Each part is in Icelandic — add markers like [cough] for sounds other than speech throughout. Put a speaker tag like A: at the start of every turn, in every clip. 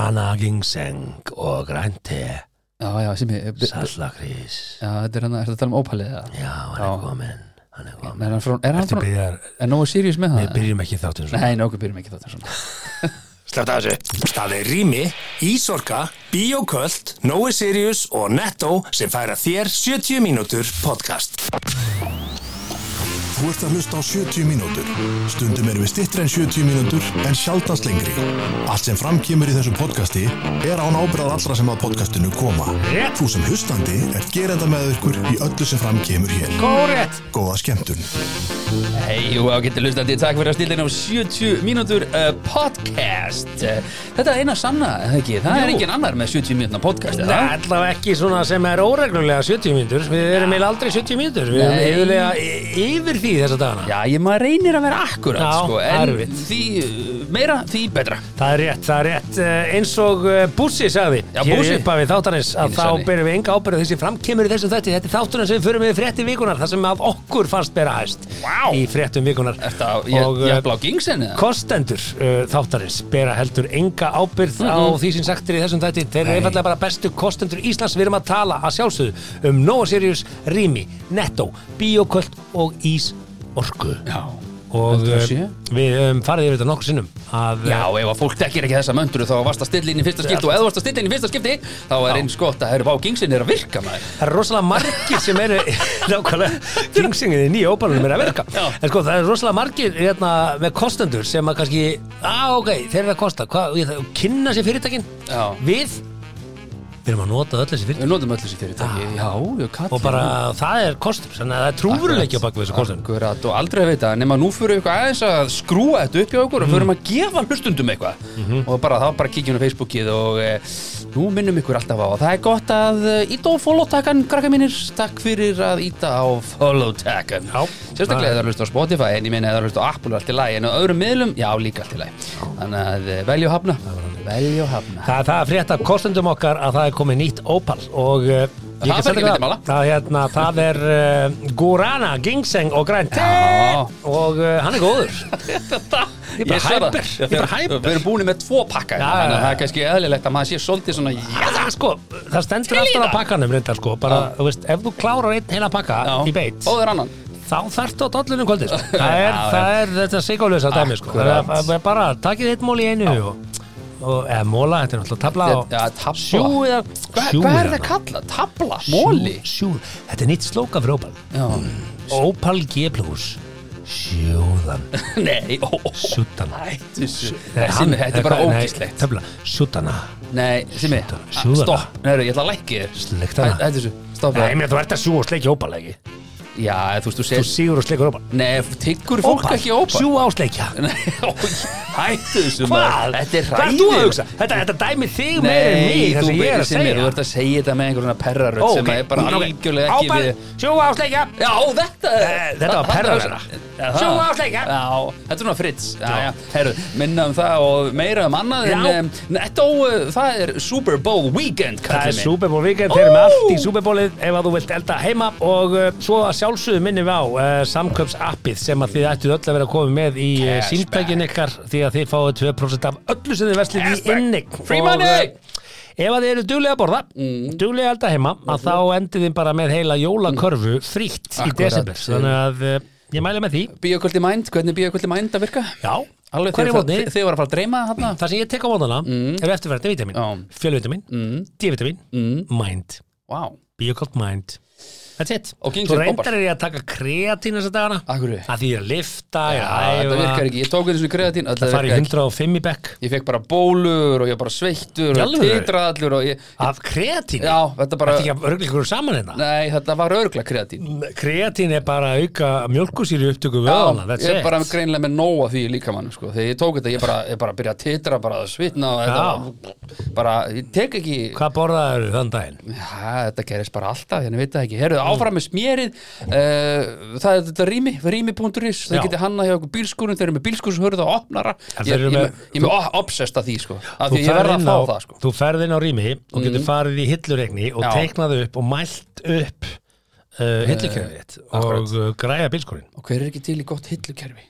A: Kanaging seng og grænt te
B: já, já, sem ég já,
A: Sallakrís
B: þetta er hann að, er þetta að tala um ópalið eða?
A: Já, hann
B: Já.
A: er komin Hann er komin
B: er hann frá, er hann
A: Ertu
B: frá,
A: byrjar,
B: er nógu serious með
A: við
B: það?
A: byrjum ekki þáttinn svona
B: Nei, nógu byrjum ekki þáttan svona
A: Sleppta þessu
C: Það er Rými, Ísorka, Bíoköld, Nói Sirius og Netto sem færa þér 70 mínútur podcast.
D: Þú ert að hlusta á 70 mínútur. Stundum erum við stittri en 70 mínútur en sjaldast lengri. Allt sem framkýmur í þessu podcasti er án ábyrðað allra sem að podcastinu koma. Þú sem hlustandi er gerenda með ykkur í öllu sem framkýmur hér. Kórett! Góða skemmtun.
B: Hei og ágættu hlustandi, takk fyrir að stilla inn á 70 mínútur uh, podcast uh, Þetta er eina sanna, eða ekki? Það er
A: Jú.
B: engin annar með 70 mínútur podcast, eða?
A: Nei, allavega ekki svona sem er óreglulega 70 mínútur Við erum eiginlega aldrei 70 mínútur Við erum
B: Nei.
A: yfirlega y- yfir því þessa dagana
B: Já, ég maður reynir að vera akkurat,
A: Já,
B: sko
A: það
B: En
A: er erfitt.
B: því uh, meira, því betra
A: Það er rétt, það er rétt Eh, eins og eh, Bussi sagði
B: Já,
A: hér
B: Bussi.
A: í upphafi þáttanins að
B: Einu
A: þá
B: sinni.
A: berum við enga ábyrðu þessi framkemur í þessum þætti þetta er þáttunar sem við förum við frétti vikunar það sem að okkur fannst bera hæst
B: Vá.
A: í fréttum vikunar
B: Þetta, ég,
A: og eh,
B: ég blá gingsin, eða?
A: kostendur uh, þáttarins bera heldur enga ábyrð á því sem sagt er í þessum þætti þeir eru einfallega bara bestu kostendur Íslands við erum að tala að sjálfsögðu um Nóa Sirius, Rými, Netto, Bíoköld og Ís Orku
B: Já
A: og
B: Heldur það
A: eh,
B: sé?
A: við um, farið yfir þetta nokkur sinnum að eh,
B: Já, ef að fólk dekkir ekki þessa möndru þá varst að stilla inn í fyrsta skipti og ef þú varst að stilla inn í fyrsta skipti þá er eins gott að herru bá gingsin er að virka maður
A: Það er rosalega margir sem eru [laughs] nákvæmlega kingsingin í nýja óbælunum er að virka
B: Já.
A: en sko það er rosalega margir hérna, með kostendur sem að kannski á ok, þeir eru að kosta, hvað, ég, þarf að kynna sér fyrirtækin
B: Já.
A: við við erum að nota öll þessi fyrirtækin
B: Við notum öll þessi fyrirtæki, já, já, kall
A: Ah. og bara það er kostur, þannig að það er trúfurleiki á bakvið þessu kostum
B: Akkurat, og aldrei að vita, nema nú fyrir við eitthvað aðeins að skrúa þetta upp hjá okkur og fyrir að gefa hlustundum eitthvað
A: Mhm.
B: og bara þá bara kíkjum við á Facebookið og e, nú minnum ykkur alltaf á að það er gott að e, íta á follow-takkan, krakka mínir takk fyrir að íta á follow-takkan
A: Já.
B: Sérstaklega eða hlusta á Spotify en ég meina eða hlusta á Apple er allt í lagi en á öðrum miðlum, já, líka allt í lagi Þannig að e, velja og hafna Velja og hafna
A: Það er það að frétta af kostendum okkar að það er komið nýtt ópal og uh,
B: Það fer ekki milli mála.
A: það, hérna, það er uh, Gurana, Ginseng og Grænt
B: Já.
A: og uh, hann er góður Ég er bara
B: Ég sé það.
A: hæpur, ég er bara hæpur.
B: Við erum búin með tvo
A: Já,
B: pakka hérna, þannig
A: já,
B: að það
A: já.
B: er kannski eðlilegt að maður sé svolítið svona
A: Já, það, er sko, það stendur alltaf á pakkanum reyndar sko, bara, þú veist, ef þú klárar einn heila pakka í beitt,
B: Bóður annan
A: þá þarftu á dollunum kvöldið,
B: [laughs]
A: sko. það er,
B: Já,
A: það er þetta sigurlösa dæmi, sko, það er-
B: Akkurat.
A: það er bara takið eitt mól í einu og, og eða móla, þetta er náttúrulega tabla og
B: Já, tabla.
A: sjúið
B: Hva, Hvað er það kallað? Tabla? Móli?
A: Sjúð, þetta er nýtt slóka fyrir Opal
B: Já
A: Opal G plus Sjúðan,
B: [laughs] Nei, ó, ó, ó.
A: sjúdan
B: Hættu þessu. Nei, Simmi, þetta er bara ógíslegt
A: Tabla, sjúdana
B: Nei, Simmi,
A: Sjúta-
B: að-
A: sjúða.
B: stopp Nei, ég ætla að lækki þér
A: Sleikta hana.
B: Hæ- Hættu þessu, stopp
A: Nei,
B: það.
A: mér þú ert að sjú og sleikja Opal, ekki?
B: Já, þú veist, þú
A: Þú
B: sér
A: sigur og sleikur Opal
B: Nei, tiggur fólk ekki ópa
A: Sjú á sleikja
B: [laughs] Nei, ó, Hættu þessu maður.
A: Hvað?
B: Þetta er
A: Hvað er þú að hugsa? Þetta, þetta dæmi þig meira en mig
B: Nei,
A: það sem
B: þú
A: ég er
B: veitir
A: að
B: Simmi, þú
A: segja
B: ert að segja þetta með einhverjum perraröld sem er bara algjörlega ekki við
A: Sjú ásleikja
B: Já, þetta
A: Eh, þetta var perraverra.
B: Aha.
A: Sjú ásleika.
B: Já, þetta er svona Fritz Já, já, herru, minna um það og meira um annað
A: Já.
B: En um, Netto, uh, það er Super Bowl Weekend,
A: Það er
B: kallið minn
A: Super Bowl weekend, þeir eru með
B: Ó!
A: allt í Super Bowlið ef að þú vilt elda heima og uh, svo að sjálfsögðu minnum við á uh, samköpsappið sem að þið ættu öll að vera að koma með í uh,
B: Cashback.
A: símtækin ykkar því að þið fáið 2% af öllu sem þið verslið í
B: Cashback.
A: innig
B: Free money! Mm.
A: Ef að þið eru duglega að borða, duglega að elda heima
B: Mhm.
A: að þá endið þið bara með heila jólakörfu frítt í
B: Mm. Akkurat.
A: desember þannig að uh, ég mæli með því
B: Bíokvöldi Mind, hvernig er Bíokvöldi Mind að virka?
A: Já,
B: Alveg
A: hverju
B: þegar
A: mótni?
B: þið voru að fara að dreyma þarna
A: Það sem ég tek á mótana eru eftirverðni vitamin,
B: Mm. Já. Mm.
A: fjölvitamin, D-vitamin, mind
B: Vá,
A: Biocold Mind That's it
B: Og ginseng
A: Þú
B: poppar.
A: reyndar er ég að taka kreatín þessa dagana
B: Af hverju?
A: Að því ég er að lifta, ég
B: Ah,
A: er að
B: þetta
A: æfa
B: virkar ekki, ég tók einu svona kreatín
A: Það
B: Þetta
A: fari í
B: virkar ekki
A: 105 í bekk
B: Ég fekk bara bólur og ég var bara sveittur
A: Í
B: og
A: alvöru?
B: titrað allur og ég
A: Af kreatín
B: Já, þetta bara
A: Þetta ekki að örgla ykkur saman hérna
B: Nei, þetta var örgla kreatín
A: Kreatín er bara að auka mjölkusýri upptöku vöðana
B: Já,
A: That's
B: ég er
A: it
B: bara greinlega með nóa því líka mann sko. þegar ég tók þetta, ég bara, ég bara byrja að titra bara að svitna og þetta var- bara, ég tek ekki
A: Hvað borðaðu þann daginn?
B: Já, þetta gerist bara alltaf, hérna veit það ekki Herðu, áfram með smjörið uh, Það er þetta rými, rými.is
A: Já.
B: Þeir geti hanna hjá okkur bílskúrin, þeir eru með bílskúr sem hörðu það opnara
A: En
B: Ég
A: þeir
B: ég
A: eru
B: ég
A: með-
B: er með obsessed að því sko að
A: Þú
B: Því ég
A: ferð
B: verða
A: inn
B: að fá
A: á-
B: það sko Mhm.
A: Þú ferð inn á rými og getur farið í hilluregni og
B: Já. Eh,
A: teiknað upp og mælt upp uh, hillukjöfið þitt og uh, græja bílskurinn
B: Og hver er ekki til í gott hillukerfi?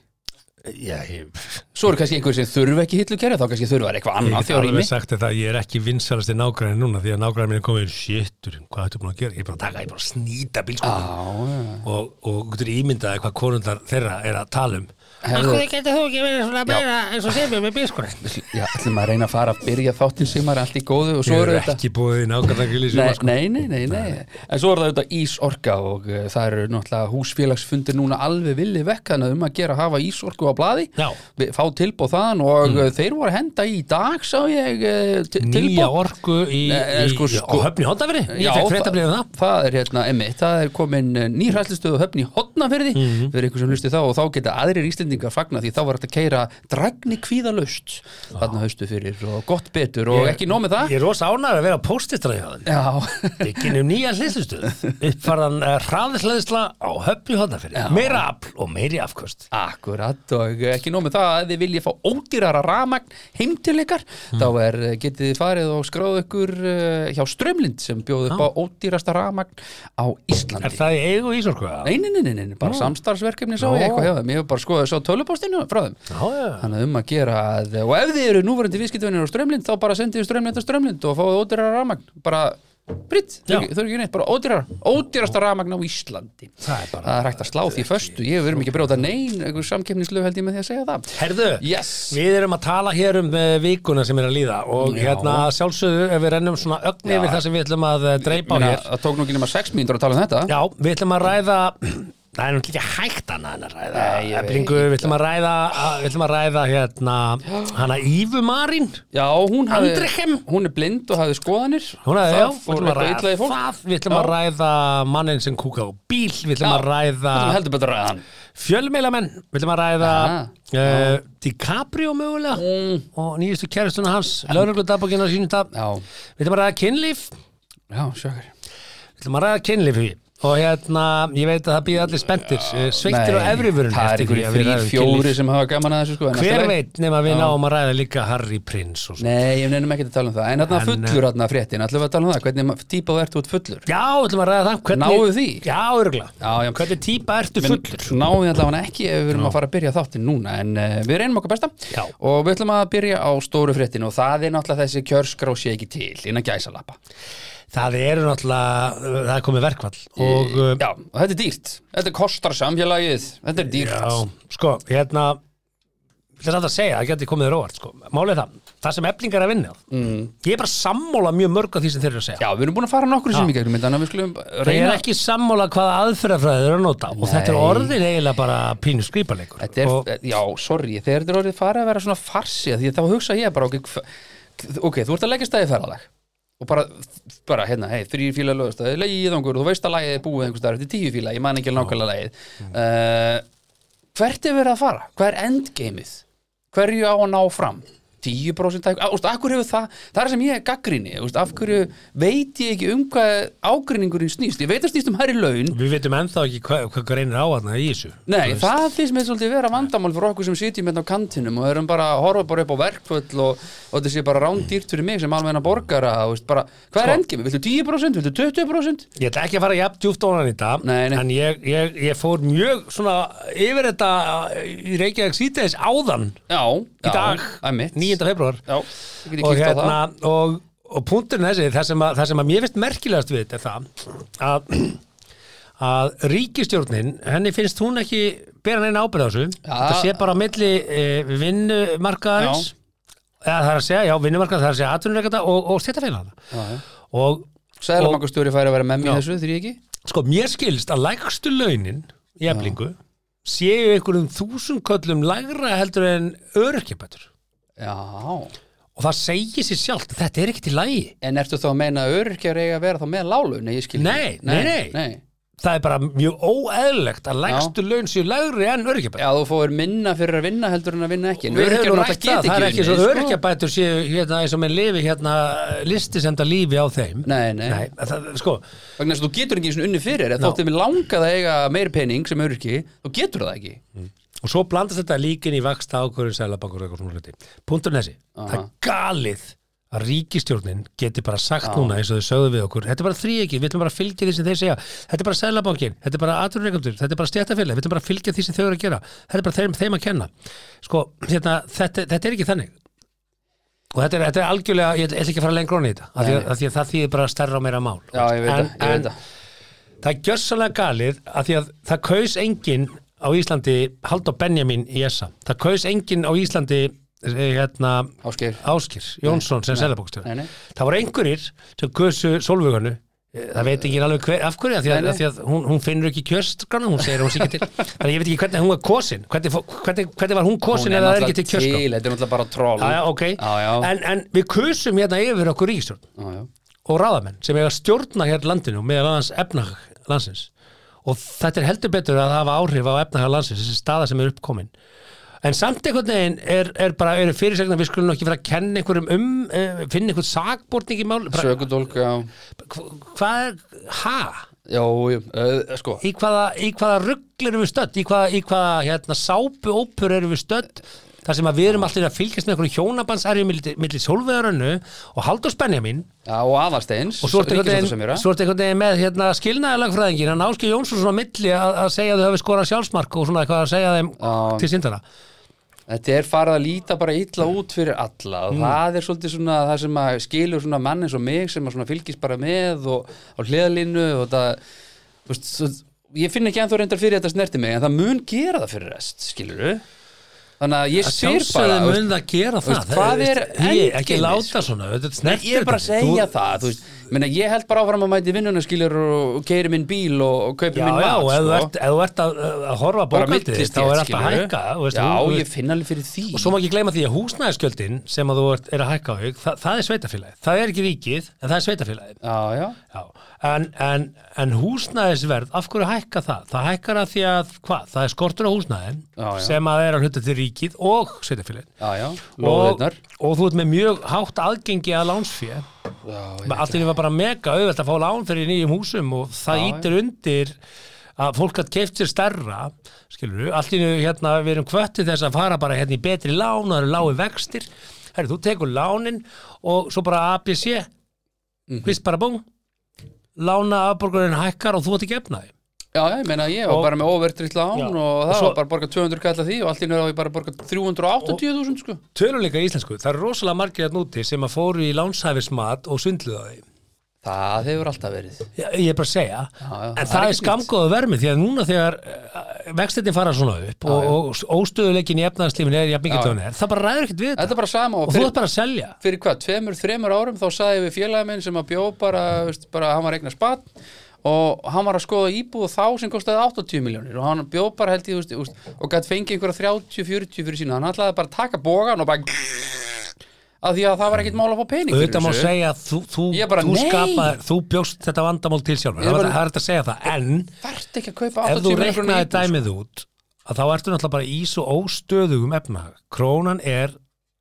A: Já, ég...
B: Svo eru kannski einhver sem þurfa ekki hillukerfi þá kannski þurfa þær eitthvað annað
A: Ég get
B: þjórými
A: alveg sagt þetta, ég er ekki vinsalasti nágræni núna því að nágræni minn er komin shittur, hvað ertu búin að gera? Ég er bara að taka, ég er bara að snýta bílskóðum
B: Ah.
A: og, og getur ímyndaði hvað konundar þeirra er að tala um
B: Hefðu-
A: getur þú ekki verið svona
B: meira
A: eins og semjum með bílskóðin?
B: Já, ætlum að reyna að fara að byrja þáttinn sigmar allt í góðu og svo
A: Ég
B: eru
A: er
B: þetta
A: ekki búið í nágræni í
B: Nei,
A: sumar sko.
B: nei, nei, nei, nei, en svo er það auðvitað Ísorka og uh, það eru náttúrulega húsfélagsfundir núna alveg villi vekkana um að gera að hafa Ísorku á blaði,
A: Já.
B: Við- fá tilbóð þaðan og mm. þeir voru að henda í dag sá ég uh, til-
A: Nýja
B: tilboð
A: orku í,
B: Nei,
A: í,
B: sko,
A: í,
B: sko-
A: á höfni hóndafri, ég fekk fréttablið um það
B: það er hérna, emitt, það er komin eh, nýræslistöðu höfn í hotnafyrði
A: Mhm.
B: fyrir ykkur sem hlusti þá og þá geta aðrir Íslendingar fagna því þá var þetta að keira dragni kvíðalaust þarna haustu fyrir og gott betur og
A: Ég-
B: ekki nóg með það
A: Ég er rosa ánægður að vera póstistræðið
B: Já, [laughs]
A: Við kynum um nýja hliðslustu uppfarðan uh, hraðisleðisla á höfni hóndafri meira afl og meiri afköst
B: Akkurat og ekki nóg með það að þið viljið fá ódýrara rafmagn heim til ykkar
A: Mm.
B: þá er, eh, getið þið farið og skráð ykkur eh, hjá Strömlind sem bjóð upp á ódýrasta rafmagn á Íslandi
A: Er það í eigu ísorku?
B: Nei, nei, nei, nei, nei, bara samstarfsverkefni sá
A: Já.
B: ég eitthvað hjá þeim, ég hef bara skoðið svo tölupostinu frá þeim
A: Já, já.
B: Þannig að um að gera að, og ef þið eru núverandi viðskiptvinnir á strömlind þá bara sendið þið strömlind á strömlind og fáið ódýrara rafmagn bara britt,
A: Já.
B: þau eru ekki neitt, bara ódýrara ódýrasta rafmagn á Íslandi
A: Það er bara-
B: það er hægt að slá því föstu, ég verum ekki að brjóta nein, einhver samkeppnislöf held ég með því að segja það
A: Herðu,
B: Yes.
A: við erum að tala hér um eh, vikuna sem er að líða og
B: Já.
A: hérna sjálfsögðu ef við rennum svona ögn
B: Já.
A: yfir það sem við ætlum að eh, dreipa á
B: Meina,
A: hér
B: það tók nú ekki nema 6 mínútur að tala um þetta
A: Já, við ætlum að ræða [clears throat] það er náttúrulega ekki hægt annað en að ræða
B: Nei, ég
A: eblingu, við ætlum að ræða að- við ætlum að ræða hérna hana Ívu Marín
B: Já, hún, hafði,
A: Andrehem.
B: hún er blind og hafði skoðanir
A: Hún hefði, já,
B: það
A: við ætlum
B: fór
A: að
B: eitthvað
A: ræða
B: illa í fólk
A: það, við ætlum að
B: Já.
A: ræða mannin sem kúka á bíl, við ætlum
B: Já.
A: að ræða
B: Þetta er heldur betur að ræða hann
A: fjölmeilamenn, við ætlum að ræða
B: Aha.
A: uh, DiCaprio mögulega og nýjustu kæristuna hans, lauruglutabokinn á sínum tap,
B: Mm. Já.
A: við ætlum að ræða kynlíf,
B: Já, sjökar
A: við ætlum að ræða kynlíf við. Og hérna, ég veit að það býði allir spenntir, eh, sveiktir á efrivörun
B: Það er ykkur þrý, fjóri sem hafa gaman að þessu sko en allt í
A: Hver
B: lagi.
A: veit nema við náum að ræða líka Harry Prince og svo.
B: Nei, ég nefnum ekki að tala um það En
A: En,
B: þarna
A: eh,
B: fullur þarna fréttin, ætlum við að tala um það Hvernig ma- típa þú ert út fullur
A: Já, ætlum að ræða það. hvernig-
B: Náuð því?
A: Já, örgla.
B: Já, já.
A: Hvernig típa ertu
B: En
A: fullur?
B: Náum við allavega ekki ef við erum að fara að byrja þáttin núna En uh, við reynum okkar besta
A: Já.
B: Og við ætlum að byrja á stóru fréttin Og það er náttúrulega þessi kjörskrá sé ekki til Innan gæsalappa
A: Það eru náttúrulega, uh, það er komið verkvall og uh,
B: Já, og þetta er dýrt Þetta kostar samfélagið Þetta er dýrt
A: já, sko, hérna þetta er alltaf að segja, það geti komið þér óvart sko. Málið er það, það sem eflingar er að vinna mm. ég er bara sammála mjög mörg af því sem þeir eru að segja
B: Já, við erum búin að fara nokkur sem í gegnum þetta, Þannig að við skulum
A: Ég er
B: reyna
A: ekki sammála hvaða aðferðafræði þeir eru að nota og þetta er
B: Nei.
A: orðin eiginlega bara pínu skrýparleikur
B: Þetta er,
A: og
B: já, sorry, þegar þetta er orðið farið að vera svona farsi að því að þá hugsa ég bara ok, hv- ok, þú ert að leggja staðið ferðalag og bara, bara hérna, hei, þrýr fíla lögstaði, legið þangur, þú veist að lagið er búið einhvers staðar eftir tíu fíla, ég man ekki alveg nákvæmlega lagið uh, Hvert er verið að fara? Hvað er endgameið? Hverju á að ná fram? 10% tæk, úst, af hverju hefur það það er sem ég gaggrinni, úst, af hverju veit ég ekki um hvað ágrinningurinn snýst, ég veit að snýst um hærri laun
A: við veitum ennþá ekki hvað, hvað greinir á þarna í þessu
B: Nei, það finnst mér svolítið vera vandamál fyrir okkur sem sitjum hérna á kantinum og erum bara að horfa bara upp á verkföll og, og þetta sé bara rándýrt fyrir mig sem almenna borgara og veist bara, hvað
A: Sko-
B: er endgjum? Viltu 10%? Viltu 20%?
A: Ég ætla ekki að fara jafn djúpt ofan í þetta
B: Nei, nei.
A: en ég, ég, ég fór mjög svona yfir þetta eh, í Reykjavík síðdeis áðan
B: Já,
A: í dag,
B: Æmitt
A: 9. februar
B: Já, ég geti
A: og
B: kíkt á
A: hérna
B: það
A: og, og punkturinn þessi, það sem, að, það sem að mér finnst merkilegast við þetta er það að, að ríkistjórnin henni finnst hún ekki bera neina ábyrð á þessu, þetta sé bara á milli e, vinnumarkaðarins eða það er að segja, já, vinnumarkaðar það er að segja atvinnureikata og, og stættafélagana og
B: Sæðlamakastjóri færi að vera með mér
A: Já.
B: þessu, þrý ekki?
A: sko, mér skilst að lægstu launin í eflingu séu einhverjum þúsund köllum lægra heldur en örkjabætur
B: Já
A: og það segir sér sjálft, þetta er ekki til lægi
B: En ertu þá að meina að öryrkjar eiga að vera þá með lálu? Nei, ég skil ekki.
A: Nei, nei, nei.
B: nei.
A: það er bara mjög óeðlegt að lægstu laun séu lægri en örkjabætur
B: Já, þú fóir minna fyrir að vinna heldur en að vinna ekki En
A: Við
B: öryrkjar
A: höfum
B: náttúrulega
A: rætt það,
B: geta
A: það er ekki
B: ekki
A: svo
B: unnið, sko.
A: örkjabætur séu hérna eins og menn lifi hérna listisemda lífi á þeim
B: Nei, nei.
A: Nei, það, sko,
B: vegna þess að þú getur ekki eins og unni fyrir eða
A: Ná.
B: þóttið mér langað að eiga meiri pening sem öryrki, þú getur það ekki
A: og svo blandast þetta líkin í vaksta ákvörðin sælabankur og eitthvað svona hluti. Punturinn þessi, það er galið að ríkistjórnin geti bara sagt núna eins og þau sögðu við okkur þetta er bara þríegi, við ætlum bara að fylgja því sem þeir segja þetta er bara sælabankin, þetta er bara aturreikandur þetta er bara stjættafélag, við ætlum bara að fylgja því sem þau eru að gera þetta er bara þeim, þeim að kenna sko, hérna, þetta, þetta er ekki þannig og þetta er, þetta er algjörlega ég ætla ekki að fara lengra ofan í þetta af því að, af því að það þýðir bara stærra og meira mál
B: Já, ég veit
A: En-
B: það, ég
A: en-
B: veit það.
A: Það er gjössalega galið að því að það kaus enginn á Íslandi Haldur Benjamin í ESA. Það kaus enginn á Íslandi eh, hérna,
B: Ásgeir.
A: Áskir Jónsson sem
B: Nei,
A: selabókstjóri.
B: nei.
A: Það voru einhverjir sem kausu Solvöganu Það veit ekki alveg hver, af hverju, af því að,
B: Nei, nei.
A: af því að hún, hún finnur ekki kjörskrana, hún segir að hún sé ekki til. Þannig að ég veit ekki hvernig hún var kosin, hvernig, fó- hvernig, hvernig var hún kosin
B: Hún er
A: eða það er ekki
B: náttúrulega
A: til kjörskrana.
B: til, þetta er náttúrulega bara troll.
A: Já, já, ok.
B: Já, já.
A: En, en við kusum hérna yfir okkur ríkistjórn
B: Já, já.
A: og ráðamenn sem eiga að stjórna hér landinu meðal annars efnahag landsins og þetta er heldur betur að hafa áhrif á efnahag landsins, þessi staða sem er uppkomin en samt einhvern veginn er, er bara eru fyrirsegna við skulum nú ekki fyrir að kenna einhverjum um, uh, finna einhvern sakbortning í mál bara,
B: Sökudólk, já.
A: hv- hvað er, ha?
B: Já, já, uh, sko.
A: Í hvaða, í hvaða rugl erum við stödd? Í hvaða, í hvaða hérna, sápuópur erum við stödd? þar sem að við erum allir að fylgjast með einhverjum hjónabandsarjum milli, milli Solveigurönnu og Halldórs Benjamin
B: Já, og aðalsteins.
A: og svo ertu einhvern
B: ríkissáttasemjara.
A: veginn- svo ertu einhvern veginn með hérna, skilnaðalagfræðingin hann Áskei Jónsson svona á milli að, að segja að þau hafi skorað sjálfsmark og svona eitthvað að segja þeim
B: Já.
A: til sindana
B: Þetta er farið að líta bara illa
A: Mm.
B: út fyrir alla og það er svolítið svona það sem að skilur svona mann eins og mig sem að svona fylgist bara með og á hliðalínu og það, þú veist, svo, ég finn ekki ennþá reyndar fyrir að þetta snerti mig en það mun gera það fyrir rest, skilur Þannig að ég sér bara,
A: sjálfsögðu
B: þú
A: mun það gera það
B: veist, hvað
A: Það-
B: er
A: ég, ekki
B: endgame,
A: láta svona þetta
B: Nei,
A: snertir
B: ég er bara að
A: þetta. Þú-
B: segja það, þú veist, minna, ég held bara áfram að mæti vinnuna skilur og keiri minn bíl og, og kaupi
A: Já, já,
B: minn mat, sko.
A: ef þú ert, ef þú ert að, að horfa
B: bara
A: bókaldið
B: millist
A: þá er
B: ég,
A: alltaf að hækka þú veist,
B: Já,
A: þú- þú-
B: ég finn alveg fyrir því.
A: og svo má ekki gleyma því að húsnæðiskjöldin sem að þú ert, er að hækka á þau það, það er sveitafélagið, það er ekki ríkið en það er sveitafélagið
B: Já, já.
A: Já, en, en, en húsnæðisverð, af hverju hækka það? Það hækkar að því að, hvað, það er skortur á húsnæðin
B: Já, já.
A: sem að er að hluta til ríkið og sveitafélagin.
B: Já, já,
A: Og,
B: lóðirnar
A: og þú ert með mjög hátt aðgengi að lánsfé. Allt í því var bara mega auðvelt að fá lán fyrir nýjum húsum og það
B: Já, já.
A: ítir undir að fólk að keift sér stærra, skilur við, allt í því hérna við erum kvöttið þess að fara bara hérna í betri lán og það eru lági vextir. Herri, þú tekur lánin og svo bara ABC,
B: Mhm.
A: hvist bara búm lána afborgurinn hækkar og þú átt ekki efnaði
B: Já, já, ég meina ég var
A: Og-
B: bara með overtritt lán
A: Já.
B: og það
A: Og svo-
B: var bara að borga 200 kalla því og allt í nöður á ég bara að borga 380.000 sko
A: tölum líka í íslensku, það eru rosalega margir að núti sem að fóru í lánshæfismat og sundluðu á því
B: Það hefur alltaf verið
A: ég ég er bara að segja, en
B: já, það er
A: það er
B: ekkert
A: skamgóðu vermi því að núna þegar vextinni fara svona upp og, og óstöðuleikin í efnaðarslífinu er jafn mikið
B: Já, já.
A: tónir, það bara ræður ekkert við
B: Þetta
A: þetta
B: er bara sama og
A: og þú
B: fyrir,
A: ert bara að selja
B: fyrir hvað, tveimur, þreimur árum þá sagði við félagið minn sem að bjó bara, veist, bara hann var eignar spatt og hann var að skoða íbúð þá sem kostaði 80 miljónir og hann bjó bara held ég þú veist, þú veist, og gætt fengið einhverja 30-40 fyrir sína hann ætlaði bara að taka bógan og bara að því að það var ekkert mál að fá pening fyrir
A: auðvitað má
B: þessu.
A: segja að þú, þú,
B: Ég bara,
A: þú
B: nei.
A: skapaðir, þú bjóst þetta vandamál til sjálfur,
B: Ég
A: það
B: bara-
A: er- það er þetta að segja það en
B: Þarftu ekki að kaupa
A: ef þú
B: 80
A: reiknaði
B: miljónir íbúð, sko.
A: dæmið út að þá ertu náttúrulega bara í svo óstöðugum efnahag krónan er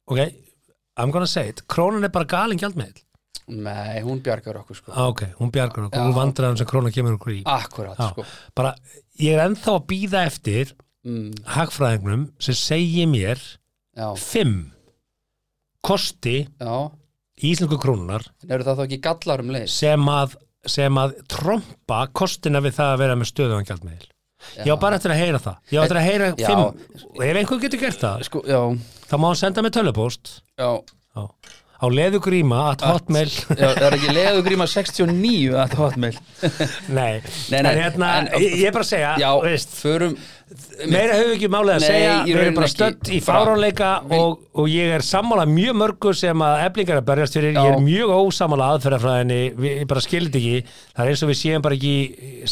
A: ok, I'm gonna say it krónan er bara galin gjaldmiðl
B: Nei, hún bjargar okkur sko
A: ah, ok, hún bjargar okkur, hún vandrar sem krónan kemur okkur í
B: Akkurat
A: Já,
B: sko
A: bara, ég er ennþá að býða eftir
B: Mm.
A: hagfræðingnum sem segi mér
B: Já,
A: fimm kosti
B: já
A: í íslensku krónunar
B: En eru það þá ekki gallar um leið?
A: sem að, sem að trompa kostina við það að vera með stöðugan gjaldmiðl ég á bara eftir að heyra það ég á eftir að heyra
B: Já.
A: fimm og ef einhver getur gert það
B: Sko, já,
A: þá má hann senda með tölvupóst
B: já
A: á, á leðugríma at hotmail [laughs]
B: Já, það er ekki leðugríma 69 að það hotmail
A: nei.
B: Nei, nei,
A: en hérna,
B: en-
A: ég ég er bara að segja
B: Já,
A: veist,
B: förum
A: meira hefur ekki málið að
B: Nei,
A: segja
B: í
A: við
B: rauninni
A: erum bara
B: ekki.
A: stödd í
B: Bara-
A: fárónleika og, og ég er sammála mjög mörgu sem að eflingar að berjast fyrir, ég er
B: Já.
A: mjög ósammála aðferðafræðinni, við- ég bara skildi ekki það er eins og við séum bara ekki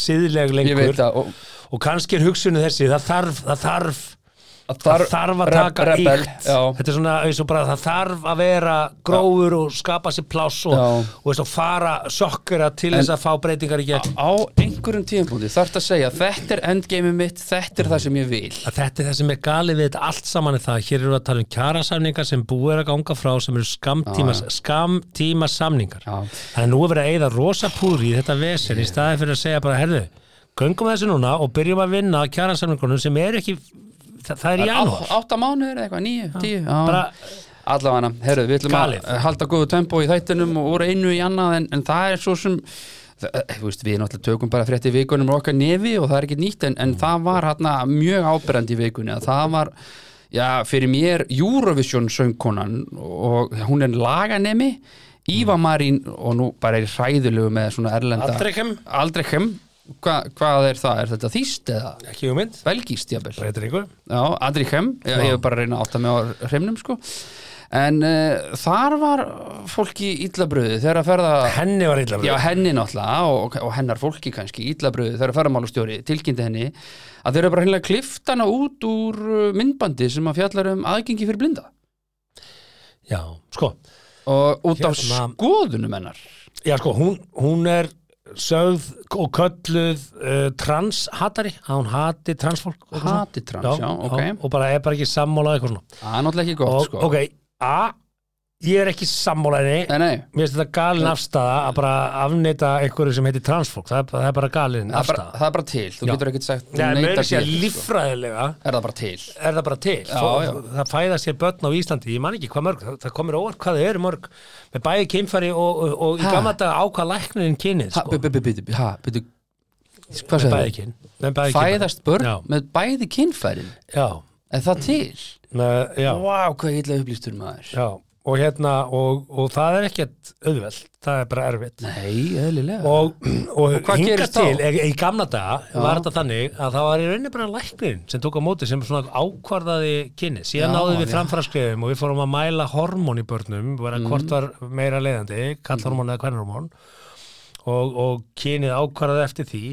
A: síðleg
B: Ég veit
A: lengur
B: það og
A: og kannski er hugsunni þessi, það þarf það þarf,
B: að
A: það þarf að taka
B: re- rebel,
A: íkt
B: Já,
A: þetta er svona eins og bara það þarf að vera grófur og skapa sér pláss og,
B: Já.
A: og, veist, og fara sjokkura til þess að fá breytingar í gegn
B: á einhverjum tíðanbúndi þarf að segja Þetta er endgame mitt, þetta er það sem ég vil
A: að þetta er það sem er galið við þetta allt saman er það, að hér eru að tala um kjarasamningar sem búið er að ganga frá sem eru skamtíma, skamtíma samningar
B: Já.
A: þannig að nú er verið að eyða rosa púri í þetta vesen í staði fyrir að segja bara herðu, göngum þessu núna og byrjum að vinna að kjarasamningunum sem er ekki það, það er í janúar
B: Á- Átta mánuður eða eitthvað, níu, tíu já.
A: bara,
B: allavega, herru, við ætlum
A: Galið.
B: að eh, halda góðu tempo í þættinum og úr einu í annað en, en það er svo sem það- eh, þú veist, við náttúrulega tökum bara frétti vikunum okkar nefi og það er ekki nýtt en, en það var hérna mjög áberandi í vikunni að það var, já, fyrir mér Eurovision söngkonan og hún er laganemi Íva Marín og nú bara er í hræðilegu með svona erlenda
A: Aldrechem?
B: Aldrechem, Hva, hvað er það? Er þetta þýst eða?
A: ekki um mynd
B: Belgíst, jafnvel
A: Reytir einhver
B: Já, Andri Khem, ég, ég hef bara að reyna að átta mig á hremnum sko En uh, þar var fólki íllabröðu þegar að ferða
A: Henni var illa
B: Já, henni náttúrulega og, og hennar fólki kannski íllabröðu þegar að ferðamálustjóri tilkynnti henni að þeir eru bara hennilega kliftana út úr uh, myndbandi sem að fjallar um aðgengi fyrir blinda
A: Já, sko
B: og út af
A: Hérna-
B: skoðunum hennar
A: Já, sko, hún, hún er sögð og kölluð uh, transhatari, að hún hati transfólk og eitthvað svona.
B: Hati trans, já, ok.
A: Og bara er bara ekki sammálað eitthvað svona
B: Það er náttúrulega ekki gott
A: og,
B: sko
A: Ok, a, ég er ekki sammálaðinni
B: Nei, nei,
A: Mér finnst þetta galin afstæða að bara afneita einhverju sem heitir transfólk það er, það er bara galin
B: það er, bara,
A: afstæða
B: það er bara til, þú
A: Já.
B: getur ekkert sagt
A: Nei,
B: neitar
A: meður sé að
B: til, sko.
A: líffræðilega
B: Er það bara til
A: er það bara til
B: Já,
A: Þó-
B: já.
A: það fæða sér börn á Íslandi, ég man ekki hvað mörg það, það komir óvart hvað þau eru mörg með bæði keimfari og, og, og í
B: Ha?
A: gamla dag ákvað læknirinn kynið
B: Ha,
A: sko.
B: byrju, byrju, byrju, ha, byrju
A: með
B: Hvað sagði
A: bæði kyn með bæði
B: fæðast börn
A: Já.
B: með bæði kynfærin
A: já,
B: er það til?
A: með, já,
B: Vá, wow, hvað ég illa upplýstur maður
A: já og hérna, og, og það er ekkert auðveld, það er bara erfitt
B: Nei, eðlilega
A: og, og,
B: hvað
A: hingar
B: gerist
A: til
B: þá?
A: í, í gamla daga var þetta þannig að það var í rauninni bara læknirinn sem tók á móti sem svona ákvarðaði kynni síðan
B: Já,
A: náðum við
B: já. Mhm.
A: framfraskrefum og við fórum að mæla hormón í börnum vera hvort var meira leiðandi, kallhormón eða kvennhormón og, og kynið ákvarðaði eftir því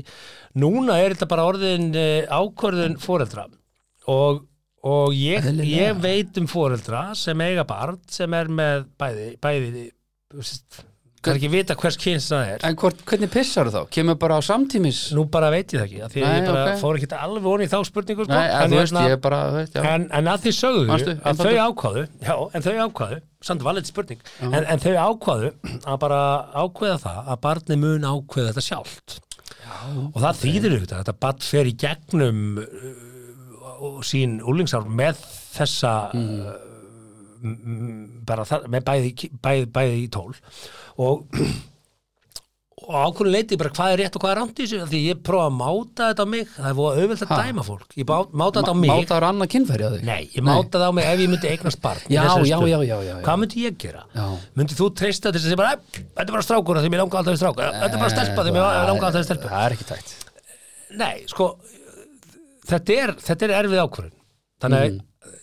A: núna er þetta bara orðin eh, ákvörðun fóreldra og, og ég,
B: Eðlilega.
A: ég veit um fóreldra sem eiga barn sem er með bæði, bæði þú veist, það er ekki vita hvers kyns það er
B: En hvort, hvernig pissar þá? Kemur bara á samtímis?
A: Nú bara veit ég það ekki, af því að
B: Nei,
A: ég bara
B: ok.
A: fór ekki alveg onni í þá spurningu sko.
B: Nei, að þú veist,
A: hérna-
B: ég er bara, þú veist, já
A: en, en að því sögðu,
B: Manstu,
A: en þau
B: einfaldur.
A: ákváðu já, en þau ákváðu, samt valið spurning en, en þau ákváðu að bara ákveða það að barni mun ákveða þetta sjálft og það þýðir auðvitað, að þetta barn fer í gegnum uh, og sín úlingsár með þessa mm. bara það, með bæði, bæði, bæði í tól og og ákvörðu leiti bara hvað er rétt og hvað er rámt í þessu af því ég prófa að máta þetta á mig það er fóða auðvelt að
B: Ha.
A: dæma fólk ég bá- máta þetta á mig
B: Mátaður annað kynfæri að þig?
A: Nei, ég máta það á mig ef ég myndi eignast barn í
B: Já,
A: þessari
B: já,
A: stöðu.
B: já, já, já, já.
A: Hvað myndi ég gera?
B: Já.
A: Myndi þú treysta til þess að segja bara "Æ, Þetta er bara strákur að því mér langar alltaf í strák Þetta er bara stelpa því mér langar alltaf í stelpa
B: Eh, sko, Það er ekki tætt
A: Nei, sko Þetta er, þetta er erfið ákvörðun Þannig
B: Mm.
A: að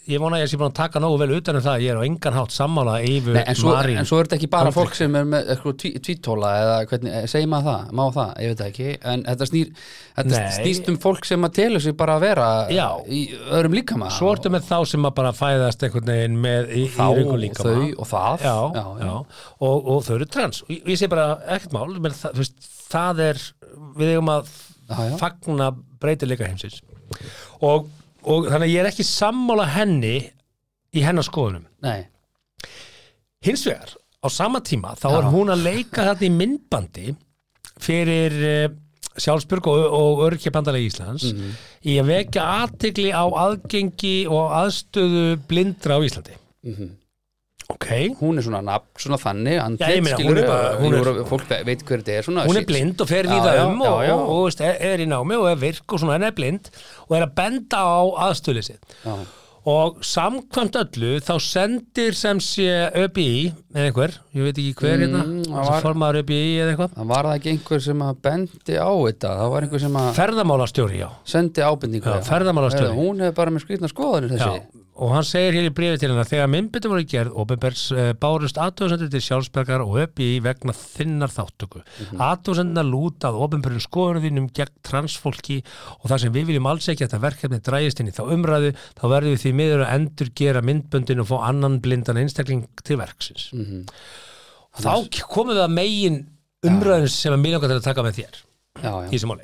A: Ég vona að ég sé búin að taka nógu vel utan um það að Ég er á engan hátt sammála yfir
B: Nei, en svo,
A: Marín
B: en svo er þetta ekki bara
A: Aldrei.
B: fólk sem er með eitthvað tví- tvítóla eða hvernig, eh, segir maður það, má það, ég veit það ekki en þetta, snýr, þetta
A: Nei.
B: snýst um fólk sem að telur sig bara að vera
A: Já.
B: í öðrum líkama
A: Svo ertu með þá sem að bara fæðast einhvern veginn með í,
B: þá,
A: í röngu líka
B: þau og það
A: já,
B: já, já.
A: Og, og þau eru trans og ég, ég sé bara ekkert mál menn, það, þú veist, það er, við eigum að
B: Já, já.
A: fagna breytileika heimsins og, og þannig að ég er ekki sammála henni í hennar skoðunum
B: Nei,
A: hins vegar, á sama tíma þá
B: Já.
A: er hún að leika þarna í myndbandi fyrir uh, sjálfsbjörg og, og örkjabandalega Íslands
B: Mhm.
A: í að vekja aðtegli á aðgengi og aðstöðu blindra á Íslandi
B: Mhm.
A: ok,
B: hún er svona nafn, svona þannig andlit,
A: Já, ég meina, hún er
B: skilurðu,
A: bara- hún er-
B: Euro- fólk ve- veit hver þetta er svona
A: hún er
B: shit.
A: blind og fer
B: Já,
A: víða
B: já,
A: um og,
B: já, já.
A: og, og veist, er- er í námi og er virk og svona en er blind og er að benda á aðstöðlið sitt
B: Já.
A: og samkvæmt öllu þá sendir sem sé ÖBI eða einhver, ég veit ekki hver hérna
B: Mm, það
A: sem
B: var-
A: formaður ÖBI eða eitthvað
B: Það var það ekki einhver sem að bendi á þetta það var einhver sem að
A: ferðamálastjóri, já,
B: sendi ábendingu
A: Já, ferðamálastjóri.
B: Heyrðu, Hún er bara með skrýtna skoðanir
A: já.
B: þessi
A: og hann segir hér í brífi til hennar þegar myndbyttum voru gerð ofinbergs eh, bárust aðtöðsendur til sjálfsbergar og ÖBI vegna þinnar þáttöku mm
B: Mhm.
A: -hmm. aðtöðsendurna lúta að ofinbergin skoðunum gegn transfólki og það sem við viljum alls ekki að það verkefni drægist inn í þá umræðu þá verðum við því miður að endur gera myndböndin og fá annan blindan einstakling til verksins
B: Mhm.
A: þá komum við að megin umræðin sem að mér langar til að taka með þér í
B: já, já.
A: þessi máli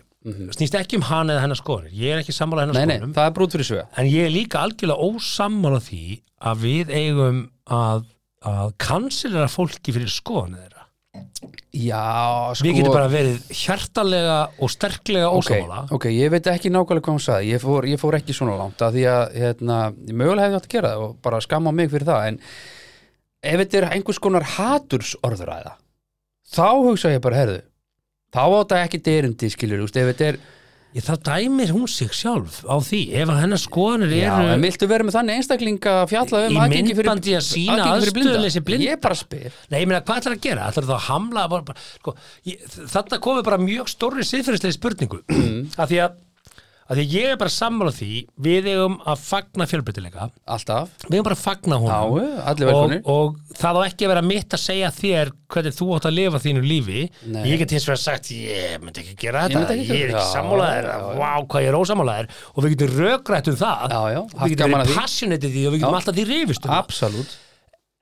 A: snýst ekki um hana eða hennar skoðunir ég er ekki sammála hennar
B: Mhm. Nei, nei,
A: skoðunum
B: það er brútt fyrir svega
A: En ég er líka algjörlega ósammála því að við eigum að, að kansilera fólki fyrir skoðan þeirra.
B: Já, sko
A: Við getum bara verið hjartalega og sterklega ósammála.
B: ok, ég veit ekki nákvæmlega hvað hún saði ég fór, ég fór ekki svona langt að því að hérna, ég mögulega hefði átt að gera það og bara skamma mig fyrir það en ef þetta er einhvers konar hatursorðuræða þá hugsa ég bara, herðu þá á þetta ekki derindi, skilur, þú veist, ef þetta er
A: Ég, þá dæmir hún sig sjálf á því ef að hennar skoðanir
B: Já,
A: eru
B: en viltu vera með þannig einstaklinga að fjalla
A: Í
B: um aðgengi fyrir,
A: myndbandi að sýna
B: aðgengi fyrir
A: aðstöðuleysi blinda?
B: Ég bara spyr
A: Nei, ég meina, hvað ætlar að gera? Ætlar það að hamla? Bara, bara, sko, ég, þetta komið bara mjög stórri siðferðislega spurningu
B: Mm.
A: af því að, að því að ég er bara sammála því við eigum að fagna fjölbreytileika
B: Alltaf
A: við eigum bara að fagna hún
B: Já, allir velkonir
A: og, og það á ekki að vera mitt að segja þér hvernig þú átt að lifa þínu lífi
B: Nei.
A: ég get hins vegar sagt, ég myndi ekki gera
B: Ég
A: þetta
B: myndi
A: ég,
B: ekki gera
A: er ekki
B: þetta. Já,
A: sammálaðir
B: já, já.
A: vá, hvað ég er ósammálaðir og við getum rökrætt um það
B: Já, já, haft
A: við getum
B: gaman að
A: verið
B: því.
A: passionate í því og við getum
B: Já.
A: alltaf því rifist um það.
B: Absolutt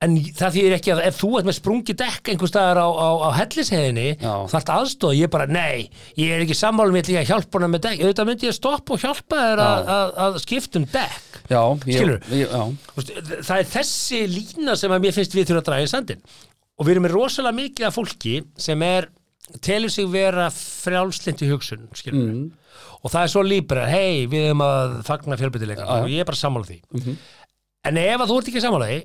A: en það þýðir ekki að ef þú ert með sprungi dekk einhvers staðar á, á, á hellisheiðinni
B: Já.
A: þarft aðstóð, ég bara nei ég er ekki sammála með því að hjálpa hana með dekk auðvitað myndi ég stoppa og hjálpa þér að, að, að skiptum dekk
B: Já,
A: Skilurðu?
B: ég, ég, já,
A: Þú veist, það er þessi lína sem að mér finnst við þurfum að draga í sandin og við erum með rosalega mikið af fólki sem er telur sig vera frjálslind í hugsun mm. og það er svo líbra hei, við erum að fagna fjölbyrtileika og ég er bara sammála því en ef að þú ert ekki sammála því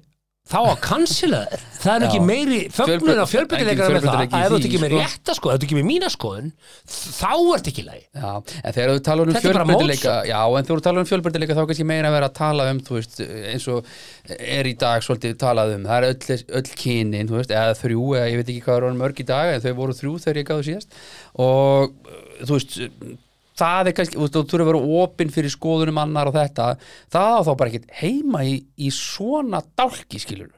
A: þá að cancela þér það er nú ekki
B: Já.
A: meiri fögnur
B: Fjölbreyt-
A: á fjölbyrtileikana
B: engin
A: með það
B: fjölbreytileiki
A: að
B: í
A: ef þú ert
B: því,
A: ekki með
B: sko.
A: rétta skoðun, ef þú ert ekki með mína skoðun þá ert ekki í lagi
B: já En þegar þú talar um
A: Þetta er bara
B: fjölbreytileika Já, en þegar þú talar um fjölbreytileika þá kannski meira að vera að tala um, þú veist, eins og er í dag svolítið talað um, það er öll, öll kynin, þú veist, eða þrjú eða ég veit ekki hvað er orðin mörg í dag, en þau voru þrjú þegar ég gáðu síðast og uh, þú veist það er kannski, þú veist, þú þurfur að vera opinn fyrir skoðunum annar og þetta það á þá bara ekkert heima í, í svona dálki skilur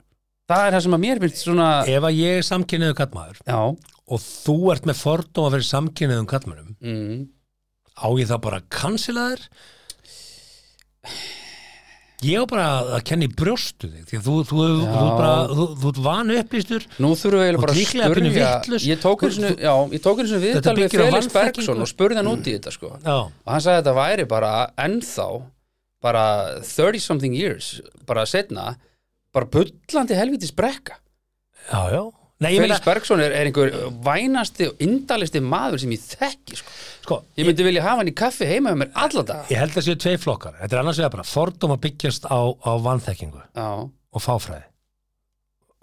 B: það er það sem að mér finnst svona
A: ef að ég er samkynniðu kallmaður
B: já,
A: og þú ert með fordóma fyrir samkynniðum kallmönnum
B: mm,
A: á ég það bara að cancela þér ég á bara að kenna í brjóstu þig því að þú, þú, þú,
B: Já.
A: þú, bara, þú, þú ert vanu upplýstur
B: Nú þurfum við eiginlega
A: Og
B: bara
A: líklega
B: að
A: pínu
B: spurja
A: vitlaus.
B: Ég tók einu sinni- já, ég tók einu sinni viðtal við
A: byggir á
B: Felix
A: vanþekkingu.
B: Bergson og spurði hann út í þetta sko
A: já,
B: og hann sagði að þetta væri bara ennþá bara 30 something years bara setna bara bullandi helvitis brekka
A: já, já Nei, ég meina,
B: Felix Bergson er, er einhver vænasti og indalisti maður sem ég þekki sko.
A: sko,
B: ég myndi vilja hafa hann í kaffi heima með mér alla dag
A: ég held að séu tvei flokkar þetta er annars vegar bara fordóma byggjast á, á vanþekkingu
B: já,
A: og fáfræði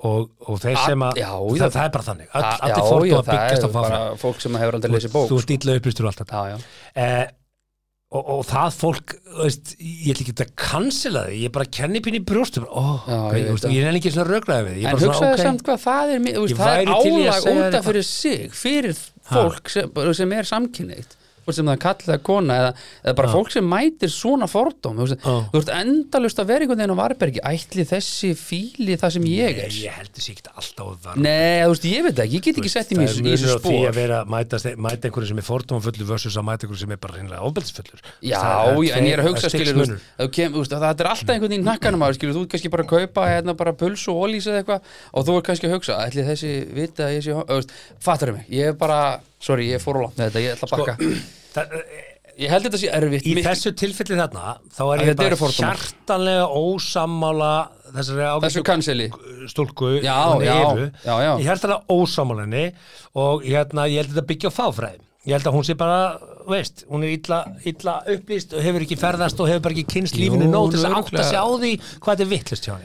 A: og, og þeir
B: All-
A: sem að
B: já, já.
A: það, það er bara þannig, all,
B: Það-
A: allir
B: já,
A: fordóma
B: það
A: byggjast á
B: er
A: fáfræði
B: bara fólk sem hefur aldrei
A: þú,
B: lesið bók sko.
A: þú ert illa upplýstur og allt þetta
B: já, já,
A: eh, og, og það fólk þú veist, ég ætla ekki að cancela þig ég bara kenni pín í brjóstum oh,
B: Já,
A: okay,
B: ég
A: ég,
B: veit
A: veist,
B: það.
A: ég er ekki svona rökraði við því. ég
B: En
A: bara svona,
B: hugsaðu
A: ok,
B: samt hvað það er mi- þú veist,
A: Ég
B: það er
A: væri til í að
B: álag
A: segja þér
B: útaf
A: eitthvað.
B: fyrir sig fyrir fólk sem, bara sem er samkynneitt fólk sem það kalla það kona eða, eða bara fólk sem mætir svona fordóm þú, veist,
A: Já.
B: þú ert endalust að vera einhvern veginn á varbergi ætli þessi fíli það sem ég er
A: Nei, ég heldur sér ekki alltaf að var
B: Nei, þú veist, ég veit það ekki, ég get ekki sett í mér í
A: Það er munur á
B: þessu
A: því að
B: spór
A: vera að mæta, mæta einhverju sem er fordómafullur versus að mæta einhverju sem er bara hreinlega ofbeldisfullur
B: Já,
A: Það
B: já, en ég er að hugsa
A: það
B: skilur, þú
A: stigsmunur.
B: veist, að þú kem, þú veist, að það er alltaf einhvern veginn í nakkanum á þér, skilur, þú ert kannski bara að kaupa hérna bara puls og ólís eða eitthvað og þú ert kannski að hugsa, ætli þessi vita að ég sé, hon- þú veist, fattarum mig, ég er bara sorry, ég fór á langt með þetta, ég ætla að bakka
A: Það,
B: Ég held þetta sé erfitt
A: Sko, Í
B: mikið-
A: þessu tilfelli þarna þá er
B: Að
A: ég
B: þetta eru
A: bara
B: fordómar.
A: hjartanlega ósammála þessari
B: þessu
A: ábyrgstu
B: kanseli
A: stúlku
B: Já,
A: hún
B: já,
A: Evu.
B: já, já.
A: ég held alveg ósamálinni og hérna, ég held þetta byggja á fáfræði ég held að hún sé bara, veist hún er illa, illa upplýst og hefur ekki ferðast og hefur bara ekki kynst lífinu
B: Jú,
A: nóg til þess að átta
B: örugglega.
A: sig á því hvað þetta er vittlust hjá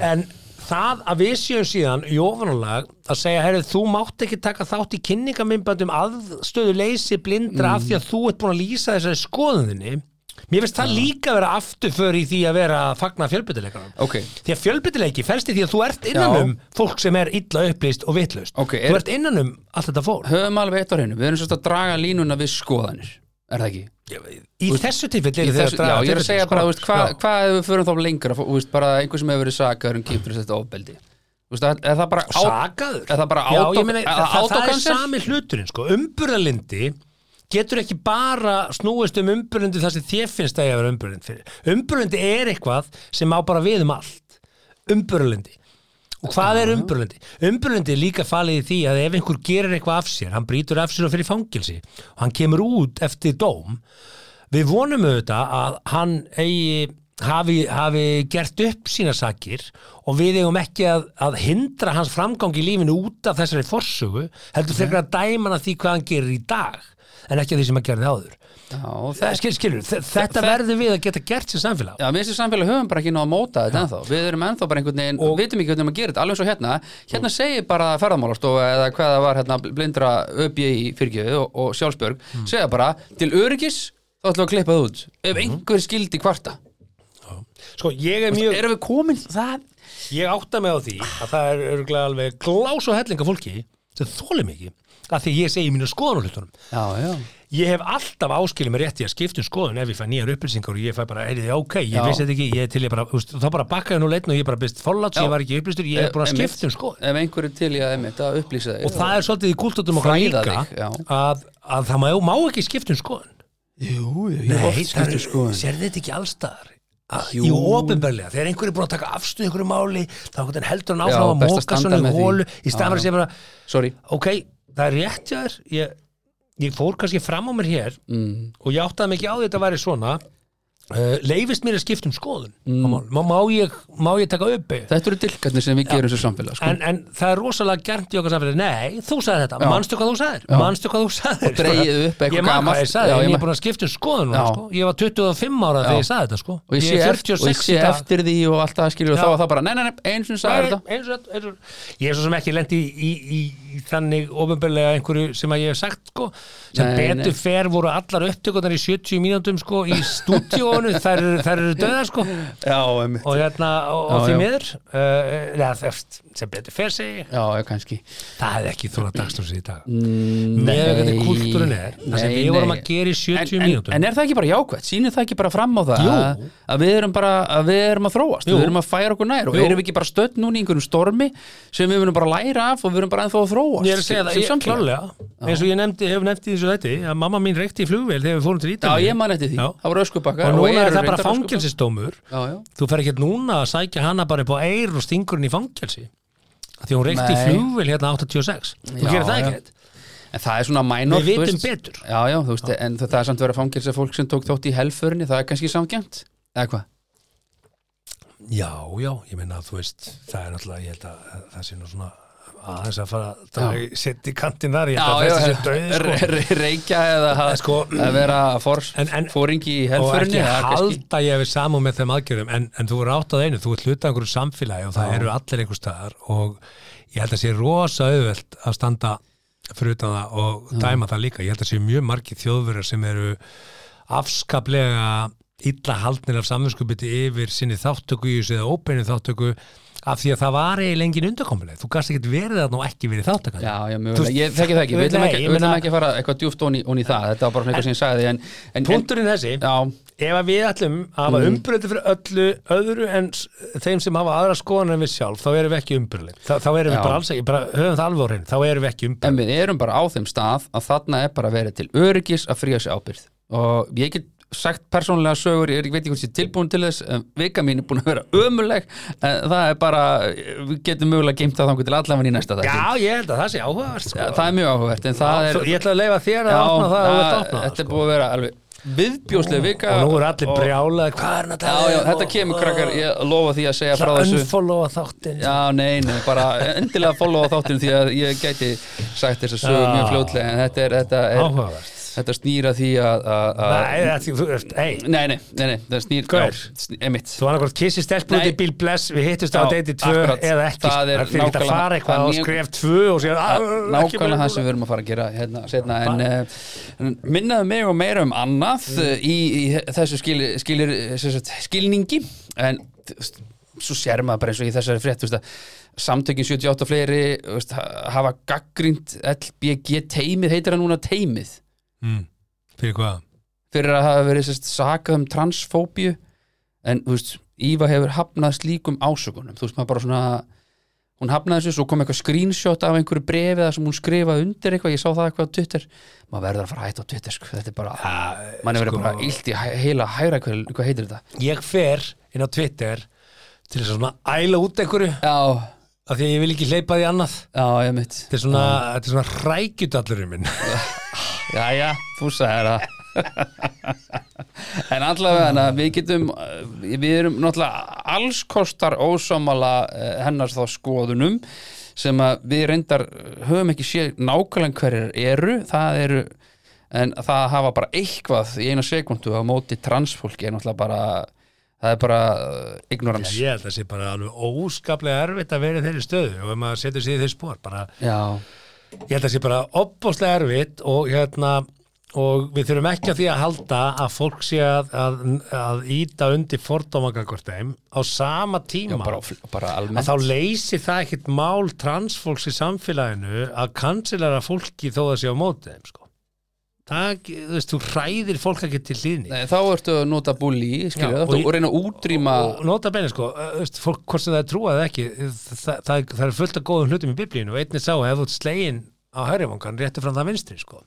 A: henni en það að við séum síðan í ofanulag að segja, herri, þú mátt ekki taka þátt í kynningamindbandum aðstöðu leysi blindra af því að þú ert búin að lýsa þessari skoðunni mér finnst það líka vera afturför í því að vera að fagna fjölbyttileikanum
B: Ok,
A: Því að fjölbyttileiki fælst í því að þú ert innan
B: Já.
A: um fólk sem er illa upplýst og vitlaust.
B: Ok, er-
A: Þú ert innan um allt þetta fólk.
B: höfum alveg eitt á hreinu, við erum svolítið að draga línuna við skoðanir, er það ekki?
A: Í þessu tilfelli
B: Í
A: eru þið að
B: þessu, já,
A: draga
B: ég er að
A: tilfelli,
B: segja
A: sko.
B: bara, þú veist, hvað
A: Já.
B: hva ef við förum þá lengra, þú veist, bara einhver sem hefur verið sakaður um kýmfyrir þetta ofbeldi Þú veist, er- er það bara á-
A: Sakaður?
B: Er það bara
A: Já,
B: auto-
A: ég meina,
B: er
A: það,
B: það
A: það, það er
B: autocancel?
A: sami hluturinn, sko. Umburðalindi getur ekki bara snúist um umburðindi þar sem þér finnst að ég að vera umburðindi fyrir. Umburðindi er eitthvað sem á bara við um allt. Umburðalindi. Og hvað er umburlundi? Umburlundi er líka falið í því að ef einhver gerir eitthvað af sér, hann brýtur af sér og fyrir fangilsi og hann kemur út eftir dóm, við vonum auðvitað að hann eigi hafi, hafi gert upp sína sakir og við eigum ekki að, að hindra hans framgang í lífinu út af þessari forsögu heldur frekar að dæma hann að því hvað hann gerir í dag en ekki að því sem hann gerði áður
B: Já,
A: Það skil, skilur, þe- þetta
B: þe-
A: verður við að geta gert sem samfélag
B: Já, við þessu samfélag höfum bara ekki náða að móta þetta ennþá. Við erum ennþá bara einhvern veginn, og vitum ekki hvernig maður gerir þetta, alveg eins og hérna. Hérna segir bara ferðamálastofa eða hvað það var hérna blindra öbjö í fyrirgjöðu og, og sjálfsbjörg,
A: Mm.
B: segja bara, til öryggis þá ætlum við að klippa það út. Ef einhver skildi kvarta.
A: Sko, ég er mjög,
B: Erum við komin það?
A: ég átta mig á því að það er örgulega alveg glás og hellinga fólki sem þóli mikið að því ég segi mínu skoðan á hlutunum
B: Já, já.
A: Ég hef alltaf áskilið mér rétt í að skipta um skoðun ef ég fæ nýjar upplýsingar og ég fæ bara, er þið ok, ég
B: Já.
A: vissi þetta ekki, ég er til ég bara, úst, þá bara bakkaði nú leitn og ég bara byrst forláts,
B: Já. Eh,
A: ég var ekki upplýstur, ég er búin að skipta um skoðun.
B: Ef einhver er til í að einmitt að upplýsa þig.
A: Og það er svolítið í kultúrtum okkar
B: Eh, Fræða
A: líka
B: þig, já.
A: að, að það má, má ekki skipta um skoðun.
B: Jú, jú, ég hef oft skiptum um skoðun.
A: sér þetta ekki allstaðar. Að-
B: Jú.
A: Jú, ofinbarlega, þegar einhver er búin að taka afstuð einhverju máli, þá einhvern veginn heldur hann áfram
B: Já,
A: að
B: best að
A: móka
B: standa
A: svona í
B: með því.
A: hólu í
B: Já,
A: staðan fyrir að
B: já.
A: segja bara,
B: Sorry.
A: ok, það er rétt hjá þér, ég, ég fór kannski fram á mér hér
B: Mm.
A: og ég áttaði mig ekki á því að þetta væri svona uh, leifist mér að skipta um skoðun mm. má, má, ég, má ég taka uppi
B: Þetta eru dilkarnir sem við gerum sem samfélag, sko.
A: en, en það er rosalega gernt í okkar samfélagi nei, þú sagði þetta,
B: Já.
A: manstu hvað þú sagðir manstu hvað þú sagðir Sko,
B: Og dregið upp eitthvað
A: ég man
B: gamalt.
A: hvað ég sagði,
B: Já,
A: en
B: ég
A: ég
B: man-
A: er búin að skipta um skoðun núna,
B: Já.
A: sko. ég var 25 ára þegar ég
B: Já.
A: sagði þetta sko.
B: Og ég sé,
A: er
B: eft- og ég
A: 46
B: sé
A: í dag.
B: eftir því og allt það skilur og
A: Já.
B: þá var það bara, nei, nei, nei, eins og sagði
A: Nei,
B: þetta.
A: eins og- eins og- ég er svo sem ekki lendi í, í, í, í þannig ofinbörlega einhverju sem að ég hef sagt sko, sem
B: Nei,
A: betur
B: nei.
A: fer voru allar upptökunar í 70 mínúndum sko, í
B: [laughs]
A: stúdíónu, þær, eru- þær eru döðar sko.
B: Já, einmitt.
A: og hérna, og, og
B: Já,
A: því
B: já.
A: miður uh, neða, þess, sem betur fer segi ég.
B: Já, já, kannski.
A: það hefði ekki þóra dagstóðsins í dag með Mm, hvernig kultúrin er það sem
B: Nei,
A: við vorum
B: nei.
A: að gera í 70
B: en,
A: mínútur
B: en, en er það ekki bara jákvæmt? Sýnir það ekki bara fram á það
A: Jú.
B: að, að við erum bara að við erum að þróast,
A: Jú.
B: við erum að færa okkur nær og
A: Jú.
B: erum við ekki bara stödd núna í einhverjum stormi sem við verum bara að læra af og við erum bara ennþá að þróast
A: ég er að segja
B: sem-
A: það,
B: sem
A: ég,
B: samfélag.
A: klálega eins og ég nefndi, hef nefndi þessu þetta að mamma mín reykti í flugvél þegar við fórum til
B: Já,
A: Ítalíu
B: ég man eftir því,
A: Já.
B: það voru öskubakka
A: og núna er það bara
B: sko.
A: fangelsistómur
B: Já, já,
A: þú fer ekkert núna að sækja hana bara upp á eir og stingur henni í fangelsi Af því hún reykti í
B: Nei.
A: flugvél hérna 86 þú
B: Já,
A: gerir það
B: já.
A: ekkert
B: en það er svona mænor
A: Við vitum betur.
B: Já, já, þú veist, en það er samt verið að fangelsa fólk sem tók þátt í helförinni, það er kannski samgjönd eða hvað?
A: Já, já, ég meina að þú veist það er náttúrulega, ég held að það sé nú svona aðeins að fara að draga- setja í kantinn þar, ég held að þessi sé döið
B: re-
A: sko.
B: re- reykja eða að,
A: [laughs] sko,
B: að vera for,
A: En- en-
B: fóringi í
A: og
B: helförinni
A: ekki
B: það er kannski-
A: halda ég við samum með þeim aðgerðum en, en þú er átt að einu, þú ert hluta einhverju samfélagi og það eru allir einhver staðar og ég held að sé rosa auðvelt að standa fyrir utan það og dæma það líka, ég held að sé mjög margir þjóðverjar sem eru afskaplega illa haldnir af samvinskupiti yfir sinni þáttöku í þessu eða ópeinu þáttöku af því að það var eiginlega engin undarkomuleg þú gast ekkert verið þarna og ekki verið þáttökan
B: Já, já, mjög
A: Þú
B: vel,
A: veist-
B: ég þekki það ekki, við ætlum
A: Nei,
B: ekki,
A: ég
B: við ætlum
A: meina-
B: ekki að fara eitthvað djúft ón í, ón í það, þetta var bara svona eitthvað sem ég sagði en, en, en
A: Punturinn þessi,
B: já,
A: ef að við ætlum að
B: Mhm.
A: hafa mm. fyrir öllu öðru en s- þeim sem hafa aðra skoðan en við sjálf þá erum við ekki umbröðlega, þá, þá erum við
B: Já.
A: bara alls ekki bara höfum það alveg á hreinu, þá erum við ekki
B: en
A: umbröðlega
B: við erum bara á þeim stað að þarna er bara verið til öryggis að fríja sér ábyrð og ég get sagt persónulega sögur, ég er- veit ekki hvort ég er tilbúin til þess en vika mín er búin að vera ömuleg en það er bara, við getum mögulega geimt það þangur til allavega í næsta dag
A: Já, ég held að það sé áhugavert sko.
B: það er mjög áhugavert en það
A: Já,
B: er
A: þú- Ég ætla að leifa þér að opna það og þetta opna
B: þetta
A: það
B: er
A: sko.
B: búið að vera alveg viðbjóslega vika
A: og nú er allir
B: og-
A: brjálaði, hvað er hann að
B: Já,
A: tala
B: já,
A: um?
B: þetta
A: Og-
B: kemur
A: og-
B: krakkar, ég lofa því að segja frá
A: Það
B: þessu
A: unfollowa þáttinn
B: Já, nei, nei, bara endilega followa þáttinn því að ég gæti sagt þess að sögu
A: Já.
B: mjög fljótlega en þetta, er, þetta, er,
A: Áhugavert
B: þetta snýra því að, að, að
A: Nei, þetta, þú veist, hei
B: nei, nei, nei, nei, það snýr
A: Hver?
B: já, sný- Einmitt
A: Þú annarkvort kissi stelpun út í
B: Nei.
A: Bill Bless við hittumst á
B: Já,
A: deiti 2
B: akkurat.
A: eða ekki
B: Það
A: fyrir
B: er
A: ekki að
B: nákvæmlega-
A: fara eitthvað
B: það er
A: og
B: mjög-
A: skref 2 og "Ah, sér
B: Það- nákvæmlega það sem við erum að fara að gera hérna, setna, en uh, minnaðu mig og meira um annað mm. í, í þessu skil, skilir, sem sagt, skilningi en þú veist, svo sér maður bara eins og í þessari frétt þú veist, að samtökin 78 og fleiri þú veist, ha- hafa gaggrind LBG teimið, heitir það núna teimið
A: Fyrir hvað?
B: fyrir að hafa verið sérst, sakað um transfóbíu en þú veist, Íva hefur hafnað slíkum ásökunum þú veist, maður bara svona hún hafnaði þessu, svo kom eitthvað screenshot af einhverju brefi það sem hún skrifaði undir eitthvað, ég sá það eitthvað á Twitter, maður verður að fara hætt á Twitter sko. þetta er bara, mann er sko- verið bara illt í hæ- heila hæra, hvað, hvað heitir þetta
A: Ég fer inn á Twitter til þess að svona æla út einhverju
B: já,
A: af því að ég vil ekki hleypa því annað
B: já, ég mitt
A: Þetta er svona, þetta er svona rækjudallurinn minn
B: já, já, þú sagði það En allavega hana, við getum uh, við erum náttúrulega alls kostar ósámala uh, hennars þá skoðunum sem að við reyndar uh, höfum ekki séð nákvæmlega hverjar eru það eru en það að hafa bara eitthvað í eina sekundu á móti transfólki er náttúrulega bara það er bara uh, ignorance
A: Ég held að það sé bara alveg óskaplega erfitt að vera í þeirri stöðu og ef maður setur sig í þeir spór bara,
B: Já,
A: ég held að það sé bara opbóðslega erfitt og hérna og við þurfum ekki að því að halda að fólk sé að, að, að íta undir fordómagangvart þeim á sama tíma
B: bara, bara
A: að
B: almennt
A: þá leysir það ekkert mál transfólks í samfélaginu að kansilara fólki þó að sé á móti þeim sko. það, þú veist, þú hræðir fólk ekki til hlýðni
B: Nei, Eh, Þá ertu að nota bully
A: Já,
B: skilur,
A: og
B: Já, og,
A: ég-
B: og reyna að útrýma
A: og nota benni sko, ö, þú veist, fólk hvort sem það er trúað eða ekki, það, það, það er fullt af góðum hlutum í biblíinu og einnig sá að ef þú ert slegin á hærivangan réttu fram það vinstri sko.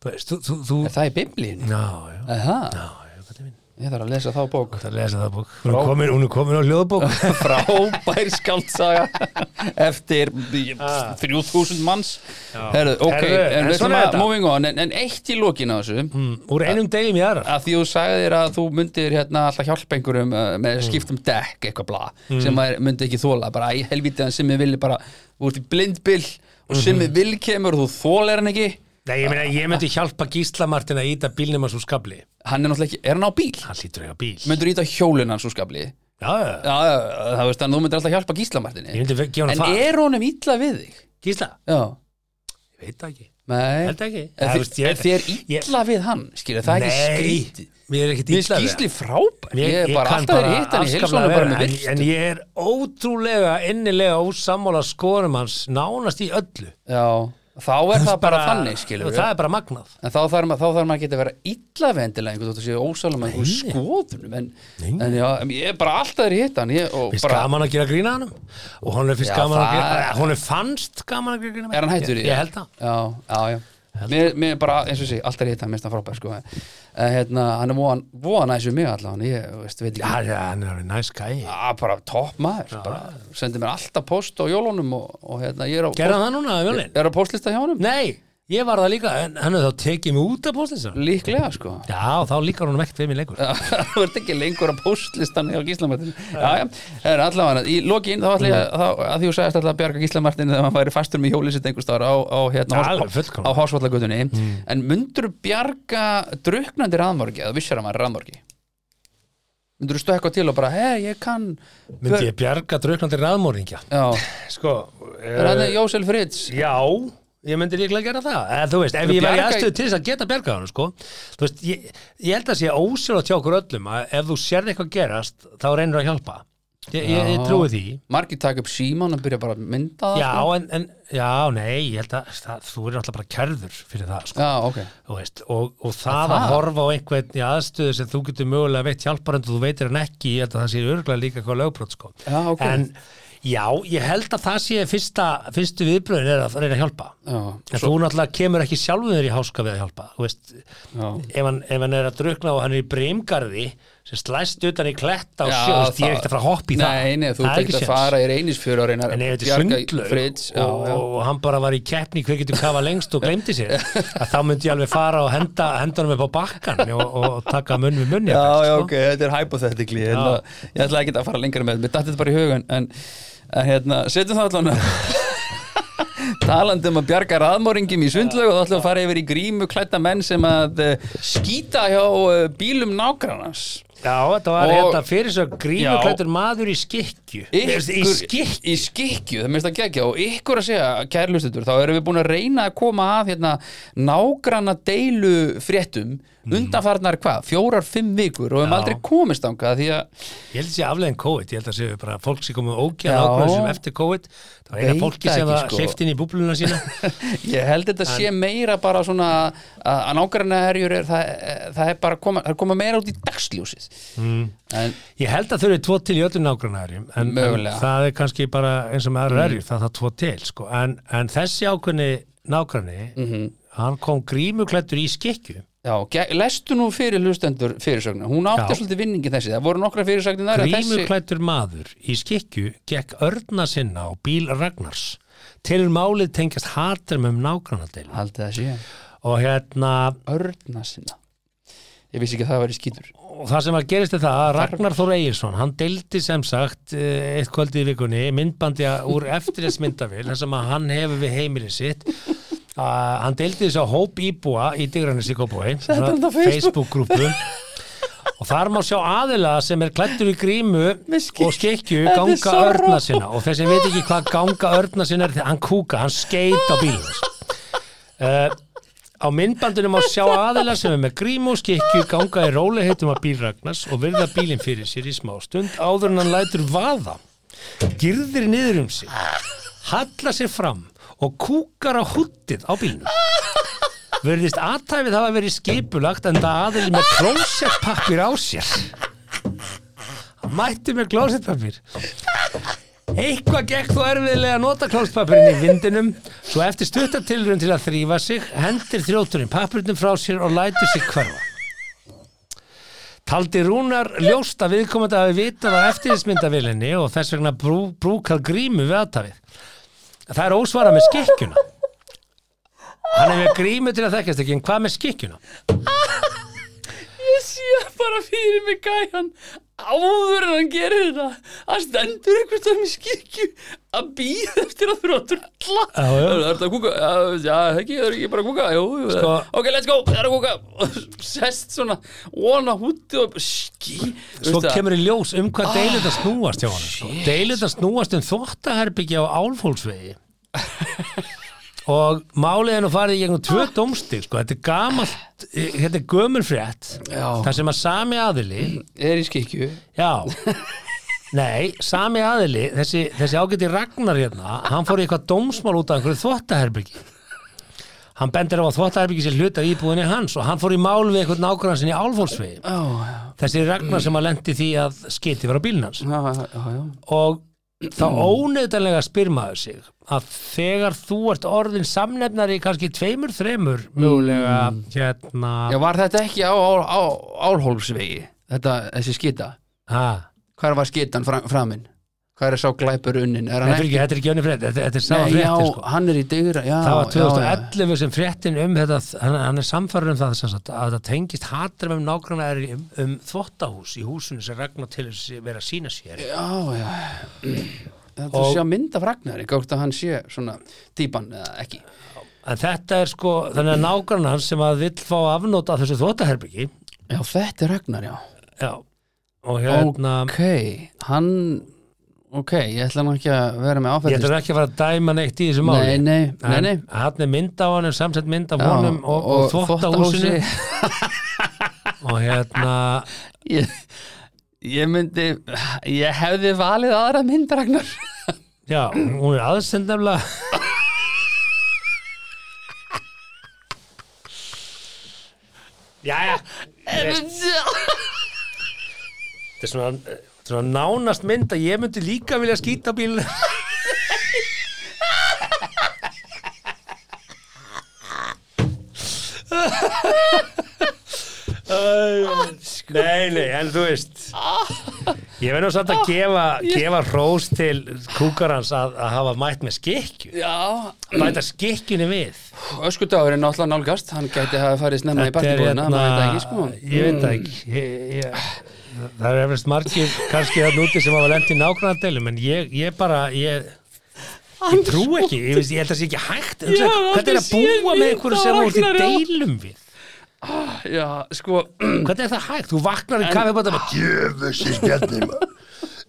A: þú veist, þú, þú, þú
B: Er það í biblíun?
A: já, já,
B: Það,
A: já, já, þetta er minn
B: ég þarf að lesa þá bók
A: það lesa það bók, hún er komin, hún er komin á hljóðbók
B: [laughs]
A: [laughs]
B: frábær skaldsaga eftir 3000 manns Herðu, ok,
A: Ah. Herðu, en
B: en við
A: svona er
B: ætlum að
A: þetta. Hmm.
B: moving on, en, en eitt í lokin á þessu
A: úr einum degum í aðra
B: að því þú sagði þér að þú myndir hérna alltaf hjálpa einhverjum uh, með
A: Hmm.
B: skiptum dekk eitthvað bla, sem maður myndi ekki þóla bara í helvítið hann sem ég vilji bara þú ert í blindbill og sem
A: Hmm.
B: ég vil kemur og þú þólar hann ekki
A: Nei, ég, meina, ég myndi hjálpa Gísla Martin að íta bílnum að svo skabli
B: hann er náttúrulega ekki, er hann á bíl?
A: hann hlýtur ekki á bíl já,
B: myndur íta hjólinn hans úr skabli já,
A: já, já.
B: já, já, það veist hann, þú myndir alltaf hjálpa gíslamartinni
A: Ég myndi fe- gefa hann
B: en
A: far.
B: er honum illa við þig?
A: Gísla?
B: já,
A: Ég veit það ekki.
B: nei
A: Held ekki.
B: En
A: Það,
B: þið,
A: veist, ég-
B: þið er illa við hann, skilja, það er ekki skrítið
A: Nei, mér er ekkert
B: Mér
A: illa
B: er
A: við
B: skýsli
A: það.
B: frábær Ég er bara
A: kann
B: alltaf verið hitt hann í
A: afskaplega
B: heilsónum bara
A: vel,
B: með
A: en,
B: virtu
A: en ég er ótrúlega innilega ósammála skorum hans nánast í öllu.
B: Já, þá er það bara þannig, skilja
A: Það er bara magnað.
B: En þá þarf, ma- þá þarf maður að geta að vera illa vendilega einhvern veginn, þú séu ósælum að einhvern skoðunum en, en já, en ég er bara alltaf verið hitt hann ég, og
A: Fyrst
B: bara,
A: gaman að gera grína hann og hún er fyrst
B: Já,
A: gaman að
B: það-
A: gera, hún er fannst gaman að gera grína hann.
B: er hann hættur í
A: Ég, ég held það.
B: Já, já, já Mér, mér er bara, eins og sé, alltaf verið hitt hann, mér er það frábær sko. en hérna, hann er voðan voðan aðeins við mig allavega, ég þú veist, veit ekki
A: Já, já, hann er alveg næst gæi.
B: Já, bara topp maður bara, sendi mér alltaf post á jólunum og, og hérna, ég er á,
A: Gerða
B: post,
A: það núna, Jólin?
B: er á postlista hjá honum
A: Nei, ég var það líka, en hann er þá tekið mig út af postinsa.
B: líklega sko [laughs]
A: Já, þá líkar hún ekkert við mér lengur.
B: þú ert ekki lengur á postlistan hjá Gíslamartin já, já, það er allavega í lokin þá ætla ég
A: Mm.
B: að, þá- að því þú sagðist alltaf að bjarga Gíslamartin þegar hann væri fastur með hjólið sitt einhver staðar á, á, hérna,
A: Já,
B: Hors-
A: alveg Mm. fullkomlega.
B: á hásvallagötunni en myndur bjarga druknandi raðmorgi eða vissir að maður er raðmorgi myndur stökka til og bara hei, ég kann
A: Myndi ég bjarga drauknandi raðmóringja?
B: já,
A: Sko,
B: er hann Jósel Fritz
A: já, ég myndi líklega gera það. Eða, Eh, þú veist, ef
B: Þú
A: ég væri
B: bjarga-
A: aðstöðu til þess að geta bjargað hann, sko. Þú veist, ég, ég held að sé ósjóla hjá okkur öllum að ef þú sérð eitthvað gerast, þá reynir að hjálpa. Ég, ég, ég
B: Já.
A: trúi því.
B: margir taka upp síman og byrja bara að mynda það
A: Já,
B: sko.
A: en, en, já, nei, ég held að það, þú er náttúrulega bara kærður fyrir það, sko.
B: já, ok
A: Þú veist, og, og það að
B: það?
A: horfa á einhvern í aðstöðu sem þú getur mögulega veitt hjálpar en þú veitir hann ekki, ég held að það sé örgulega líka hvað lögbrot sko.
B: Já, ok.
A: En já, ég held að það sé fyrsta, fyrstu viðbröðin er að reyna að hjálpa.
B: já,
A: En þú náttúrulega kemur ekki sjálfum þér í háska við að hjálpa. Þú veist,
B: já.
A: ef hann, ef hann er að drukna og hann er í breymgarði sem slæst utan í kletta og
B: Já,
A: sjó, þú veist, ég er
B: það-
A: ekkert að fara að hoppa í það.
B: nei, nei, þú
A: Það er
B: ert ekki
A: ekki
B: að
A: séns.
B: fara í reynisfjöru og reyna
A: En ef
B: að
A: þetta er
B: bjarga
A: sundlaug
B: Fritz já,
A: og,
B: já.
A: og hann bara var í keppni hver getur kafa lengst og glemdi
B: [laughs]
A: sér að þá myndi ég alveg fara og henda hendanum upp á bakkan og, og taka munn við munn
B: já,
A: jafnvel,
B: já,
A: sko.
B: ok, þetta er hypothetically ég ætla, ég ætla ekki að fara lengra með þetta, mér dætti þetta bara í hugan en, en hérna, setjum það allan [laughs] talandi um að bjarga raðmóringum í sundlaug og þá ætlum við að fara yfir í grímu klætta menn sem að uh, skýta hjá uh, bílum nágrannans
A: já, þetta var
B: Og-
A: hérna fyrir svo grímuklættur
B: Já.
A: maður í skikju í skikju
B: í skikju, það minnst að gegja og ykkur að segja, kærlustendur, þá erum við búin að reyna að koma að hérna nágranna deilu fréttum
A: Mhm.
B: undanfarnar hvað, fjórar, fimm vikur og við höfum aldrei komist þangað því að
A: ég
B: [laughs]
A: held að sé aflegin COVID, ég held að sé bara fólk sem komið ógjæð
B: Já.
A: ákvörðu sem eftir COVID það var eina
B: Veit
A: fólki
B: það
A: sem
B: ekki,
A: var
B: sko.
A: hleyft inn í búbluna sína
B: ég held þetta sé meira bara svona að að nágranna herjur er, það, það er bara að koma, það er að koma meira út í dagsljósið mm. en
A: ég held að þau eru tvo til í öllum nágrunarjum en, en
B: Mögulega. Mm.
A: það er kannski bara eins og með aðra erjur, það er það tvo til sko. en, en þessi ákunni nágrunni
B: Mhm.
A: hann kom grímuklættur í skikju
B: Já, ge- lestu nú fyrir hlustendur fyrirsögnu, hún átti
A: Já.
B: svolítið vinningi þessi, það voru nokkra fyrirsögnunar en þessi-
A: Grímuklættur maður í skikju gekk örna sinna á bíl Ragnars til málið tengjast hatrum um nágrannadeilu
B: Haldið að sé
A: og hérna
B: örna sinna Ég vissi ekki að það væri skítur
A: og það sem að gerist er það að Ragnar Þór Egilsson hann deildi sem sagt eh, eitt kvöldi í vikunni myndbandja úr eftirhetsmyndavil þar sem að hann hefur við heimilið sitt að hann deildi þess að hóp íbúa í Digranis í Kópói
B: hann á Facebook.
A: Facebook-grúpu og þar má sjá aðila sem er klættur í grímu
B: Með skegg.
A: og skekkju
B: Þetta er
A: ganga
B: svo
A: örna
B: ró.
A: sinna og þessi veit ekki hvað ganga örna sinna er því hann kúka, hann skeit á bílum uh, á myndbandinu má sjá aðila sem er með grímu og skekkju ganga í róliheitum að bíl Ragnars og virða bílinn fyrir sér í smá stund áður en hann lætur vaða girðir niður um sig hallar sér fram og kúkar á húttið á bílnum Verðist aðtæfið hafa verið skipulagt en það aðeins með klósettpappir á sér. Hann Mætti með klósettpappir. Eitthvað gekk þó erfiðlega að nota klósettpappirinn í vindinum, svo eftir stuttatilurinn til að þrýfa sig, hendir þrjótturinn pappirnum frá sér og lætur sig hverfa. Taldi Rúnar ljóst að viðkomandi hafi vitað á eftirlitsmyndavilinni og þess vegna brú, brúkað grímu við aðtæfið. Það er ósvara með skekkjuna. Hann er með grímu til að þekkjast ekki, en hvað með skikkjuna?
B: Ég sé bara fyrir mig gæjan áður en hann gerir þetta að stendur einhvers það með skikju að býða eftir að þróttur alla
A: Já, já.
B: Það er að kúka, já, já, ekki, það er ekki bara að kúka jú, jú,
A: Sko-
B: ok, let's go, það er að kúka [laughs] sest svona, óna húti og skí
A: Svo kemur í ljós um hvað deilita snúast hjá hann sko. Deilita snúast um þvottaherbyggja á Álfólfsvegi og málið er nú farið í gegnum tvö dómstig sko. Þetta er gamalt, eh, þetta er gömul frétt
B: Já.
A: þar sem að sami aðili
B: er í skikju
A: Já Nei, sami aðili, þessi, þessi ágæti Ragnar hérna, hann fór í eitthvað dómsmál út af einhverju þvottaherbyggi Hann bendir á að þvottaherbyggi sér hluta af íbúðinni hans og hann fór í mál við eitthvað nákvæðan sinni álfólsvegi
B: Já, já,
A: Þessi Ragnar sem að lendi því að skiti var á bílinn hans
B: já, já, já.
A: og þá óneitanlega spyr maður sig að þegar þú ert orðin samnefnari í kannski tveimur, þremur mögulega hérna
B: Mm. Já, var þetta ekki á, á, á Álholmsvegi, þetta, þessi skita?
A: ha,
B: Hvar var skitan fram, framinn? Hvar er sá glæpur unnin? Er
A: Nei,
B: hann
A: fyrir
B: ekki?
A: ekki, þetta er ekki önni frétt þetta, þetta er sama
B: Nei, já,
A: frétti sko
B: hann er í dygra, já.
A: Það var
B: já, já.
A: 2011 sem fréttin um þetta, hann, hann er samfærður um það sem sagt, að það tengist hatrum um nágrannar um, um þvottahús í húsinu sem Ragnar til þess að vera að sína sér.
B: Já, já. Þetta
A: Og-
B: og... sé að mynda fragnari, gátt að hann sé svona típan eða ekki.
A: En þetta er sko, þannig að nágrannar sem að vill fá afnóta af þessu þvottaherbyggi,
B: Já, þetta er ragnar, já.
A: já, og hérna,
B: Ok, hann, ok, ég ætla nú ekki að vera með
A: ég
B: áfættist.
A: ætla ekki að fara að dæma neitt í þessu máli.
B: Nei, nei, nei,
A: En
B: nei.
A: Hann er mynd á hann, samsett mynd af
B: Já,
A: honum og, og, þvottahúsinu
B: þvottahúsi.
A: [laughs] og hérna,
B: Ég, ég myndi, ég hefði valið aðra mynd, Ragnar.
A: já, hún er aðsendaflega... Jæja, þetta er svona, þetta er svona nánast mynd að ég myndi líka vilja skýta bíl Nei, nei, en þú veist Ég verður samt að gefa, gefa rós til kúkarans að, að hafa mætt með skikju
B: Já,
A: Mæta skikjunni við
B: öskudagurinn náttúrulega nálgast, hann gæti að hafa farið snemma í
A: Þetta er hérna-
B: partibúðina, maður veit það ekki, sko.
A: Ég veit það ekki ég, ég, Það er eflust margir kannski þarna úti sem hafa lent í nákvæmna deilum en ég, ég bara ég, ég trú ekki, ég, veist, ég held að sé ekki hægt
B: Ég hef
A: Hvernig er
B: aldrei
A: að
B: séð
A: búa með
B: mynd
A: einhverju
B: af
A: sem þú ert í
B: Ragnari á-
A: deilum við
B: Já, sko,
A: Hvernig er það hægt? Þú vaknar í kaffi bara
E: Jöfessi Bjarni maður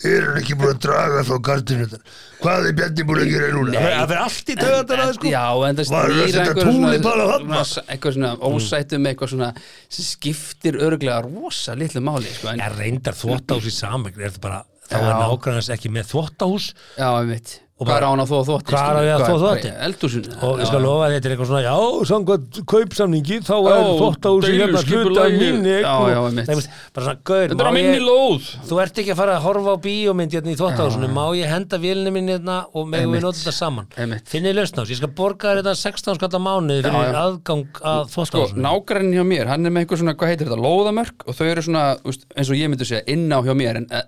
E: Er hann ekki búin að draga þá gardinu þetta Hvað er Bjarni búin að gera núna?
A: Það fyrir allt í döðan að sko
B: já, en það
E: Var
B: snýr
E: þetta
B: einhver
E: túlípan á þarna?
B: svona,
A: Mm.
B: eitthvað svona ósættum eitthvað svona sem skiptir örglega rosa litlu máli, sko, en,
A: Ég reyndar þvóttahús í sameign er það bara, þá er
B: Já.
A: nákvæmans ekki með þvóttahús
B: já, ég veit,
A: Og
B: hvað
A: bara-
B: er án að þóa þótti?
A: Hvað er á ég að þvo þvottinn?
B: Eldúsinu.
A: og ég skal lofa að þetta er eitthvað svona já, samkvæmt kaupsamningi þá er þvóttahúsi hérna hluta af
B: deiluskipulagi.
A: minni
B: Já, já, einmitt.
A: bara svona gaur,
B: Þetta er
A: má
B: á
A: ég-
B: minni lóð.
A: þú ert ekki að fara að horfa á bíómynd hérna í þvóttahúsinu, má ég henda vélni minni hérna og megum við
B: Einmitt.
A: nota þetta saman
B: Einmitt.
A: finnið lausn á þessu, ég skal borga þér þetta 16 skatt á mánuði fyrir
B: Já, já.
A: aðgang að
B: Sko,
A: þvóttahúsinu
B: nágræninn hjá mér, hann er með eitthvað svona, hvað heitir þetta, lóðamörk og þau eru svona, úst, eins og ég myndi segja, inná hjá mér en eh,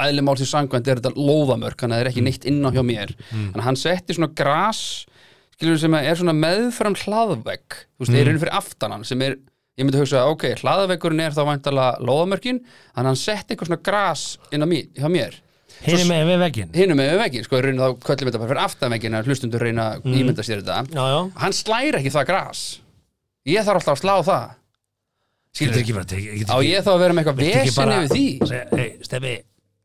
B: eðli mál sem sangvænt er þetta lóðamörk þannig að það er ekki neitt inná hjá mér þannig að hann setti svona gras skilur sem að er svona meðfram hlaðvegg, þú veist, mm. er raun fyrir aftan hann sem er ég myndi hugsa, ok, hlaðavegurinn er þá væntalega lóðamörkin, þannig að hann setti eitthvað svona gras inn á mér, hjá mér
A: Hinn er með við veggin
B: hinum með veginn, sko, í rauninni þá köllum við þetta bara fyrir aftan veginn að hlustundur reyna að ímynda sér þetta
A: Já, já
B: hann slæri ekki það gras ég þarf alltaf að slá það
A: Getur
B: skilur,
A: ekki bara tekið
B: á
A: getur ekki-
B: ég þá að vera með eitthvað
A: viltu ekki
B: vesin
A: bara-
B: yfir því
A: Segja, Hey, Steffi,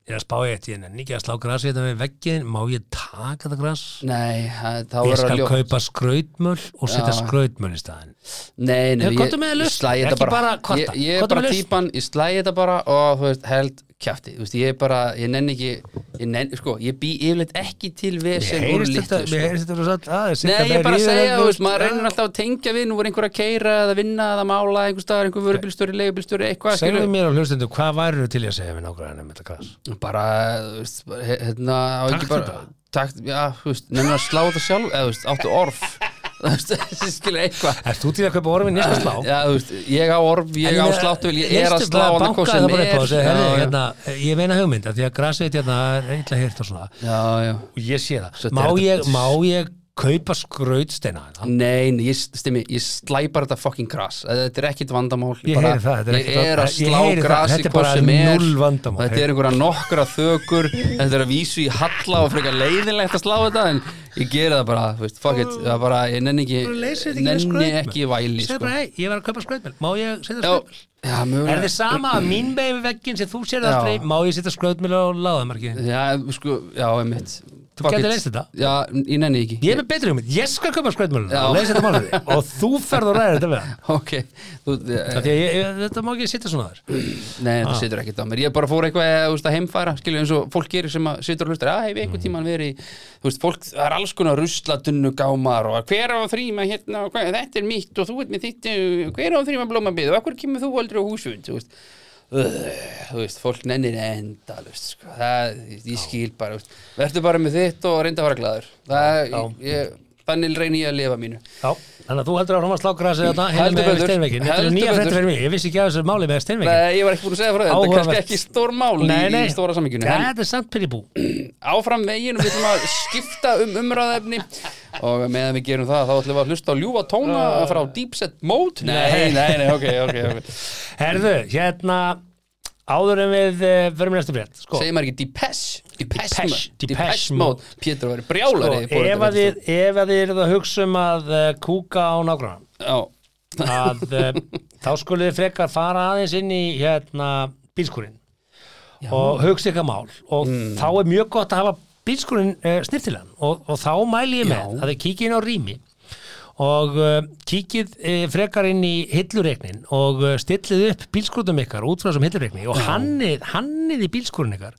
A: ég er að spá ég eitt Ég nenni ekki að slá grasi þetta með veggin Má ég taka það gras?
B: nei, það- þá
A: Ég
B: verður
A: skal
B: að ljóta
A: kaupa skrautmöll og setja
B: Já.
A: skrautmöll í staðinn
B: Nei, nei,
A: Nei, komdu
B: ég,
A: með
B: ég
A: lausn.
B: slæði
A: Ekki
B: þetta bara,
A: bara kvarta.
B: ég, ég er
A: Komdu
B: bara
A: með lausn.
B: típan, ég slæði þetta bara og þú veist, held kjafti, þú veist, ég er bara ég nenni ekki, ég nenni, sko, ég bý yfirleitt ekki til vesen úr
A: heyrist
B: litlu
A: þetta, mér
B: sko.
A: heyrist þetta svo satt aðeins
B: Nei, ég er bara að segja, þú veist, maður reynir alltaf að tengja við, nú er einhver að keira eða vinna eða mála, einhver staðar, einhver vörubílstjóri, leigubílstjóri, eitthvað,
A: Segðu
B: skilur,
A: mér á hlustundum, hvað væru til í að segja við nágræðanum með þetta gras?
B: bara, þú veist, bara, he- hérna, á ekki
A: Taktu
B: bara,
A: bara.
B: takt, já, þú veist, nefnir að slá þetta sjálf, eða, þú veist, áttu [laughs] orf, þú veist, skilur, eitthvað,
A: Erst þú til að kaupa orfin nýst að slá?
B: Já, þú veist, ég á orf, ég á sláttuvel, ég er að slá hann að hvað sem er.
A: Herri,
B: Já,
A: hérna, ég meina hugmynd, af því að grasið hérna er eitthvað hýrt og svona
B: já, já.
A: og ég sé það,
B: Svo
A: má
B: þetta-
A: ég, má ég kaupa skrautsteina hérna?
B: Nei, nei, ég, stimmi, ég slæpar þetta fucking gras Þetta er ekkit vandamál
A: Ég
B: bara-
A: heyri það, þetta er
B: Ég
A: ekkit
B: er að
A: vandamál. Ég
B: slá
A: heyri það,
B: gras í
A: þetta er
B: hvað
A: bara
B: sem er
A: núll vandamál.
B: Þetta er einhverja nokkra þökur Þetta er að vísu í halla og frekar leiðinlegt að slá þetta En ég geri það bara, þú veist, fuck it Það er bara, ég nenni ekki, nenni ekki væli
A: Segðu
B: sko.
A: bara, hei, ég var að kaupa skrautmjöl, má ég setja
B: Já,
A: skrautmjöl?
B: já,
A: Er
B: mögulega
A: þið sama að mín megin við vegginn sem þú sér
B: Já.
A: aldrei, má ég setja skrautmjöl á láðamarkið?
B: Já, sko, já, einmitt Þú
A: gætir leyst þetta?
B: Já, ég nenni ekki
A: Ég er með betri hugmynd, ég skal kaupa skrautmjöl
B: Já.
A: og leys þetta málið þig. og þú ferð og ræðir þetta við hann.
B: Ok, þú,
A: Af því að ég- ég- Þetta má ekki sitja svona þar
B: nei, þetta situr ekkert á mér Ég bara fór eitthvað þú veist, að heimfæra skilju eins og fólk gerir sem að situr og hlustar að hef
A: Mhm.
B: einhvern tímann verið í- þú veist, fólk, það er alls konar ruslatunnu gámar og hver á að þrýma hérna og hvað, þetta er mitt og þú ert með þitt uh, hver á að þrýma blómabíð og okkur kemur þú aldrei á húsund þú veist, Ugh, þú veist, fólk nennir endalust sko. það, ég skil bara þú veist. verður bara með þitt og reynda að fara glæður það, ég, þannig reyni ég að lifa mínu
A: Já, þannig að þú heldur áfram að slá grasið þetta
B: Heldur
A: hérna með
B: betur.
A: steinveikin Þetta
B: Heldur
A: er nýja
B: betur.
A: frétti fyrir mig, ég vissi ekki að þessu máli með steinveikin
B: Nei, ég var ekki búin að segja frá þetta, þetta er
A: Áhugavert.
B: kannski ekki stór mál
A: Nei, nei,
B: í, í stóra samíkjunni
A: Ja, þetta er samt pyrribú
B: áfram veginn og við ætlum að skipta um umræðefni og meðan við gerum það þá ætlum við að hlusta á ljúfa tóna
A: Ah.
B: frá Deep Set Mode Nei, nei, nei, ok, ok,
A: [laughs]
B: ok
A: Sko. Herðu, hérna áður en við uh, förum í næstu frétt sko,
B: Segir maður ekki Depeche Depeche,
A: Depeche,
B: Mode.
A: Depeche
B: Depeche Mode Pétur var brjálar
A: sko, ef að þið ef að þið eruð að hugsa um að uh, kúka á nágrann
B: Já,
A: að uh, þá skulle þið frekar fara aðeins inn í hérna bílskurinn og hugsa ykkar mál og þá er mjög gott að hafa bílskurinn uh, snirtilegan og, og þá mæli ég með
B: Já.
A: að þið kíkið inn á rými og uh, kíkið uh, frekar inn í hillureiknin og uh, stillið upp bílskrutum ykkar út frá þessum hillureikni og hannið, hannið í bílskurinn ykkar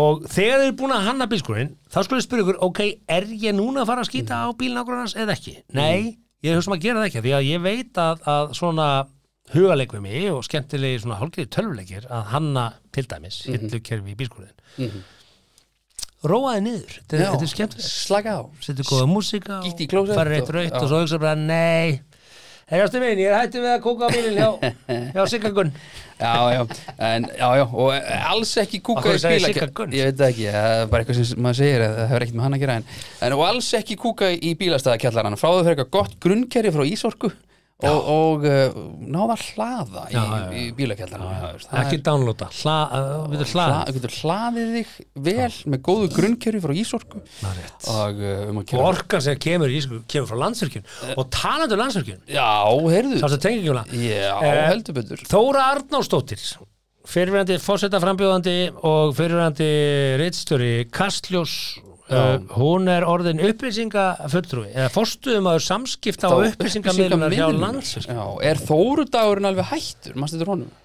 A: og þegar þið eru búin að hanna bílskurinn þá skulle þið spyrja ykkur, ok, er ég núna að fara að skýta á bílinn á grannans eða ekki? Nei, ég hugsa um að gera það ekki því að ég veit að, að svona hugaleik við mig og skemmtilegi svona hálfgeði tölvuleikir að hanna til dæmis hillukerfi í bílskurinn Róaði niður, þetta er-
B: Já.
A: þetta er skemmtilegt
B: slaka á
A: setur góða músika og
B: Gítt í klósett
A: farir eitt
B: og-
A: raut
B: já.
A: og svo hugsa bara nei Herjastu minn, ég er hættu með að kúka á bílinn hjá,
B: [laughs]
A: hjá Siggagun
B: Já, já, en, já, já, og alls ekki kúka
A: Af hverju
B: í
A: sagði
B: bílakjör
A: Sigga Gunn?
B: Ég veit það ekki, það er bara eitthvað sem maður segir það hefur ekkert með hann að gera en, en og alls ekki kúka í bílastæðakjallarann fráðu fyrir eitthvað gott grunnkerfi frá Ísorku og, og uh, náða að hlaða í,
A: Já, já, já.
B: í bílakjallarann
A: ekki downloada, hla, uh, við erum hlað
B: Þú getur hlaðið þig vel með góðu grunnkerfi frá Ísorku
A: Ná, rétt.
B: og uh, um að
A: og
B: kera
A: orkan sem kemur, í, sko, kemur frá landsvirkjun
B: Eh.
A: og talandu landsvirkjun
B: Já, heyrðu
A: sá sem tengingjóla
B: Já,
A: Eh,
B: heldur betur
A: Þóra Arnásdóttir fyrirverandi fósetta frambjóðandi og fyrirverandi reitstjóri Kastljós Uh, hún er orðin upplýsingafulltrúi eða fórstuðumaður samskipta og upplýsingamiðlunar hjá
B: upplýsingamiðlunar.
A: lands
B: Já, er Þórudagurinn alveg hættur, mannstu þetta honum?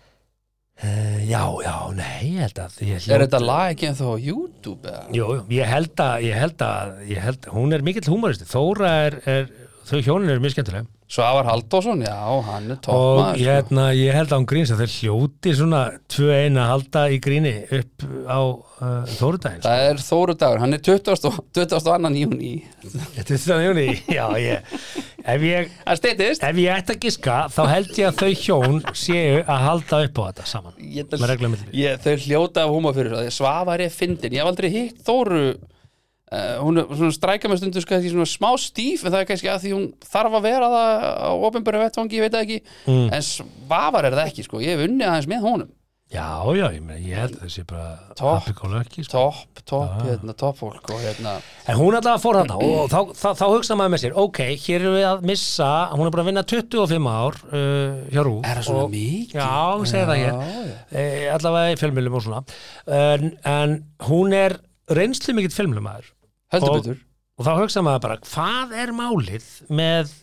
A: Já, já, nei, ég held að ég
B: Er
A: hljóta-
B: þetta lag ekki ennþá á YouTube eða?
A: Jú, jú, ég held að, ég held að, ég held að hún er mikill humoristi, Þóra er, er þau hjónin eru mjög skemmtilega
B: Svavar Halldórsson, já, hann er
A: og
B: toppmaður
A: ég,
B: sko.
A: hérna, ég held að hún gríns að þau hljóti svona tvö eina halda í gríni upp á uh, Þórudaginn
B: Það er Þórudagur, hann er 20. og- 22. júni
A: Þetta er þannig hún í, [laughs] já, ég ef ég,
B: Það steytist
A: ef ég ætti að giska þá held ég að þau hjón séu að halda upp á þetta saman
B: Ég-
A: með reglum milli.
B: ég- Þau hljóta af húma fyrir það Svavar er fyndin, ég hef aldrei hitt Þóru Uh, hún er svona strækja með stundum sko, kannski svona smá stíf en það er kannski að því hún þarf að vera það á ofinbæru vettvangi, ég veit það ekki en svafar er það ekki, sko, ég hef unnið aðeins með honum
A: Já, já, ég, meina, ég held að það sé bara
B: Topp.
A: Topp og lökki sko.
B: topp, topp, hérna, topp fólk og hérna,
A: En hún allavega fór þarna og þá, þá, þá hugsa maður með sér Ok, hér erum við að missa Hún er búin að vinna 25 ár uh, hjá Rú
B: Er það svona mikið?
A: Já, hún segir það
B: Já,
A: hér e, Allavega í fjölmjölum og svona En, en hún er reynslu mikill fjölmjölumæður
B: heldur
A: Og-
B: betur
A: Og þá hugsa maður bara Hvað er málið með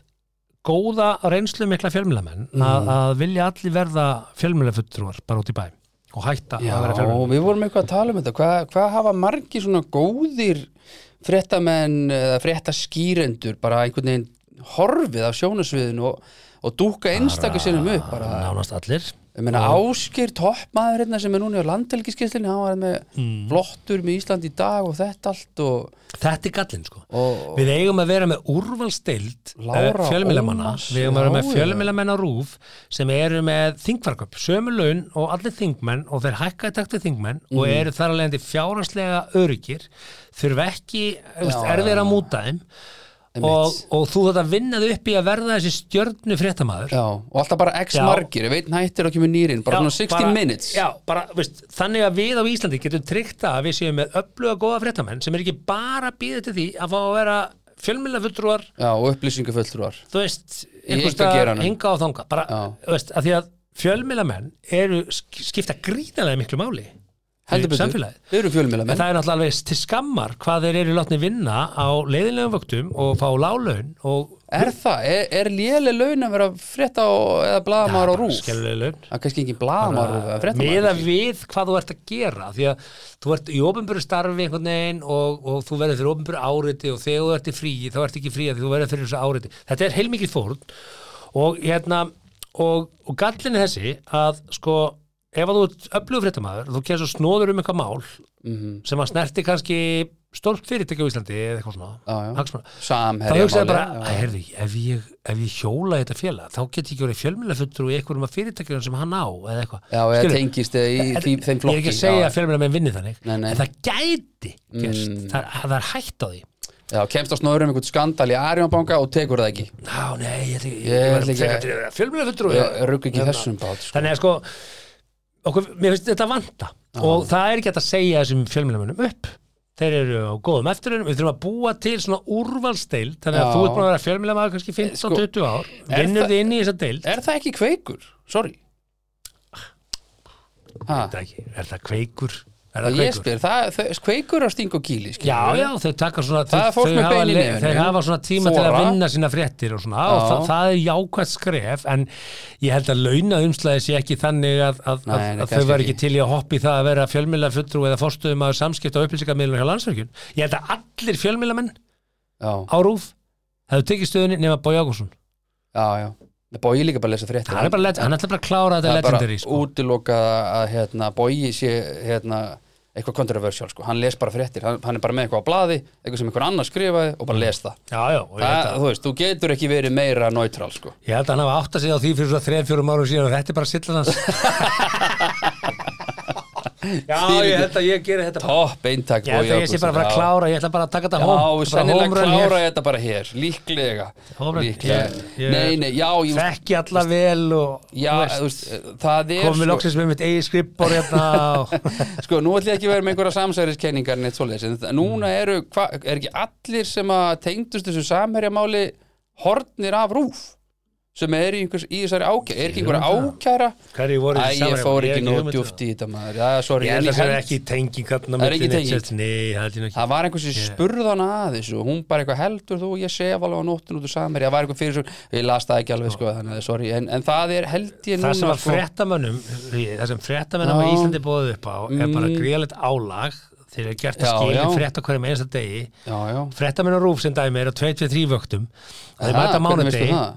A: góða reynslu mikla fjölmjölamenn
B: Mm.
A: að, að vilja allir verða fjölmjölafuttruar bara út í bæ og hætta
B: Já,
A: að vera fjölmjölafuttruar
B: við vorum eitthvað að tala um þetta hvað hva hafa margir svona góðir fréttamenn eða fréttaskýrendur bara einhvern veginn horfið af sjónasviðinu og, og dúka einstakur sinnum upp bara,
A: Nánast allir
B: ég meina áskir toppmaður hérna sem er núna á landhelgiskeislinu hann var með
A: Hmm.
B: flottur með Ísland í dag og þetta allt og
A: Þetta er gallinn sko
B: Og-
A: Við eigum að vera með úrvalstild
B: Lára
A: fjölmilamanna
B: Ómars,
A: Við eigum að vera
B: já,
A: með
B: já.
A: fjölmilamenn á rúf sem eru með þingfarköp sömu laun og allir þingmenn og þeir hækka í takt við þingmenn og
B: Mm.
A: eru þar alveg fjáraslega örygir þurfa ekki
B: Já,
A: erfið að múta þeim og, og þú þetta vinnaði upp í að verða þessi stjörnu fréttamaður
B: já, og alltaf bara x
A: Já.
B: margir, ég veit nættir og kemur nýrin bara
A: Já,
B: svona 60 minutes
A: já, bara, veist, þannig að við á Íslandi getum tryggt það að við séum með öfluga góða fréttamenn sem er ekki bara býðið til því að fá að vera fjölmilafulltrúar
B: Já, og upplýsingafulltrúar
A: þú veist,
B: einkageranum.
A: einhverstaðar hinga og þanga bara,
B: Já.
A: þú veist, að því að fjölmiðlamenn eru sk- skipta gríðarlega miklu máli
B: heldur
A: fyrir
B: betur,
A: samfélagið
B: við erum
A: en
B: fjölmjölamenn
A: það er náttúrulega alveg til skammar hvað þeir eru látni vinna á leiðinlegum vöktum og fá lálaun og
B: Er það? Er, er léleg laun að vera frétta og, eða blaðamár á rúf? Það
A: skellileg laun
B: er kannski engin blaðamár að frétta um
A: meða við hvað þú ert að gera því að þú ert í ofinbjörðu starfi einhvern veginn og, og þú verður fyrir ofinbjörðu áriti og þegar þú ert í fríi þá ert ekki frí að því þú verður fyrir þessu áriti þetta er heilmikið fórn og hérna og, og gallin er þessi að sko ef að þú ert öflugur fréttamaður og þú kemst og snóður um eitthvað mál
B: Mhm.
A: sem að snerti kannski stórt fyrirtæki á Íslandi eða eitthvað svona
B: Já, já.
A: hagsmuna þá
B: Samherja
A: hugsaði bara, að herði, ef ég, ef ég hjóla þetta félag, þá get ég ekki verið fjölmjölafulltrú í einhverjum af fyrirtækjum sem hann á eða eitthvað.
B: Já, eða
A: Skilurðu?
B: tengist eða í því,
A: Ég
B: þeim
A: er
B: flokki
A: ekki að segja
B: já.
A: að fjölmjöla menn vinni þannig,
B: Nei, nei. Mm.
A: en það gæti gerst, það, er- það er hætt á því.
B: já, kemst á snóður um einhvern skandal í Arjónbanka og tekur það ekki
A: Ná, nei, ég ætla ekki,
B: Ég
A: ég
B: ætla
A: var
B: ekki að-
A: frekar til að vera fjölmjölafulltrú.
B: Ég rugg
A: hérna-
B: ekki þessum bát sko.
A: Þannig að sko, okkur, mér finnst þetta vanta og það er ekki hægt að segja þessum fjölmjölamönnum upp. Þeir eru á góðum eftirunum, við þurfum að búa til svona úrvalsdeild, þannig að
B: Já. Sko,
A: þú ert búin að vera fjölmjölamæður kannski 15-20 ár,
B: er
A: vinnur
B: það-
A: þið inn í þessa deild
B: Er það ekki kveikur? Sorry ha,
A: það ekki, er það kveikur? Er það
B: Ég
A: kveikur?
B: spyr, það, það, kveikur að stinga og kýli skilur
A: Já,
B: við.
A: já, þau taka svona
B: Það er
A: þau-
B: fólk
A: þau
B: með
A: hafa
B: bein í
A: le-
B: nefinu.
A: Þau hafa svona tíma til að
B: Þora.
A: vinna sína fréttir og svona og
B: Já.
A: það, það er jákvæmt skref en ég held að launa umslæði sé ekki þannig að, að,
B: Nei, nei,
A: að, að
B: kannski
A: þau var ekki
B: ekki.
A: til í að hoppa í það að vera fjölmjöla fulltrú eða fórstöðum að samskipta og upplýsingarmiðlum hjá landsverkjun Ég held að allir fjölmjölamenn
B: já,
A: á rúf hefðu tekið stöðunni nema Bói Ágúrsson
B: já, já. Bói líka bara að lesa fréttir
A: Hann er bara, leg- hann ætlar bara að klára þetta
B: það er bara
A: legendary sko.
B: útilokað að hérna, bói sé hérna, eitthvað kontroversiál sko. hann les bara fréttir, hann, hann er bara með eitthvað á blaði eitthvað sem einhver annar skrifaði og bara les það
A: Já, já, Mm. og ég held
B: Það,
A: að
B: þú veist, þú getur ekki verið meira neutral sko.
A: Ég held að hann hafa átt að segja á því fyrir svona 3-4 árum síðan og þetta er bara sillan hans Já, ég held að ég geri þetta bara.
B: Topp eintak
A: Ég held að ég sé bara að fara að klára, ég ætla bara að taka þetta hóm
B: Já, sennilega klára ég þetta bara hér Líklega,
A: Home run,
B: Líklega.
A: ég- ég-
B: Nei, nei, já, ég,
A: Þekki alla vel og
B: já þú veist, Það er
A: komum við loksins með mitt eigi skrippbor hérna
B: [laughs]
A: og
B: sko, nú ætlum ég ekki að vera með einhverja samsæriskenningar neitt svoleiðis, en það- núna eru hva, er ekki allir sem að tengdust þessu samherjamáli hornir af rúf sem er í, einhvers, í þessari ákæra er ekki einhverja ákæra
A: Hverju voru
B: Æ,
A: þið
B: ég
A: saman?
B: fór
A: Ég hef
B: ekki
A: ekki
B: nóg
A: hugmynd um
B: djúft í þetta maður já, sorry,
A: Ég held að það er
B: held-
A: ekki tenging hérna
B: Það er ekki
A: milli neitt
B: tenging.
A: sett. Nei, það held ég nú ekki
B: það var einhversi yeah. spurðana að þessu og hún bara eitthvað heldur þú, ég sef alveg á nóttin út úr samherja, það var eitthvað fyrir svo ég las það ekki alveg, sko, þannig að sorry en, en það er held ég núna
A: Það sem að
B: sko,
A: fréttamönnum Það sem fréttamönnum á
B: Já. Mm.
A: Íslandi bóðið upp á er bara gríðalegt álag þeir eru gert að
B: Já,
A: skilja
B: já.
A: frétta hverjum einasta degi
B: já, já,
A: fréttamenn og rúf sem dæmi er á 2-3 vöktum og þeir
B: Aha,
A: mæta
B: hvernig veistu
A: mánudegi
B: það?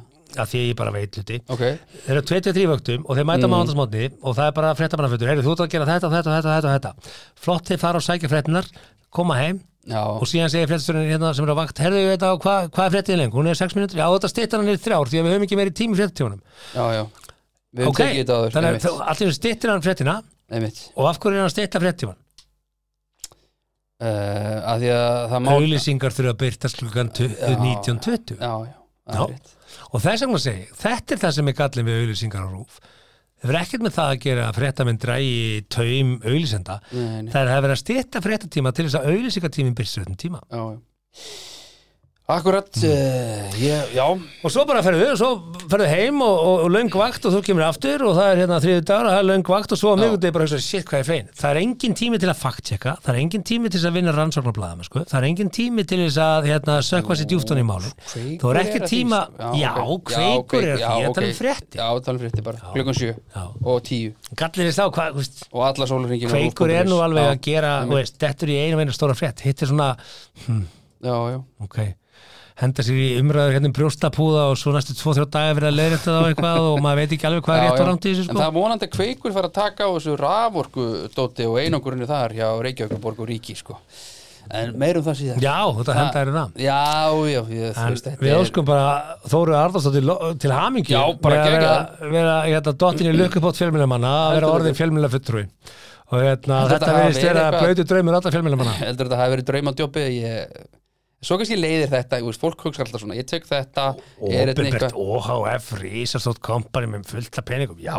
A: að því að ég bara veit hluti
B: ok
A: þeir eru á 2-3 vöktum og þeir mæta mm. mánudagsmótni og það er bara fréttamannafötur heyrðu þú ert að gera þetta og þetta og þetta, og þetta flott þeir fara og sækja fréttinar koma heim
B: já,
A: og síðan segir fréttasturinn hérna sem er á vakt heyrðu þetta og hvað hva er fréttin lengur hún er 6 minútur já þetta styttan hann er þrjár því að við höfum ekki meiri tími fréttatímanum
B: já, já við höfum
A: ok
B: tekið þetta áður,
A: þannig að
B: einmitt,
A: þú- allir styttir hann fréttina
B: einmitt
A: og af hverju er hann að stytta fréttíman
B: uh, að því að það má
A: Auðlýsingar þurfa að byrtast klukkan tu- 19.20
B: já, já, það
A: Já.
B: er rétt.
A: og þess vegna segi, ég, þetta er það sem er gallin við auðlýsingar á rúf það er ekkert með það að gera að fréttamenn drægi taum auðlýsenda
B: Nei, nei.
A: það er að vera að stýtta fréttatíma til þess að auðlýsingartímin byrst stöðum tíma
B: já, já.
A: Mm.
B: Akkurat uh, ég, Já,
A: og svo bara ferðu, og svo ferðu heim og, og, og löng vakt og þú kemur aftur og það er hérna þriðu dagar og það er löng vakt og svo á miðgundið bara hugsa, shit hvað er fein það er engin tími til að fakttjekka, það er engin tími til þess að vinna rannsóknarblæðum sko. það er engin tími til þess að hérna, sökva sér djúftan í málum
B: Kveikur
A: þú er
B: að
A: ekki
B: því,
A: tíma,
B: sko.
A: já,
B: ok.
A: kveikur er að
B: já,
A: því, ég
B: ok.
A: tala um frétti
B: Já, ég tala um frétti bara, klukkan sjö
A: Já.
B: og tíu
A: gallir þess þá, hvað, þú veist
B: og alla sólurringin
A: kveikur er nú alveg að gera
B: Mm.
A: þú veist, dettur í einu og einu stóra frétt hitt er svona,
B: Já, já,
A: ok henda sér í umræður hérna um brjóstapúða og svo næstu 2-3 daga verið að leiðrætta það á eitthvað og maður veit ekki alveg hvað er
B: Já,
A: rétt og
B: já.
A: rámt í þessu
B: En
A: sko.
B: það er vonandi að kveikur fara að taka á þessu raforku dóti og einangurinu þar hjá Reykjavíkaborg og Ríki sko. En meirum það síðan
A: Já, þetta henda er það
B: Já, já, ég, þú veist,
A: En
B: þetta
A: við
B: er-
A: óskum bara Þóru Arðarsdóttir lo- til hamingju
B: Já, bara
A: með að vera,
B: geggjað.
A: vera hérna, dottin í
B: [clears throat]
A: lökkupott fjölmjölamanna að vera
B: Heldur
A: orðin fjölmjölafulltrúi og hérna,
B: Heldur
A: þetta
B: þetta hafi
A: verðist vera
B: verið eitthvað-
A: blöytu draumur alltaf fjölmjölamanna
B: heldur þetta hafi verið draumadjópi ég... svo kannski leiðir þetta, ég veist, fólk hugsa alltaf svona ég tek þetta, er þetta
A: Óbyrgert
B: eitthvað
A: OHF, Rísastótt kompani með fullta peningum, já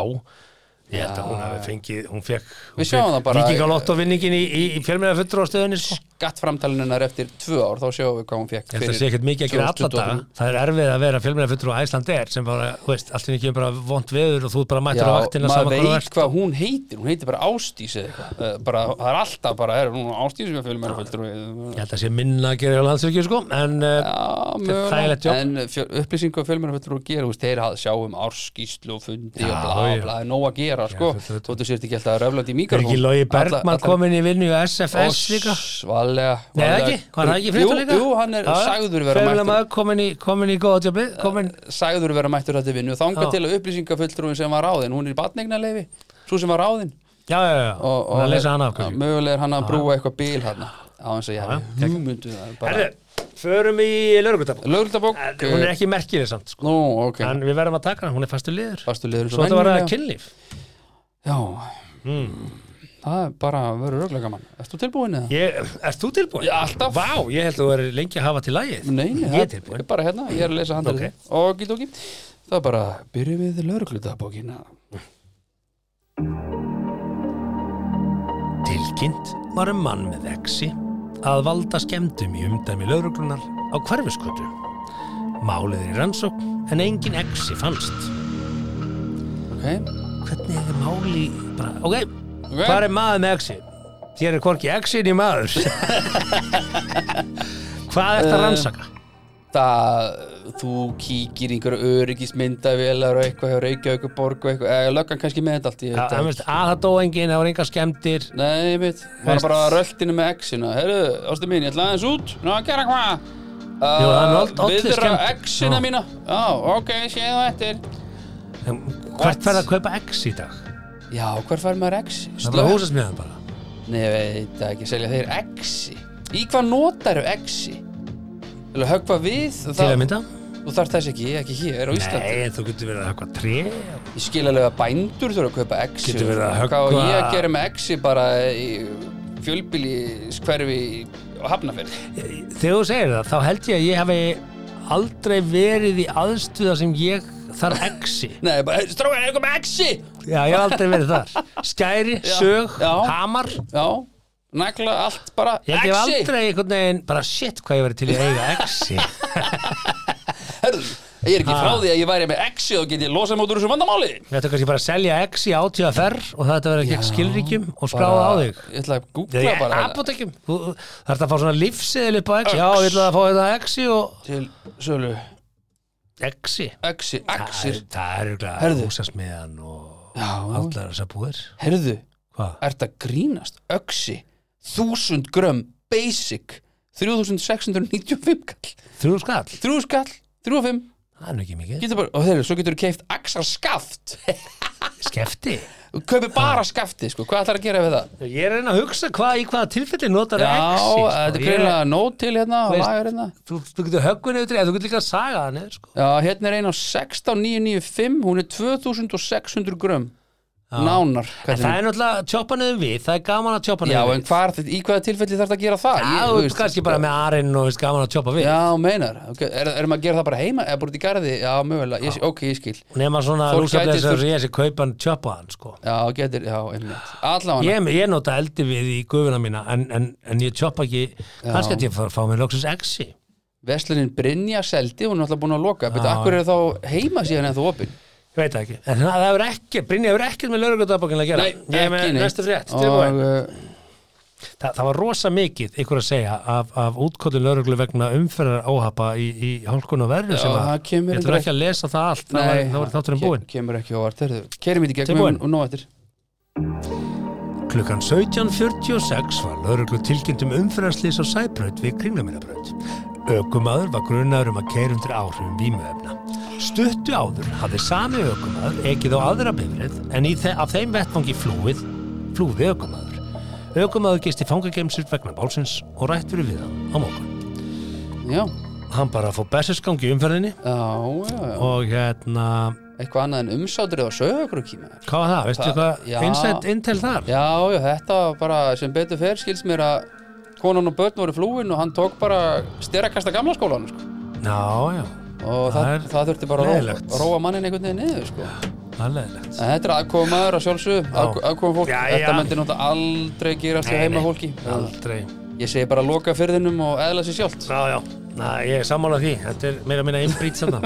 A: ég held að hún hafi fengið, hún fekk
B: Við sjáum það bara.
A: Víkingalott og vinningin í, í, í fjölmjölafulltrú á stöðunni sko.
B: gattframtalinnar eftir tvö ár, þá sjáum við hvað hún
A: Ég
B: fekk
A: held að það sé ekkert mikið að gera alla daga Það er erfið að vera fjölmjölafulltrú á Æslandi er sem bara, þú veist, allt í einu kemur bara vond veður og þú ert bara
B: Já,
A: mættur á vaktina sama
B: maður
A: hvað þú
B: veit
A: ert.
B: hvað hún heitir, hún heitir bara Ástís eða eitthvað, Eh, bara, það er alltaf bara, er hún Ástís með fjölmennaföldur
A: Ég held að sé minna að gera hjá landsvirkju sko en uh,
B: Já,
A: þægilegt jobb.
B: mögulega, en fjö, upplýsingu af fjölmennaföldur og gera, þú veist, þeir hafði sjá um árskíslu og fundi og
A: Já,
B: bla, bla,
A: já.
B: bla, það er nóg að gera, sko
A: fullt auðvitað.
B: þú veist, þetta ekki alltaf að röflandi í
A: er
B: mikrofón
A: ekki Lógi Bergman komin í vinnu í SFS líka?
B: Svalega
A: Nei ekki, var það ekki frétta líka?
B: Jú, jú, hann er sagður vera mættur Eh,
A: maður komin í, komin í góða tjópi komin,
B: sagður vera mættur þetta vinnu og þangað
A: Já.
B: til að upplýsingafulltrúin sem var ráðin hún er í batneignarleifi, svo sem var ráðin
A: já já já,
B: og, og
A: hann að lesa hann af
B: Já,
A: hverju
B: mögulega er hann að brúa eitthvað bíl hann á hans að ég hefði hugmyndu
A: Herðu, förum í lögurkutab
B: lögultabók
A: Hún er ekki merkileg samt sko
B: nú, ok,
A: en við verðum að taka hana, hún er fastu liður
B: fastu liður
A: Svo þetta var að kynlíf
B: já það er bara að vera röglega gaman erst þú tilbúin eða?
A: ég, Ert þú tilbúin?
B: Já, alltaf.
A: Vá, ég held að þú er lengi að hafa til lagið
B: Nei, nei,
A: Ég er
B: það-
A: tilbúin
B: bara hérna, ég er að lesa handrið
A: Ok.
B: og gildóki, það er bara byrjum við lögreglutabókina
A: Tilkynnt var um mann með vexi að valda skemmtum í umdæmi lauruglunar á hverfiskötu. Málið er í rannsókn en engin exi fannst.
B: ok,
A: Hvernig er máli... Bara, ok,
B: Ok.
A: hvað er maður með exi? Þér er hvorki exi í maður.
B: [laughs]
A: hvað ert að
B: Eh,
A: rannsaka?
B: það þú kíkir í einhverju öryggismyndavélar og eitthvað hjá Reykjavíkuborg og eitthvað, eða löggan kannski með þetta allt ég
A: Já,
B: veit
A: það
B: það
A: veist, að það dó engin, það voru engar skemmtir.
B: Nei, ég veit, maður
A: Veist-
B: er bara á röltinu með exina Herru, ástu mín, ég ætla aðeins út Ná, að gera hvað? Uh,
A: Jú, það er old- olli
B: Viðra
A: skemmtun.
B: exina
A: Já.
B: mína Já, ok, séð þú eftir
A: En
B: What?
A: Hvert færðu að kaupa exi í dag?
B: Já, hver fær maður ex?
A: Það er bara húsasmiðan bara.
B: Nei, ég veit það ekki, selja þeir exi Í hvað notar þau exi? Til að höggva við það-
A: Til að mynda?
B: Þú þarf þess ekki, ekki hér á Íslandi
A: Nei, þú getur verið að hafa tré
B: Ég skil alveg að bændur þurfa að kaupa exi
A: Getur verið að höggva-
B: Hvað á ég að gera með exi bara í fjölbíli skverfi á Hafnarfjörð
A: Þegar þú segir það, þá held ég að ég hafi aldrei verið í aðstuða sem ég þarf exi.
B: Nei, bara, strákar, er eitthvað með exi?
A: Já, ég hef aldrei verið þar. Skæri,
B: Já,
A: sög,
B: já.
A: hamar.
B: Já, nagla allt bara
A: Ég held ég hef
B: exi
A: aldrei einhvern veginn, bara shit hvað ég verið til í að eiga exi.
B: Herðu, ég er ekki
A: Ha.
B: frá því að ég væri með exi og get ég losað mótur úr þessu vandamáli
A: Þetta er kannski bara að selja exi átíða ferr og þetta verið gegn skilríkjum og skráða á þig.
B: Ég ætla að
A: Ég
B: googla
A: er
B: bara þetta.
A: apotekim. Þú þarf að fá svona lífseðil upp á exi. Já, ég ætla að fá þetta exi og
B: Til sölu
A: exi.
B: Exi, exir
A: Það er auðvitað
B: Herðu.
A: húsasmiðan og
B: Já,
A: allar þessar búðir.
B: herðu,
A: Hvað?
B: ert að grínast Exi, 1000 grömm basic 3695 kall
A: Þrjú skall?
B: 3 skall, 3 og 5
A: Það er nú ekki mikið.
B: getur bara, og þeirri, svo getur þú keift axarskaft
A: Skefti?
B: og kaupir bara skafti, sko, hvað ætlar að gera við það?
A: Ég er að reyna að hugsa hvað í hvaða tilfelli notar
B: Já,
A: exi. sko.
B: þetta er
A: Ég-
B: greinlega nót til hérna og
A: Veist-
B: lagar hérna
A: Þú, þú getur höggun yfir tré, þú getur líka að saga það niður sko.
B: Já, hérna er ein á 16995 hún er 2995 grömm nánar
A: En það er náttúrulega tjópanuðum við, það er gaman að
B: Já,
A: tjópanuðum
B: en hvar, í hvaða tilfelli þarf það að gera það?
A: Já,
B: Ég-
A: þú
B: þú
A: veist, kannski bara með arinn og veist, gaman að tjópa við
B: Já, meinar, okay. er, erum að gera það bara heima eða bara út í garði, já, mögulega, ég, ok, ég skil
A: Nefna svona
B: Fólk gæti
A: lúsablesar
B: þurft-
A: og ég sé kaupan tjópaðan sko.
B: Já, getur, já, einmitt Allavega,
A: ég, ég nota eldi við í gufuna mína en, en, en ég tjópa ekki kannski að ég fara að fá mér loksins exi
B: Vestlunin Brynja seldi, hún er alltaf búin að loka Beti,
A: Já.
B: akkur er þá heima síðan eða þú opin
A: Ég veit það ekki, en það hefur ekki Brynja hefur ekkert með lauruglutabokkin að gera Ég er með næstu frétt, tilbúin
B: og, uh,
A: Þa, það var rosa mikið, ykkur að segja, af, af útkottu lauruglu vegna umferðar áhapa í, í hálkun og verður
B: Já,
A: sem að,
B: það kemur
A: ég ætlum
B: reyndar
A: ekki að lesa það allt, það var,
B: uh, Nei,
A: það var þátturinn búinn.
B: Kemur ekki óvart, herðu Kerum við í gegnum
A: Tilbúin.
B: og nóg eftir
A: Klukkan 17.46 var lauruglu tilkynnt um umferðarslýs á Sæbraut við Kringlumirabraut. Ökumadur var grunnaður um að keira undir áhrifum vímuefna. Stuttu áður hafði sami ökumadur ekið á aðra bifrið en í þe af þeim vettfangi flúið, flúði ökumadur. Ökumadur gisti fangagemsir vegna bálsins og rætt fyrir við hann á morgun.
B: Já,
A: Hann bara fór bestisgang í umferðinni
B: já, já, já.
A: og hérna,
B: Eitthvað annað en umsátrið á sögurkrúki maður.
A: hvað var það? Veistu
B: Það-
A: hvað?
B: já.
A: Insight intel þar?
B: Já, já, þetta var bara sem betur fer skils mér að konan og börn voru flúin og hann tók bara styrakasta gamla skólan sko.
A: Já, já,
B: og
A: Það
B: það,
A: er
B: það, þurfti bara að róa,
A: leiðilegt.
B: róa mannin einhvern veginn niður sko.
A: það er leðilegt.
B: en þetta er aðkoma maður að sjálfsög aðkoma fólk,
A: Já,
B: þetta
A: já.
B: myndi náttúrulega aldrei gerast hjá
A: Nei, nei.
B: heima fólki
A: Aldrei.
B: ég segi bara loka fyrðinum og eðla sér sjálft
A: Já, já, Næ, ég er sammála því Þetta er meira minna innbrýt
B: [laughs]
A: saman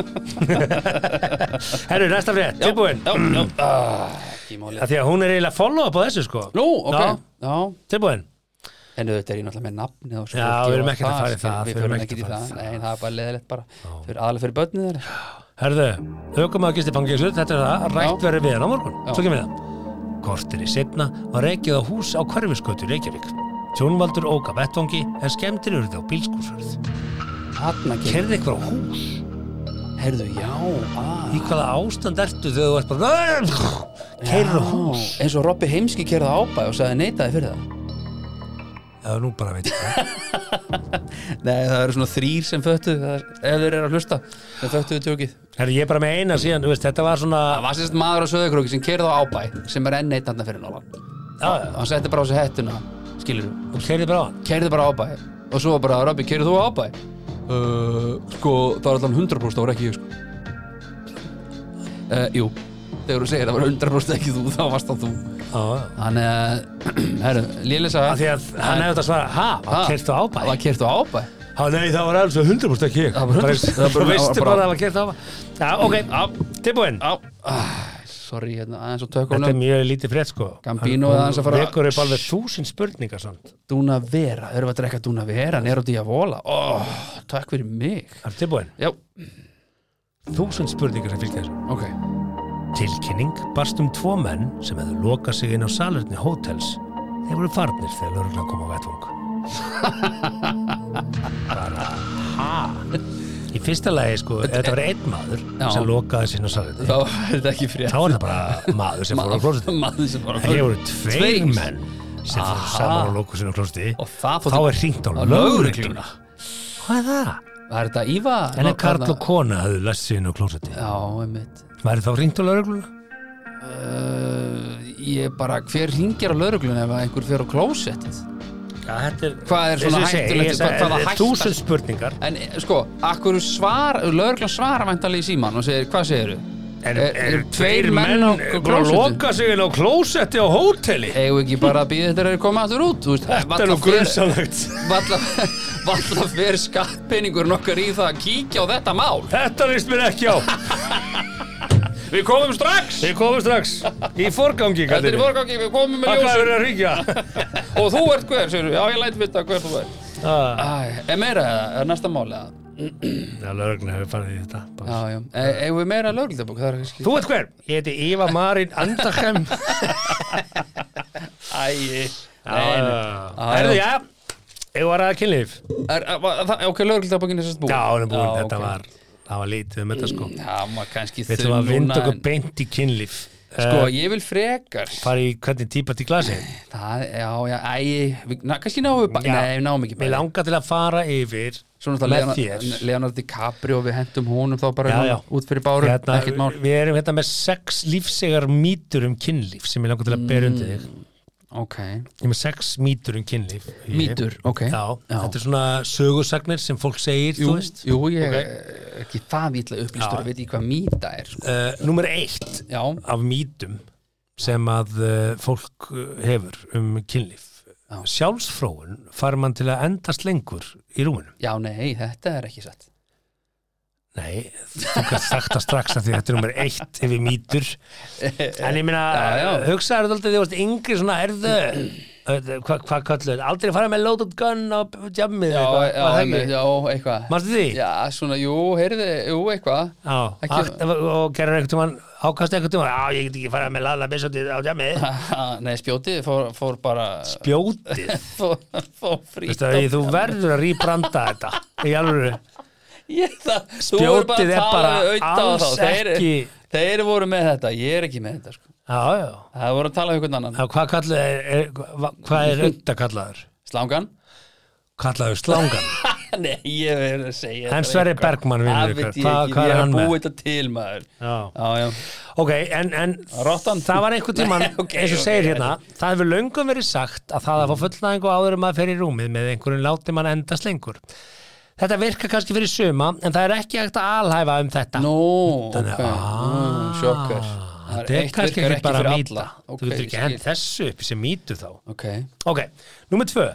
A: Herru, næsta frétt, tilbúin
B: já, já, ah, ekki máli
A: Af Því að hún er eiginlega follow-up á þessu sko
B: nú, ok,
A: Já,
B: já,
A: tilbúin
B: en auðvitað er ég náttúrulega með nafnið og svo
A: Já,
B: fólki
A: við erum
B: og
A: ekkert að fara í
B: skilur,
A: það,
B: við
A: við erum
B: förum
A: ekkert
B: ekki í
A: að
B: það,
A: fara í
B: nei, það er bara leðilegt bara Þau eru aðlega fyrir börnið þeirra
A: Herðu, aukumæðu gisti fangelsuð Þetta er það, rætt
B: Já.
A: verið við hann á morgun
B: Já.
A: Svo kemur það Kortir í setna var reykið á hús á hverfiskötu í Reykjavík Tjónvaldur ók af vettvangi en skemmtir urði á bílskúsverð
B: Hanna
A: Kerði
B: kemur,
A: eitthvað á hús
B: herðu, já, ah. að
A: Í hvaða ástand ertu þegar þú ert bara Kerði á hús
B: Já, eins og Robby Heimski kerði ábæð og sagði neitaði fyrir það
A: Já, nú bara veit ég það
B: Nei, það eru svona þrýr sem föttu eða þeir eru að hlusta sem föttu við tjókið
A: Herru, ég er bara með eina síðan, þú veist, þetta var svona
B: Það var sérst maður á söðukrúki sem kerði á ábæð sem er enn neitanda fyrir nálan
A: Já, já,
B: Hann setti bara á sig hettuna, skilur þú
A: og keirði bara á hann
B: Kerði bara á ábæð og svo bara, Robby, kerði þú á ábæð? Uh, sko, það var allan 100% það var ekki ég sko uh, Jú, þegar þú segir það var 100% ekki þú, þá varst það þú
A: Já, já
B: Þannig að, [clears throat] herru, Líli sagði
A: Af Því að hann hefði þetta svara, ha,
B: Ha?
A: var keirt á ábæ
B: Það var kerði á ábæð
A: Ha, nei, það var alveg 100% ekki ég
B: Það var 100%
A: Bara- Þú
B: það var
A: veistu
B: bara-
A: bara að það var keirt á ábæ Já, ok, tilbúin
B: Sorry, hérna, aðeins á tökunum
A: Þetta er mjög lítið frétt, sko
B: Gambino
A: Hann-
B: er aðeins að fara-
A: hún Vekur upp alveg þúsind spurningar, sant
B: Dúna Vera, þau eru að drekka Dúna Vera Nero Diavola, oh, takk fyrir mig
A: Það er tilbúin
B: Já,
A: Þúsind spurningar sem fylgja þessu
B: ok
A: Tilkynning barst um tvo menn sem hefðu lokað sig inn á salerni hótels. Þeir voru farnir þegar lörgla kom á vettvang.
B: [laughs]
A: Bara, ha? Í fyrsta lagi, sko, ef þetta var einn maður
B: Já.
A: sem lokaði sig inn á salerni.
B: Þá er þetta ekki frétt
A: Þá er það bara maður sem fór á klósiti.
B: Maður sem fór á
A: En þeir voru
B: Tveir.
A: tveir menn sem fór
B: Aha.
A: saman og lokuð sinna á klósiti.
B: Og það fór
A: Þá er hringt á
B: á
A: lögregluna.
B: lögregluna
A: Hvað er það?
B: Það er þetta Íva
A: En ef Karl
B: þarna-
A: og kona hefðu læst sig inn á klósiti,
B: Já, einmitt
A: væri þá hringt á lögregluna?
B: uh, Ég bara, hver ringir á lögregluna ef einhver fer á klósettið
A: Já, þetta er...
B: Hvað er svona hættulegt? Hvað- hvað var hættast?
A: Þúsund spurningar.
B: En eh, sko, akkur svar, lögreglan svarar vantarlega í síman og segir, hvað segirðu?
A: Er,
B: Eh,
A: er
B: eru
A: tveir menn Eh,
B: á
A: búin að
B: klósettið?
A: loka sig inn á klósetti á hóteli?
B: eigum við ekki bara að býða þetta er að koma aftur út þú veist,
A: Þetta er nú grunnsamlegt.
B: valla, valla fyrir skattpenningur nokkar í það að kíkja á þetta mál
A: Þetta líst mér ekki á.
B: við komum strax
A: Við komum strax í forgangi,
B: þetta
A: kallir
B: er í
A: við.
B: vorgangi, við komum með
A: Alla er
B: ljósum
A: verið að ríkja. [laughs]
B: og þú ert hver, segir já ég læt vita hver þú ert
A: Það
B: Æ, er meira eða, er næsta mál eða
A: er lögna hefur farið í þetta. bara.
B: já, já, e, eigum við meira lögreglabók það er kannski
A: Ah. Þú ert hver? Ég heiti Íva Marín [laughs] Andakheim.
B: æ, Já,
A: Erðu, Ah. já. Ég var að kynlíf.
B: er, er, var- það- ok, lögreglabókin er sérst búin
A: Já, hann er búinn.
B: Já,
A: Þetta
B: ok.
A: var, það var lítið um þetta sko.
B: það var kannski
A: Við ætlum að
B: þunn
A: vinda
B: núna,
A: okkur
B: en-
A: beint í kynlíf.
B: sko,
A: Eh,
B: ég vil frekar
A: Fara í hvernig típat í glasi.
B: Það, já, já, æ, við, na, kannski náum við bara,
A: Já.
B: nei, við náum ekki
A: Mér
B: bæði.
A: langar til að fara yfir
B: Svo
A: Með
B: náttúrulega
A: þér.
B: Leonardo, Leonardo DiCaprio við hentum honum þá bara
A: Já, já.
B: út fyrir báru,
A: hérna,
B: ekkert mál
A: Við erum hérna með sex lífsegar mýtur um kynlíf sem ég langar til að bera undir
B: Mm.
A: þig Ég
B: Ok,
A: er með sex mýtur um kynlíf Ég-
B: Mýtur, ok.
A: Já,
B: Já.
A: þetta er svona sögursagnir sem fólk segir,
B: jú,
A: þú veist
B: jú, ég er ekki það vitla upplýstur
A: Já.
B: að veit ég hvað mýta er sko.
A: uh, Númer eitt
B: Já,
A: af mýtum sem að uh, fólk uh, hefur um kynlíf
B: Já.
A: Sjálfsfróun fær mann til að endast lengur í rúminu
B: já, nei, þetta er ekki satt
A: Nei, þú kannast sagt það strax að því þetta er nummer eitt ef við mýtur En ég meina,
B: Já, já.
A: hugsaðu þetta aldrei, þú veist, yngri svona erðu Hvað hva, hva kallu þetta? Aldrei fara með loaded gun á jammið
B: Já,
A: eitthvað,
B: já,
A: var það
B: einmitt,
A: ekki?
B: já, eitthvað
A: Manstu því?
B: Já, svona, jú, heyrði, jú, eitthvað [laughs]
A: Já,
B: Ekki-
A: akt, og gerir einhvern tímann, ákast einhvern tímann Já, ég get ekki fara með laðla besótið á jammið
B: Nei, spjótið fór, fór bara
A: Spjótið,
B: Fór, fór frýtt
A: veistu, þú verður að rýbranda þetta Í alveg
B: Ég, það, þú
A: Spjótið
B: voru bara að
A: er
B: tala
A: bara
B: við Audda og
A: alls
B: þá. þeir,
A: ekki-
B: þeir voru með þetta, ég er ekki með þetta sko.
A: Já, já,
B: það voru að tala um einhvern annan
A: Já, hvað kallu er, er, hva- hvað
B: [laughs]
A: er auðvitað kallaður?
B: slangan [laughs]
A: Kallaður slangan
B: Nei, ég verður að segja
A: En
B: þetta
A: Sverrir
B: eitthvað.
A: Bergmann, vinur
B: Það
A: ykkar,
B: veit ég
A: hvað-
B: ekki,
A: hvað er
B: Ég er
A: hann
B: að
A: með?
B: búa þetta til maður
A: Já.
B: já, já.
A: Ok, en, en
B: Rottan.
A: það var einhvern tímann,
B: Nei, [laughs] ok,
A: eins og
B: ok.
A: segir hérna, það hefur löngum verið sagt að það að fá fullnæðingu áður um að fer í rúmið með einhverjum láti mann endast lengur. Þetta virkar kannski fyrir suma, en það er ekki hægt að alhæfa um þetta.
B: Nú,
A: Þannig,
B: ok, mm,
A: ah,
B: sjokkar Það
A: Þetta er
B: eitt
A: kannski
B: virkar
A: ekki bara
B: fyrir
A: mýta.
B: alla.
A: Þú
B: Ok,
A: getur
B: ég
A: ekki hend
B: skil.
A: þessu upp sem mýtu þá.
B: Ok,
A: Ok, númer tvö.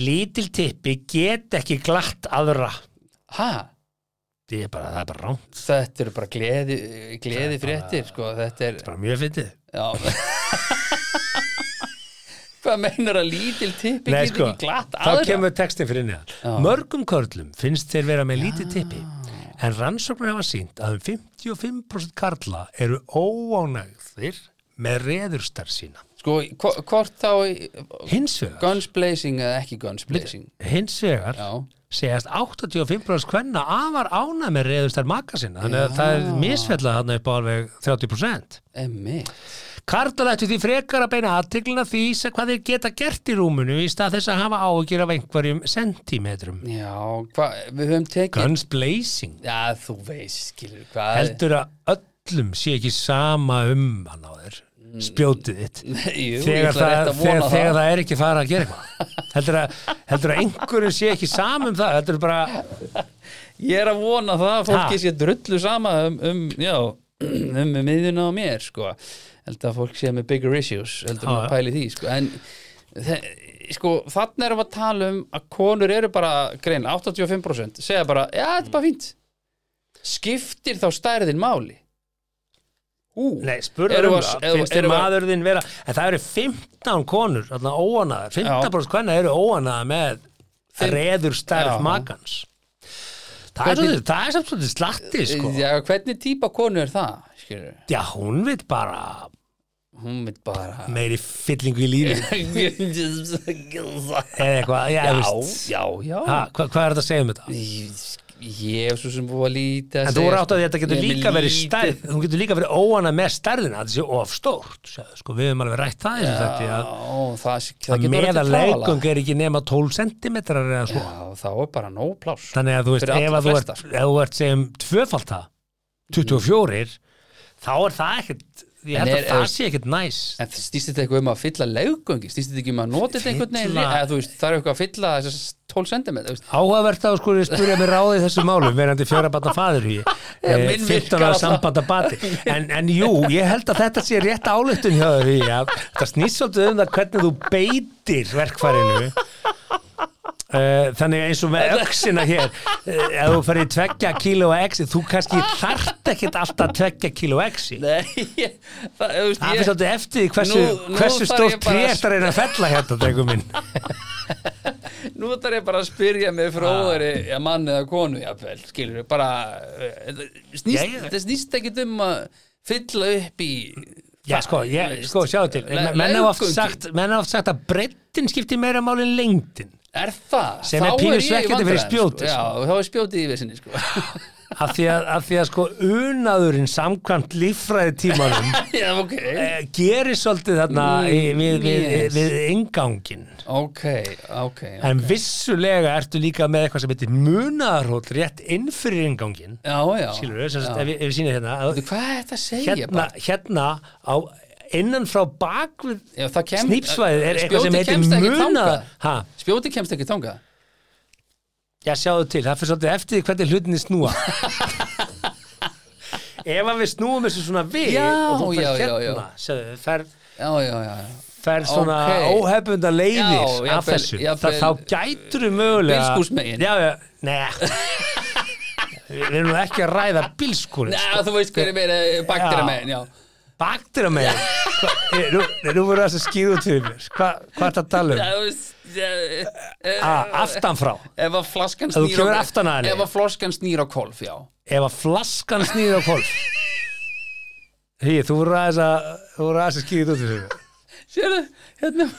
A: Lítil tippi get ekki glatt aðra.
B: hæ?
A: Þetta er bara, það er bara rámt,
B: Þetta eru bara gleði, gleði fréttir sko. Þetta er,
A: bara mjög fyndið.
B: já [laughs] Hvað meinar að lítil tippi
A: Nei,
B: getur
A: sko,
B: ekki glatt
A: þá
B: aðra?
A: kemur textin fyrir neðan mörgum körlum finnst þeir vera með lítið tippi en rannsóknir hafa sínt að um 55% karla eru óánægðir með reðurstar sína
B: Sko, hvo- hvort þá í-
A: hins vegar,
B: guns blazing eða ekki guns blazing
A: hins vegar
B: Já,
A: segjast 85% hvenna afar ánægð með reðurstar maka sinna þannig að það er misfellað þarna upp á alveg 30%
B: emmi
A: Karlar ættu því frekar að beina aðtiklina því sem hvað þeir geta gert í rúmunu í stað þess að hafa áhugjur af einhverjum sentimetrum.
B: Já, hva, við höfum tekið
A: Guns blazing.
B: Já, þú veist, skilur hvað
A: heldur að öllum sé ekki sama um hann á þér spjótið þitt
B: [laughs] Mm. Jú,
A: þegar,
B: ég ætla rétt
A: það,
B: að vona
A: þegar,
B: það.
A: þegar það er ekki fara að gera eitthvað heldur að, heldur að einhverjum sé ekki sama um það heldur bara,
B: Ég er að vona það að fólki
A: Ha?
B: sé drullu sama um, um já, um miðuna á mér, sko held að fólk sé með bigger issues heldur
A: Já,
B: maður
A: já.
B: að pæli því, sko en þe- sko, þannig erum við að tala um að konur eru bara, grein, 85% segja bara, já, þetta er bara fínt skiptir þá stærðin máli Ú,
A: nei, spurður
B: Erum
A: um
B: við að-
A: það
B: erum-
A: finnst þér
B: erum við að-
A: maður þinn vera en það eru 15 konur, þarna óanaðar 15% hvernig eru óanaðar með
B: Þeim-
A: reður
B: Já.
A: stærð makans það er,
B: Hvernig-
A: svolítið, það er samt svolítið slatti sko.
B: já, hvernig típa konu er það, skilur
A: já, hún veit bara
B: hún veit bara [laughs]
A: meiri fyllingu í lífi
B: já,
A: eða eitthvað, já, þú veist.
B: já, já
A: Ha, hva, hvað er þetta að segja um þetta?
B: ég ég hef svo sem búið að sko, líti
A: En þú voru átt að þetta getur líka verið stærð hún getur líka verið óana með stærðina þetta sé of stórt sagði, sko, við höfum alveg rætt það þessum þetta að,
B: Ó, það, það
A: að
B: getur verið
A: meða
B: til
A: leikum er ekki nema 12 cm eða svo
B: Já, þá er bara nóg pláss
A: þannig að þú veist,
B: Fyrir alla
A: ef að þú
B: flesta, sko.
A: ert, ef þú ert segjum tvöfald það 24 þá er það ekkert ég held
B: En
A: að
B: er-
A: það
B: er-
A: sé ekkert næs
B: En stýst þetta eitthvað um að fylla leggöngi? Stýst þetta ekki um að nota þetta einhvern veginn?
A: Fylla-
B: Eða, þú veist, það er eitthvað að fylla þessar 12 cm veist.
A: áhugavert að sko spyrja mér ráði í þessu málum verandi fjóra batna faður í
B: Já,
A: eh,
B: minn
A: 15
B: virkar
A: ára
B: alltaf.
A: sambanda bati en, en jú, ég held að þetta sé rétt álutin hjá þér í að það snýst svolítið um það hvernig þú beitir verkfærinu Eh, Þannig eins og með öxina hér eh, ef þú ferði tveggja kíló exi þú kannski þarft ekkit alltaf tveggja kíló exi
B: Nei, ég, það, þú veist,
A: Það
B: ég,
A: fyrir svolítið eftir því hversu,
B: Nú- nú
A: hversu
B: þarf ég
A: stórt
B: bara að-
A: trétt að reyna að fella hérna, drengum minn.
B: nú þarf ég bara að spyrja mig frá
A: Ah.
B: óðari ja, mann eða konu, jafnvel, skilur við, bara, eh, snýst,
A: Jæja.
B: þetta snýst ekkert um að fylla upp í,
A: Já, sko, ég, sko sjáðu til.
B: Le-
A: Menn hafa oft
B: leggöngi.
A: sagt, menn hafa oft sagt að breyttin skiptir meira máli en lengdin.
B: er það?
A: Sem er
B: Þá
A: pínu
B: ég í
A: svekkjandi fyrir
B: vandræðum,
A: spjótið,
B: sko. [laughs] Já, þá er spjótið í vissinni, sko
A: af því að, af því að sko unaðurinn samkvæmt líffræði tímanum
B: [laughs] Já, ok
A: gerir svolítið þarna í- við, við,
B: Mm, yes.
A: við engangin
B: Ok, ok
A: en vissulega ertu líka með eitthvað sem heitir munaðarhóll rétt inn fyrir engangin
B: Já, já
A: skilur við, sem sagt,
B: Já.
A: ef, ég- ef við sýnum hérna að-
B: Veitu, Hvað er þetta að segja?
A: hérna, hérna á innan frá bakvið
B: Já, það kem-
A: snýpsvæðið er eitthvað sem
B: Spjótið
A: heitir
B: kemst ekki
A: munaðar
B: þangað.
A: ha,
B: bara? Spjóti kemst ekki þangað
A: já sjáðu til, það fyrir svolítið eftir því hvernig hlutinni snúa [laughs] ef að við snúum þessu svona við
B: Já,
A: og þú fer
B: já, já,
A: hérna
B: já.
A: Sjáðu, fer,
B: Já, já, já
A: fer svona
B: Ókei.
A: okay. óhefbunda leiðir
B: Já,
A: af
B: jafnvel-
A: þessu,
B: jafnvel-
A: Þa, þá gætur við mögulega
B: Bílskúrsmegin.
A: já, já, neða við við erum nú ekki að ræða bílskúrin
B: Já, þú veist hverju meira
A: Já.
B: baktir með Já,
A: baktur að með nú, nú voru þess að skýra út fyrir mér Hva, hvað er þetta að tala um?
B: Já, þú veist, eh, eh,
A: að aftan frá
B: Ef að flaskan
A: Ef þú
B: snýr
A: kemur aftan Ah. að henni.
B: Ef að flaskan snýr á kolf, já
A: ef að flaskan snýði á kolf Hei, þú voru aðeins að þú voru aðeins að skýra þetta út fyrir mig.
B: Sérðu, hérna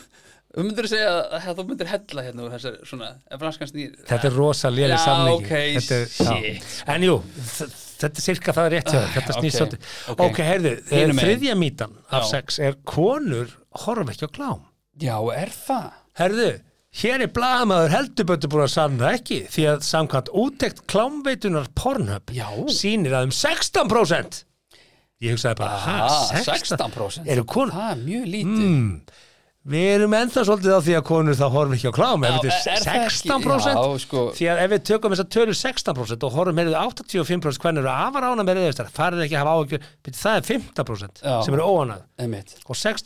B: Þú myndir segja að þú myndir hella hérna úr þessari svona, ef flaskan snýr
A: þetta er rosa léli
B: Já,
A: samningi
B: ok,
A: þetta, er-
B: shit.
A: já. en jú, þ- þetta er sirka það er rétt hjá þér. þetta snýst
B: ok,
A: svolítið
B: ok.
A: ok, heyrðu, eh,
B: Hinum megin.
A: þriðja mítan af
B: Já.
A: sex er konur horfum ekki á klám
B: Já, er það?
A: Herðu, hér er blaðamaður heldurböndu búin að sanna ekki því að samkvæmt útekt klámveitunar Pornhub
B: Já.
A: sýnir að um 16% Ég hugsaði bara, ha,
B: Ah,
A: 16%?
B: 16%.
A: Eru konur? Hmm.
B: Það er mjög lítið mm,
A: Við erum ennþá svolítið á því að konur þá horfum ekki á klám ef
B: Já,
A: þetta
B: er- er
A: er
B: það ekki-
A: 16%
B: Já, sko.
A: því að ef við tökum þess að tölur 16% og horfum meirðu 85% hvernig eru afar ána með reyðistar farið ekki að hafa áhugjur, það er 15%
B: Já.
A: sem eru óanað
B: Einmitt.
A: og 6,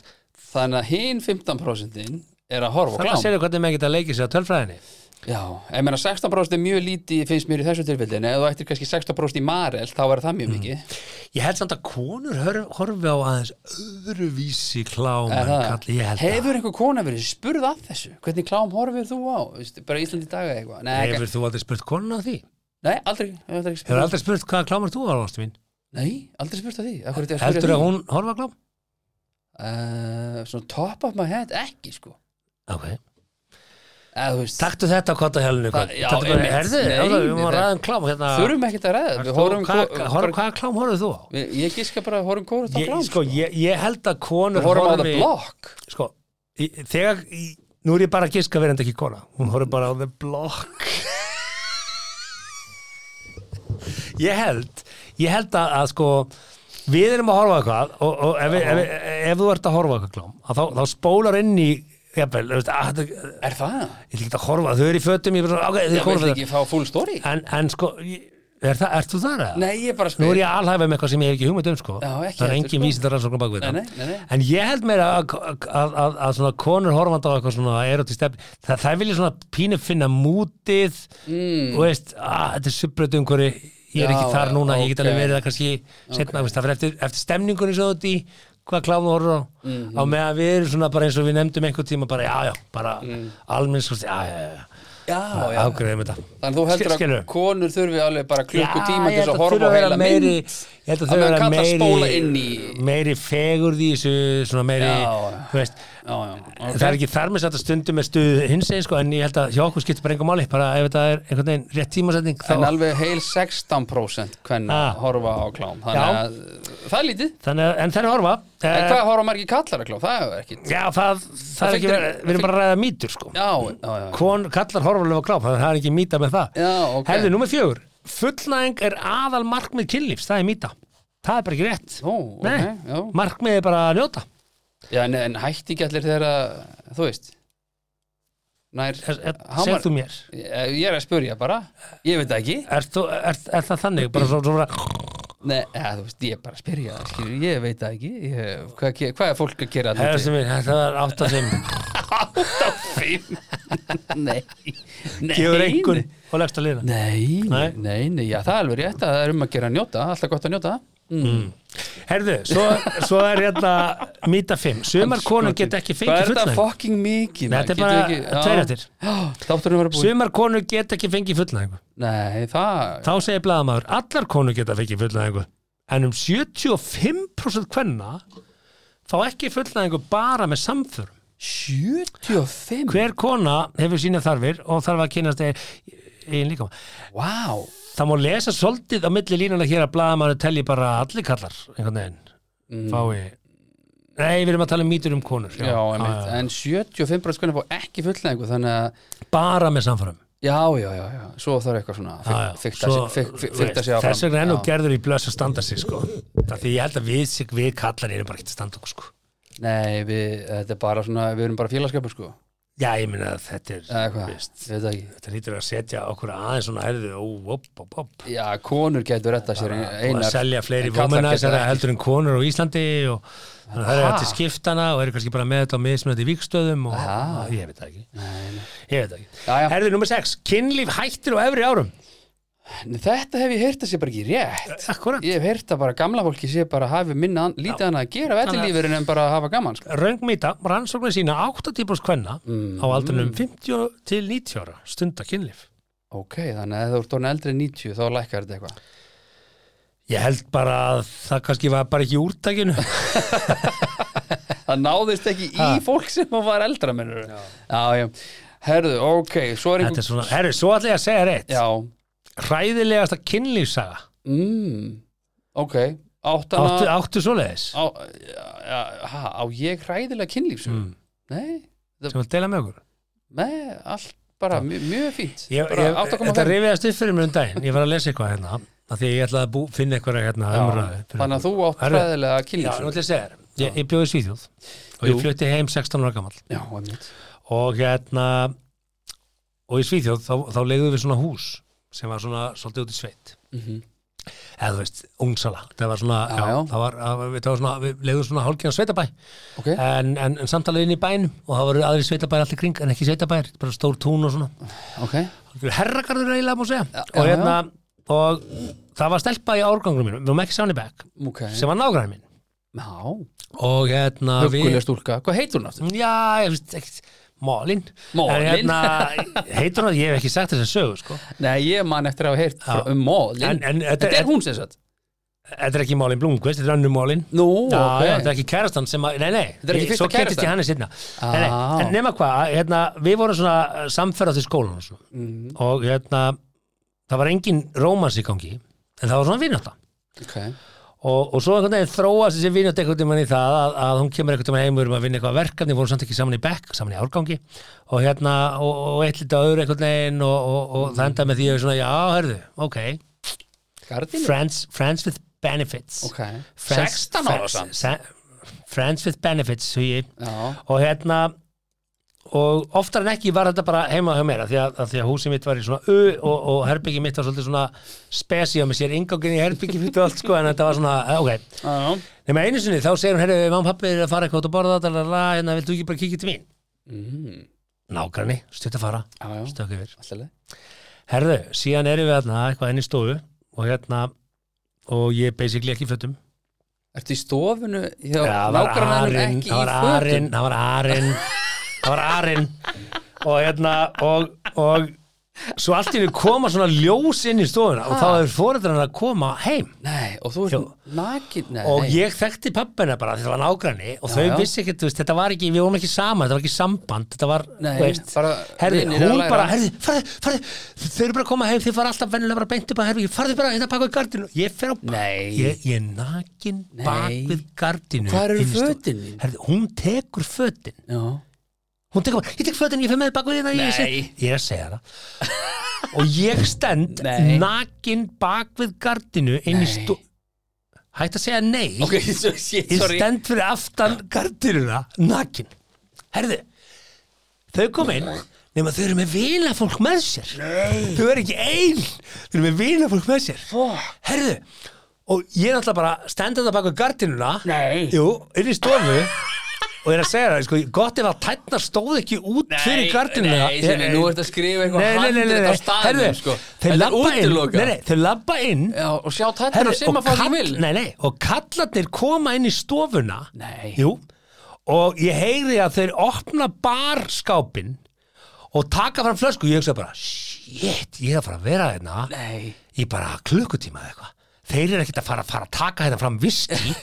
B: Þannig að hinn 15% er að horfa á
A: þannig að
B: klám
A: segja hvernig maður geta leikið sér að tölfræðinni
B: Já, ég meina 16% er mjög lítið finnst mér í þessu tilfelli, en ef þú ættir kannski 16% í Marel, þá er
A: Hmm.
B: það mjög mikið
A: Ég held samt að konur hör- horfi á aðeins öðruvísi klám en
B: Er það?
A: kalli, ég held
B: Hefur einhver kona verið spurð að þessu? Hvernig klám horfir þú á? Veistu, bara Íslandi í dag eða eitthvað? Nei,
A: það.
B: ekki-
A: Hefur þú aldrei spurt konuna á því?
B: nei, aldrei, ég hef aldrei
A: Hefur
B: spurt
A: aldrei spurt hvaða klámar þú var ástu mín?
B: Nei, aldrei spurt að því Af hverju ertu að spyrja
A: Heldur
B: því?
A: að hún horfa á klám?
B: Eh, Svona top of my head, ekki sko
A: Ok.
B: Eða þú veist
A: Taktu þetta á kotta helinu.
B: Það- já,
A: Taktu bara,
B: einmitt.
A: herðu,
B: Nei,
A: herðu, við
B: þetta-
A: máum ræða um klám hérna.
B: Þurfum ekkert að ræða
A: Þú-
B: Við horfum
A: hvað-
B: ko-
A: horf-
B: bara-
A: Hvaða klám horfðu þú á?
B: Við- Ég gíska bara að horfum kóru á
A: Ég,
B: klám
A: sko, ég, ég held að konur
B: Við horfum á það blokk
A: Sko, í- þegar, í- nú er ég bara að giska verðandi ekki kona. Hún horfði bara á the block. [laughs] ég held, ég held að, að sko, við erum að horfa á eitthvað og, og ef, við, ef, við, ef þú ert að horfa á eitthvað klám, að þá, þá spólar inn í, jafnvel, þú veist, að, þetta-
B: Er það?
A: ég ætla ekki að horfa, þau eru í fötum, ég er bara, svona, ok, þau
B: Ég
A: eru
B: vil
A: í fötum.
B: ekki fá full story
A: En, en sko, ég- er það, ert þú þar eða?
B: Nei, ég bara
A: Nú er
B: spyr
A: ég alhæfa með eitthvað sem ég hef ekki hugmynd um sko.
B: Já, ekki
A: Það er
B: heldur,
A: engin
B: sko.
A: vísindar rannsóknum bak við
B: Nei,
A: það.
B: nei, nei, nei.
A: En ég held meira að, að, að, að svona konur horfandi á eitthvað svona erotík stefni, það, það vilja svona pínu finna mútið mm. og veist, að, þetta er subbrötu umhverju ég er
B: Já,
A: ekki þar núna, ég get alveg
B: ok.
A: verið það kannski setna, veist, það fyrir eftir, eftir stemningunni svo þetta í hvað kláðum horfur á
B: Mhm.
A: á meðan við erum svona bara eins og við nefndum einhvern tíma bara, já, já, bara mm. almenn svo, já, já, já,
B: Já,
A: Ah,
B: já
A: ágreðum þetta
B: Þannig að þú heldur
A: Skil- skilurðu?
B: að konur þurfi alveg bara klukkutíma
A: Já,
B: til
A: ég
B: þess
A: held að
B: að
A: þurfi
B: horfa á
A: að vera
B: heila
A: meiri
B: mynd
A: ég held að
B: Að
A: þau
B: menn
A: vera
B: kalla spóla inn
A: meiri
B: í-
A: meiri fegurð í þessu svona meiri,
B: Já.
A: þú veist
B: Já, já, ok.
A: það er ekki þar með satt að stundum með stuð hins einn sko, en ég held að hjá okkur skiptir bara engum máli, bara ef þetta er einhvern veginn rétt tímasetning,
B: En
A: þá,
B: alveg heil 16% hvernig
A: Ah.
B: horfa á klám
A: Já.
B: Þannig að uh, það er lítið
A: þannig að, en það er horfa
B: En
A: eh,
B: hvað horfa margir kallar að klám? Það er ekki Já,
A: já, það, það er ekki,
B: fylgir-
A: verið- við erum bara að ræða mýtur sko,
B: já, já
A: kon kallar horfulega klám, þannig að það er ekki mýta með það
B: Já, ok.
A: herðu, númer fjögur, fullnæðing er aðal markmið kynlífs, það er mýta það er bara ekki rétt
B: Ó, ok, já.
A: Nei, markmið er bara að njóta
B: Já, en, en hætti ekki allir þegar að Þú veist Nær
A: segð þú mér
B: Ég Eh, ég er að spurja bara Ég veit það ekki
A: Er, þú, er, er það þannig? Bara svo, svo,
B: Nei, eða, þú veist, ég er bara að spyrja skilur, Ég veit það ekki ég, hvað, ge- hvað er fólk að gera þarna úti?
A: Herrastu mín, þetta var 8-5
B: Átta og fimm [laughs] Nei Nei
A: Gefur einhvern og leggst að liðna
B: Nei, nei,
A: Nei.
B: nei, nei, já, það er alveg rétt að það er um að gera að njóta, alltaf gott að njóta
A: Mm. Herðu, svo, svo er hérna Mýta 5, sumar konur geta ekki
B: Hvað
A: fengið
B: er þetta
A: fullnæðingu
B: fucking mikið?
A: Nei,
B: maður?
A: þetta er
B: Getum
A: bara
B: við ekki-
A: tveir
B: Já.
A: eftir.
B: Já, Þátturinn var búin
A: Sumar konur geta ekki fengið fullnæðingu
B: Nei,
A: Þá
B: það
A: segir blaðamaður, allar konur geta fengið fullnæðingu En um 75% kvenna fá ekki fullnæðingu bara með samförum
B: 75
A: Hver kona hefur sína þarfir og þarf að kynast þeir e- eigin líkama
B: Vá,
A: það má lesa svolítið á milli línuna hér að blaðamannu telji bara að allir kallar einhvern veginn fái Nei, við erum að tala um mýtur um konur
B: Mm. já, einmitt
A: Já, já.
B: En 75% skoðin fá ekki fullnæðingu Þannig að,
A: Bara með samfærum
B: já, já, já, já Svo þarf eitthvað svona að
A: Já, já.
B: fyk- fikta
A: Svo,
B: sig- fyk- fyk-
A: þú
B: fikta
A: veist,
B: sig áfram
A: Þess vegna enn og
B: Já.
A: gerður í blöðs að standa sig sko. Það því ég held að við, sig- við kallar erum bara ekkert að standa okkur sko.
B: Nei, við, þetta er bara svona Við erum bara félagskapur, sko
A: Já, ég meina að þetta er
B: Eða hvað,
A: veist,
B: við veit það ekki
A: Þetta lítur að setja okkur aðeins svona erðu og op, op, op.
B: Já, konur getur retta sér
A: og
B: einar
A: að selja fleiri
B: en kallar geta
A: vomanæsara
B: ekki.
A: heldur en konur á Íslandi og þannig að það
B: Ha?
A: eru til skiptana og eru kannski bara með þetta á mismunandi vikstöðum og
B: Ha?
A: ég veit það ekki ég veit það ekki.
B: Já, já.
A: Herðu nummer 6, kynlíf hættir á efri árum
B: Nei, Þetta hef ég heyrt að sé bara ekki rétt
A: Akkurat,
B: Ég hef heyrt að bara gamla fólki sé bara hafi minna an- lítið annað að gera vettilífurinn en bara að hafa gaman sko.
A: röngmýta rannsóknir sína 80% kvenna
B: Mm.
A: á aldrinum 50 til 90 ára stunda kynlíf
B: Ok, þannig að ef þú ert orðin eldri en 90 þá lækkar þetta eitthvað
A: Ég held bara að það kannski var bara ekki í
B: [laughs]
A: úrtakinu
B: Það náðist ekki í fólk sem var eldra mennur Já, já, herðu, ok Svo er
A: Þetta
B: einhver
A: er svona, herru, svo ætla ég að segja reitt
B: Já,
A: Hræðilegasta kynlífsaga
B: mm, ok Áttana
A: Áttu, áttu svoleiðis
B: á, á, á, á ég hræðilega kynlífsum
A: Mm.
B: Nei,
A: sem að deila með okkur
B: nei, allt bara mjög, mjög fínt
A: ég,
B: bara
A: ég, Þetta
B: 8,5
A: rifiðast upp fyrir mér um daginn Ég var að lesa eitthvað hérna af því að ég ætlaði að bú, finna eitthvað hérna
B: Já,
A: umræðu fyrir-
B: Þannig að þú átt
A: Herðu,
B: hræðilega
A: Já, nú ætla
B: kynlífsum
A: ég að segja þér Ég, ég bjóði Svíþjóð og
B: Jú.
A: ég flutti heim 16 ára gamall
B: Já, einmitt
A: og hérna og í Svíþjóð þá, þá leiðum við svona hús sem var svona svolítið út í sveit eða þú veist, ungsala það var svona,
B: Mhm. Já,
A: já,
B: já.
A: Það var, það var, það var svona við leiðum svona hálfgjörn sveitabæ
B: Ok,
A: en, en, en samtalið inn í bænum og það voru aðri sveitabæri allir kring en ekki sveitabæri, bara stór tún og svona
B: ok
A: Algjör herragarður eiginlega má segja
B: Já,
A: og
B: já,
A: hérna, og það var stelpa í árgangunum mínum, við varum ekki sáni back
B: Ok,
A: sem var nágræðin minn
B: já,
A: og hérna
B: huggulega stúlka Hvað heitir hún aftur?
A: Já, ég veist ekkert Málin
B: Málin.
A: En hérna, heitur hún að ég hef ekki sagt þess að sögu sko.
B: Nei, ég man eftir að hafa heyrt frá-
A: Já.
B: um mólin
A: En- en þetta-
B: Þetta er hún sem sagt
A: Þetta er ekki Málin Blomqvist, þetta er önnu Málin
B: Nú,
A: Já, já, þetta
B: ok
A: er ekki kærastan sem að, nei, nei
B: Þetta er ekki
A: ég-
B: fyrsta
A: Svo kynntist ég
B: kærastan? Ah.
A: henni seinna
B: Á.
A: Nei, nei, en nema hvað, hérna, við vorum svona samferðað til skólan og, svona.
B: Mm,
A: og hérna, það var engin rómans í gangi En það var svona vinnáta
B: Ok,
A: og, og svo einhvern veginn þróast þessi vinnátt einhvern veginn í það að, að hún kemur einhvern veginn heim við erum að vinna eitthvað verkefni, vorum samt ekki saman í bekk saman í árgangi og hérna og, og eitt lítið öðru einhvern veginn og, og, og það endaði með því að ég svona, já, hörðu, ok
B: gardinu
A: Friends, friends with benefits
B: Ok,
A: friends,
B: 16 ára
A: friends-
B: samt
A: sa- Friends with benefits, hugi
B: Já,
A: og hérna og oftar en ekki var þetta bara heima hjá mér af því að, að, því að húsið mitt var í svona u og, og herbyggi mitt var svolítið svona spesí og með sér ingangin í herbyggi mitt og allt sko en þetta var svona, eh, ok
B: já,
A: nema einu sinni þá segir hún, herri, mamma pappi er að fara eitthvað út að borða dalala, hérna, viltu ekki bara kíkja til mín
B: Mm,
A: nágranni, stutt að fara,
B: já, já.
A: stökk yfir
B: Allt í lagi.
A: herðu, síðan erum við hérna eitthvað inn í stofu og hérna og ég er basically ekki í fötum
B: Ertu í stofunu hjá
A: Já, það var
B: nágrannanum
A: arinn,
B: ekki í
A: það var
B: fötum?
A: arinn, það var arinn, það var arinn og hérna og, og svo allt í henni koma svona ljós inn í stofuna og þá er fóreldrann að koma heim
B: Nei, og þú
A: Jú.
B: ert nakin Nei,
A: og
B: nei.
A: ég þekkti pappina bara því það var nágranni og þau
B: já.
A: vissi ekkert, þú veist, þetta var ekki, við vorum ekki saman, þetta var ekki samband, þetta var,
B: Nei,
A: þú veist,
B: bara
A: herði,
B: vinir að
A: hún
B: læra.
A: bara, herði, farði, farði, þau eru bara að koma heim, þau fara alltaf vennilega bara beint upp að herði, farði bara hérna bak við gardinu, ég fer á bak,
B: Nei.
A: ég, ég er nakin bak
B: Nei.
A: við gardinu.
B: Hvar eru
A: inn í stofu.
B: fötin þín?
A: Herði, hún tekur fötin,
B: Já,
A: hún tekur bara, ég tek fötin, ég fer með bak við hérna, ég, sé,
B: Nei.
A: ég er að segja það. og ég stend
B: Nei.
A: nakin bak við gardinu inn í
B: Nei.
A: stó... Hætt að segja nei
B: ok, [laughs] so, shit,
A: ég
B: sorry
A: stend fyrir aftan gardinuna nakin herðu, þau kom inn nema þau eru með vinafólk með sér Nei. þau eru ekki ein þau eru með vinafólk með sér
B: Fuck.
A: herðu, og ég er alltaf bara stendandi baka gardinuna
B: Nei.
A: Jú, inn í stofu og er að segja það, sko, gott ef að tætnar stóð ekki út fyrir gardinuna
B: Nei, sem við nú ert að skrifa
A: Nei,
B: eitthvað
A: nei, nei, nei,
B: handrið á
A: nei,
B: staðum
A: herðu,
B: sko.
A: þeir
B: Þetta er
A: labba inn,
B: útilokað.
A: nei, nei, þeir labba inn
B: Já, og sjá tættir
A: Herri,
B: og sem
A: og,
B: að fá því
A: kall-
B: vil
A: nei, nei, og kallarnir koma inn í stofuna
B: Nei.
A: Jú, og ég heyri að þeir opna barskápin og taka fram flösku ég hugsa bara, shit, ég er að fara að vera hérna
B: Nei,
A: í bara klukkutíma eða eitthvað þeir eru ekkert að fara, fara að taka hérna fram
B: [laughs]
A: viski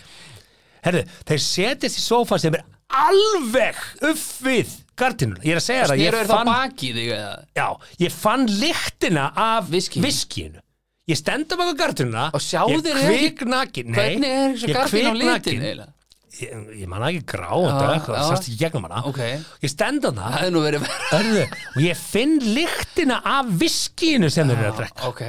A: herðu, þeir setjast í sófa sem er alveg upp við gardínuna ég er að segja það,
B: Snýrur
A: ég
B: það fann...
A: fann
B: baki í þig eða?
A: já, ég fann lyktina af
B: Viskíinu.
A: viskíinu. ég stenda baka gardínuna
B: Og sjá
A: ég
B: þér
A: kviknakin nei,
B: Hvernig er þessu
A: ég
B: gardín á
A: kviknakin.
B: litin eiginlega?
A: ég, ég man ekki grá þetta
B: Já,
A: eitthvað,
B: já.
A: það sást ekki gegnum hana
B: Ok.
A: ég stenda það
B: Það hefði nú verið verið
A: Hörðu, og ég finn lyktina af viskínu sem þeir eru að drekka
B: Ok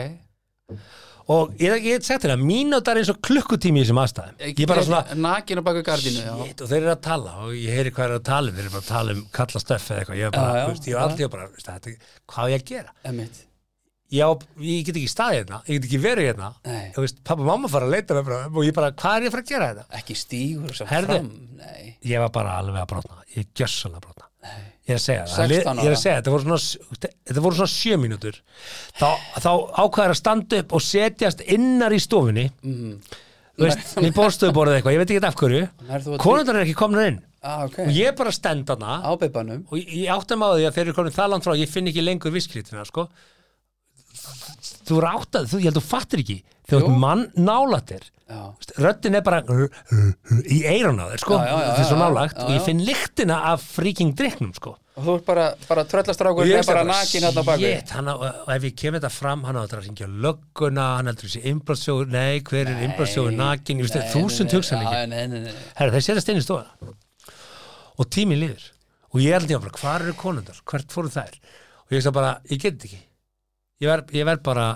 A: og ég hef ekki sagt þér að mínútar eins og klukkutími í þessum aðstæðum ég er bara svona,
B: Nakin á baka gardinu já.
A: shit, og þeir eru að tala og ég heyri hvað þeir eru að tala um, þeir eru bara að tala um kalla stöff eða eitthvað, ég er bara,
B: Já, já,
A: þú veist, ég er alltaf bara, veist, þetta, hvað á ég að gera
B: Einmitt.
A: já, ég get ekki staðið hérna, ég get ekki verið hérna
B: Nei.
A: þú veist, pappa og mamma fara að leita mér bara, og ég bara, hvað er ég að fara að gera þetta
B: Ekki stígur sem
A: Herðu.
B: fram Nei
A: ég var bara alveg að brotna, ég gjössalega að brotna ég er að segja það,
B: 16
A: Lið- ég er
B: ára.
A: að segja þetta voru svona, þetta voru svona sjö mínútur þá, þá ákvæður að standa upp og setjast innar í stofunni
B: Mhm.
A: þú veist, við borstuðuborðið eitthvað ég veit ekki af
B: Nær þú
A: hverju
B: að-
A: konundar er ekki komnur inn
B: ah, ok
A: og ég er bara að stenda hana
B: Ábeibanum
A: og ég- ég átta mig á því að þeir eru komin það langt frá ég finn ekki lengur viskritina sko. þú eru áttað, þú, ég held þú fattir ekki þegar þú ert mann nálatir
B: Já
A: röddin er bara í eyrun á þér sko,
B: Já, já, já,
A: þetta er svo
B: já,
A: nálagt
B: já,
A: og ég
B: já.
A: finn lyktina af freaking drikknum sko.
B: Og þú ert bara, bara tröllastrákur Ég er bara nakin hérna á baka
A: shit, hann á, og ef ég kem þetta fram hann á þetta að ringja lögguna, hann heldur þessi innbrotsjóður, nei, hver er innbrotsjóður nakin, ég veist,
B: Nei,
A: þúsund
B: nei,
A: hugsan
B: já, Nei, nei, nei
A: Herra, þeir setjast inn í stofana og tíminn líður og ég held ég bara, hvar eru konundar, hvert fóru þær og ég sagði bara, ég get þetta ekki ég verð, ég verð bara,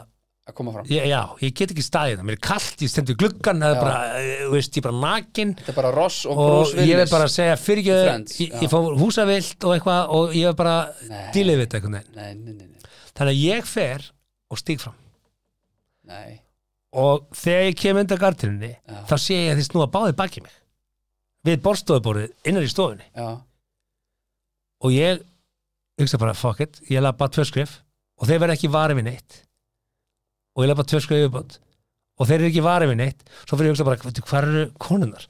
B: Að koma fram
A: ég, já, ég get ekki staðið hérna. mér er kallt, ég stendur gluggan það er
B: Já.
A: bara, eh, þú veist, ég er bara nakin
B: Þetta er bara Ross og
A: og
B: Bruce Willis
A: ég verð bara að segja fyrirgjöðu,
B: Friends,
A: ég,
B: já.
A: ég fór húsavilt og eitthvað og ég verð bara
B: Nei.
A: dílið við þetta einhvern veginn
B: Nei, nei, nei, nei,
A: þannig að ég fer og stíg fram
B: nei.
A: og þegar ég kem undan gartinunni
B: Já.
A: þá sé ég að þið snúa báðið baki mig við borstofuborðið innar í stofunni
B: Já,
A: og ég hugsa bara fuck it, ég laði bara tvö skrif og þeir verða ekki varið við neitt og ég laði bara tvö skrif yfirbót og þeir eru ekki varið við neitt svo fyrir ég að hugsa bara, veitu, hvað eru konunnar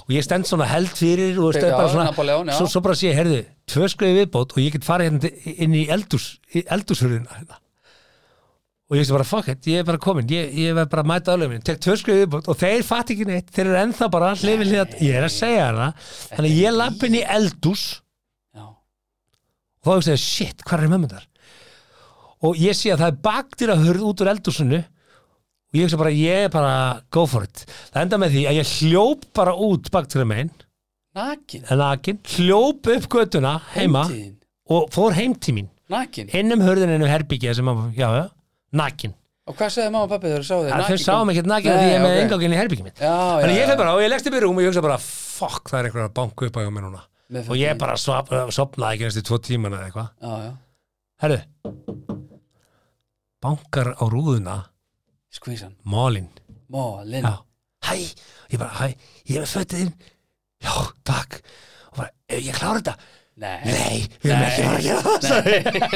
A: og ég stend svona held fyrir og stend
B: Já,
A: bara svona,
B: Napoleon, já.
A: svo, svo bara sé ég, herðu tvö skrif yfirbót og ég get farið hérna til- inn í eldús, eldúshurðina hérna. og ég hugsa bara fuck it, ég er bara komin ég, ég verð bara að mæta öllum minn, tek tvö skrif yfirbót og þeir fatt ekki neitt, þeir eru ennþá bara hlifið hlifið, ég er að segja hana þannig að ég lapp inn í eldús
B: já
A: og þá hugsaði ég, shit, hvað er mömmundar og ég sé að það er baktir að hörð út úr eldúsinu og ég hugsa bara, ég er bara go for it, það enda með því að ég hljóp bara út baktir að megin
B: Nakin
A: en akin, hljóp upp götuna heima
B: Heimtíðin.
A: og fór heim til mín
B: Nakin
A: inn um hörðin inn um herbyggja sem að, já, já, nakin
B: Og hvað sagði mamma og pappi þegar þú sáðu
A: það þau sáum ekkert nakin af því ég er með okay. engangin í herbyggja mitt
B: Já, já,
A: þannig ég
B: já.
A: fyrir bara og ég leggst upp í rúm og ég hugsa bara fuck, það er einhverja banku upp á hjá mér núna
B: Með
A: og ég
B: fucking-
A: bara sopna, sopnaði ekki næstu tvo tímana eða eitthvað
B: Já, já
A: Herru Bankar á rúðuna
B: Skvísan
A: Málin
B: Mólin
A: Já. Hæ, ég bara, hæ, ég er með fötið þinn Já, takk Og bara, ef ég klára þetta
B: Nei
A: Nei, við erum ekki bara að gera það sagði ég.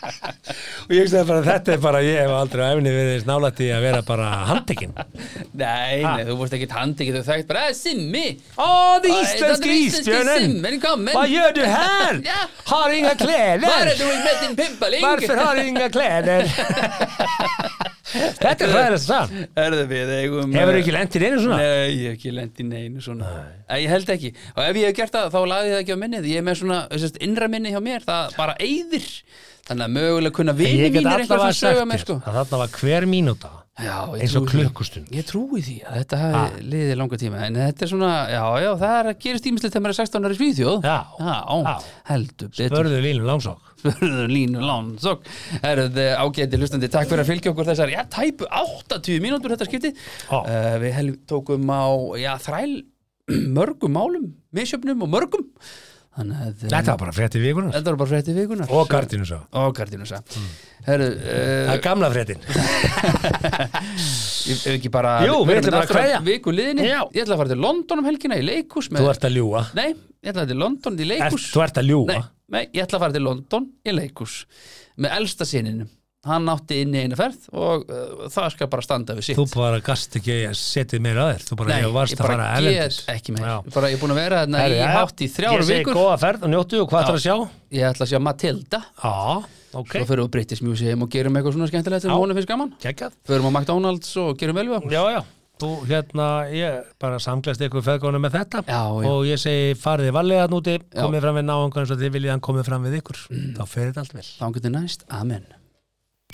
A: [laughs] Og ég hugsaði bara, þetta er bara Ég hef aldrei á efni verið nálætti að vera bara handtekinn
B: Nei, nei, þú vorst ekkert handi Þú þekkt bara, "Eh, Simmi
A: Ó, þið íslenski ístjörnum
B: Simmin kominn
A: Hvað gjör du hér?
B: [laughs] Já.
A: Har inga
B: Hvað er
A: klæder
B: þú með þinn pimpaling?
A: Varför har du inga klæder? Þetta er hræðilegst sann
B: Erðu við eigum eh,
A: Hefur ekki lentir einu svona?
B: Nei, ég hef ekki lent í neinu svona Nei. Ég held ekki Og ef ég hef gert það, þá laði ég það ekki á minnið Ég er með svona sérst, innra minni hjá mér Það bara eyðir Þannig að mögulega kunna vini
A: ég get
B: mínir
A: allavega
B: einhver sem
A: sagt
B: sögja
A: þér
B: mér sko.
A: að þarna var hver mínúta
B: Já, ég
A: eins og
B: trúi því.
A: klukkustund
B: Ég trúi því að þetta hafi liðið langa tíma En þetta er svona, já, já, það er að gerist tímislegt Þegar maður er 16 ára í Svíþjóð
A: Já. Já.
B: heldur betur
A: börðu línu langsók
B: Spurðu línu lánsokk Eruð ágæti hlustandi, takk fyrir að fylgja okkur þessar Já, tæpu 80 mínútur þetta skipti
A: Já.
B: uh, Við hel- tókum á já, þræl [clears throat] mörgum málum Misjöfnum og mörgum Þannig að eh,
A: þetta var bara frétti vikunar
B: þetta var bara frétti vikunar
A: og gardinu svo
B: Og gardinu sá Eruð,
A: það
B: uh,
A: er gamla fréttin
B: ef ef ekki bara
A: Jú, við
B: erum
A: ætlum bara að
B: aftur á
A: kveðja.
B: Viku liðinni,
A: Já.
B: ég ætla að fara til London um helgina í leikus
A: þú ert að ljúa
B: Nei, ég ætla að til London í
A: Ert-
B: leikus
A: þú ert að ljúa
B: Nei, nei, ég ætla að fara til London í leikus með elsta sininu hann átti inn í eina ferð og uh, það skal bara standa við sitt
A: þú bara gast ekki að setja meira að þér þú bara
B: Nei,
A: ég varst
B: ég
A: að
B: bara
A: fara
B: get
A: erlendis
B: ekki meir
A: Já.
B: bara, ég er búin að vera þarna
A: Herri,
B: í
A: jæja.
B: hátt í þrjár
A: ég segi
B: vikur
A: góða ferð og njóttu og hvað þarf að sjá
B: ég ætla að sjá Matilda
A: já, ok,
B: svo fyrir við British Museum og gerum eitthvað svona skemmtilegt sem
A: Já.
B: honum finnst gaman
A: geggjað
B: förum á McDonalds og gerum velja
A: já, já þú hérna, ég bara samklaðst ykkur feðgónum með þetta
B: Já, já.
A: og ég segi farið varlega þarna úti, komið fram við náungan eins og þið viljið hann komið fram við ykkur
B: Mm.
A: þá fer þetta allt vel
B: Þá getur næst, amen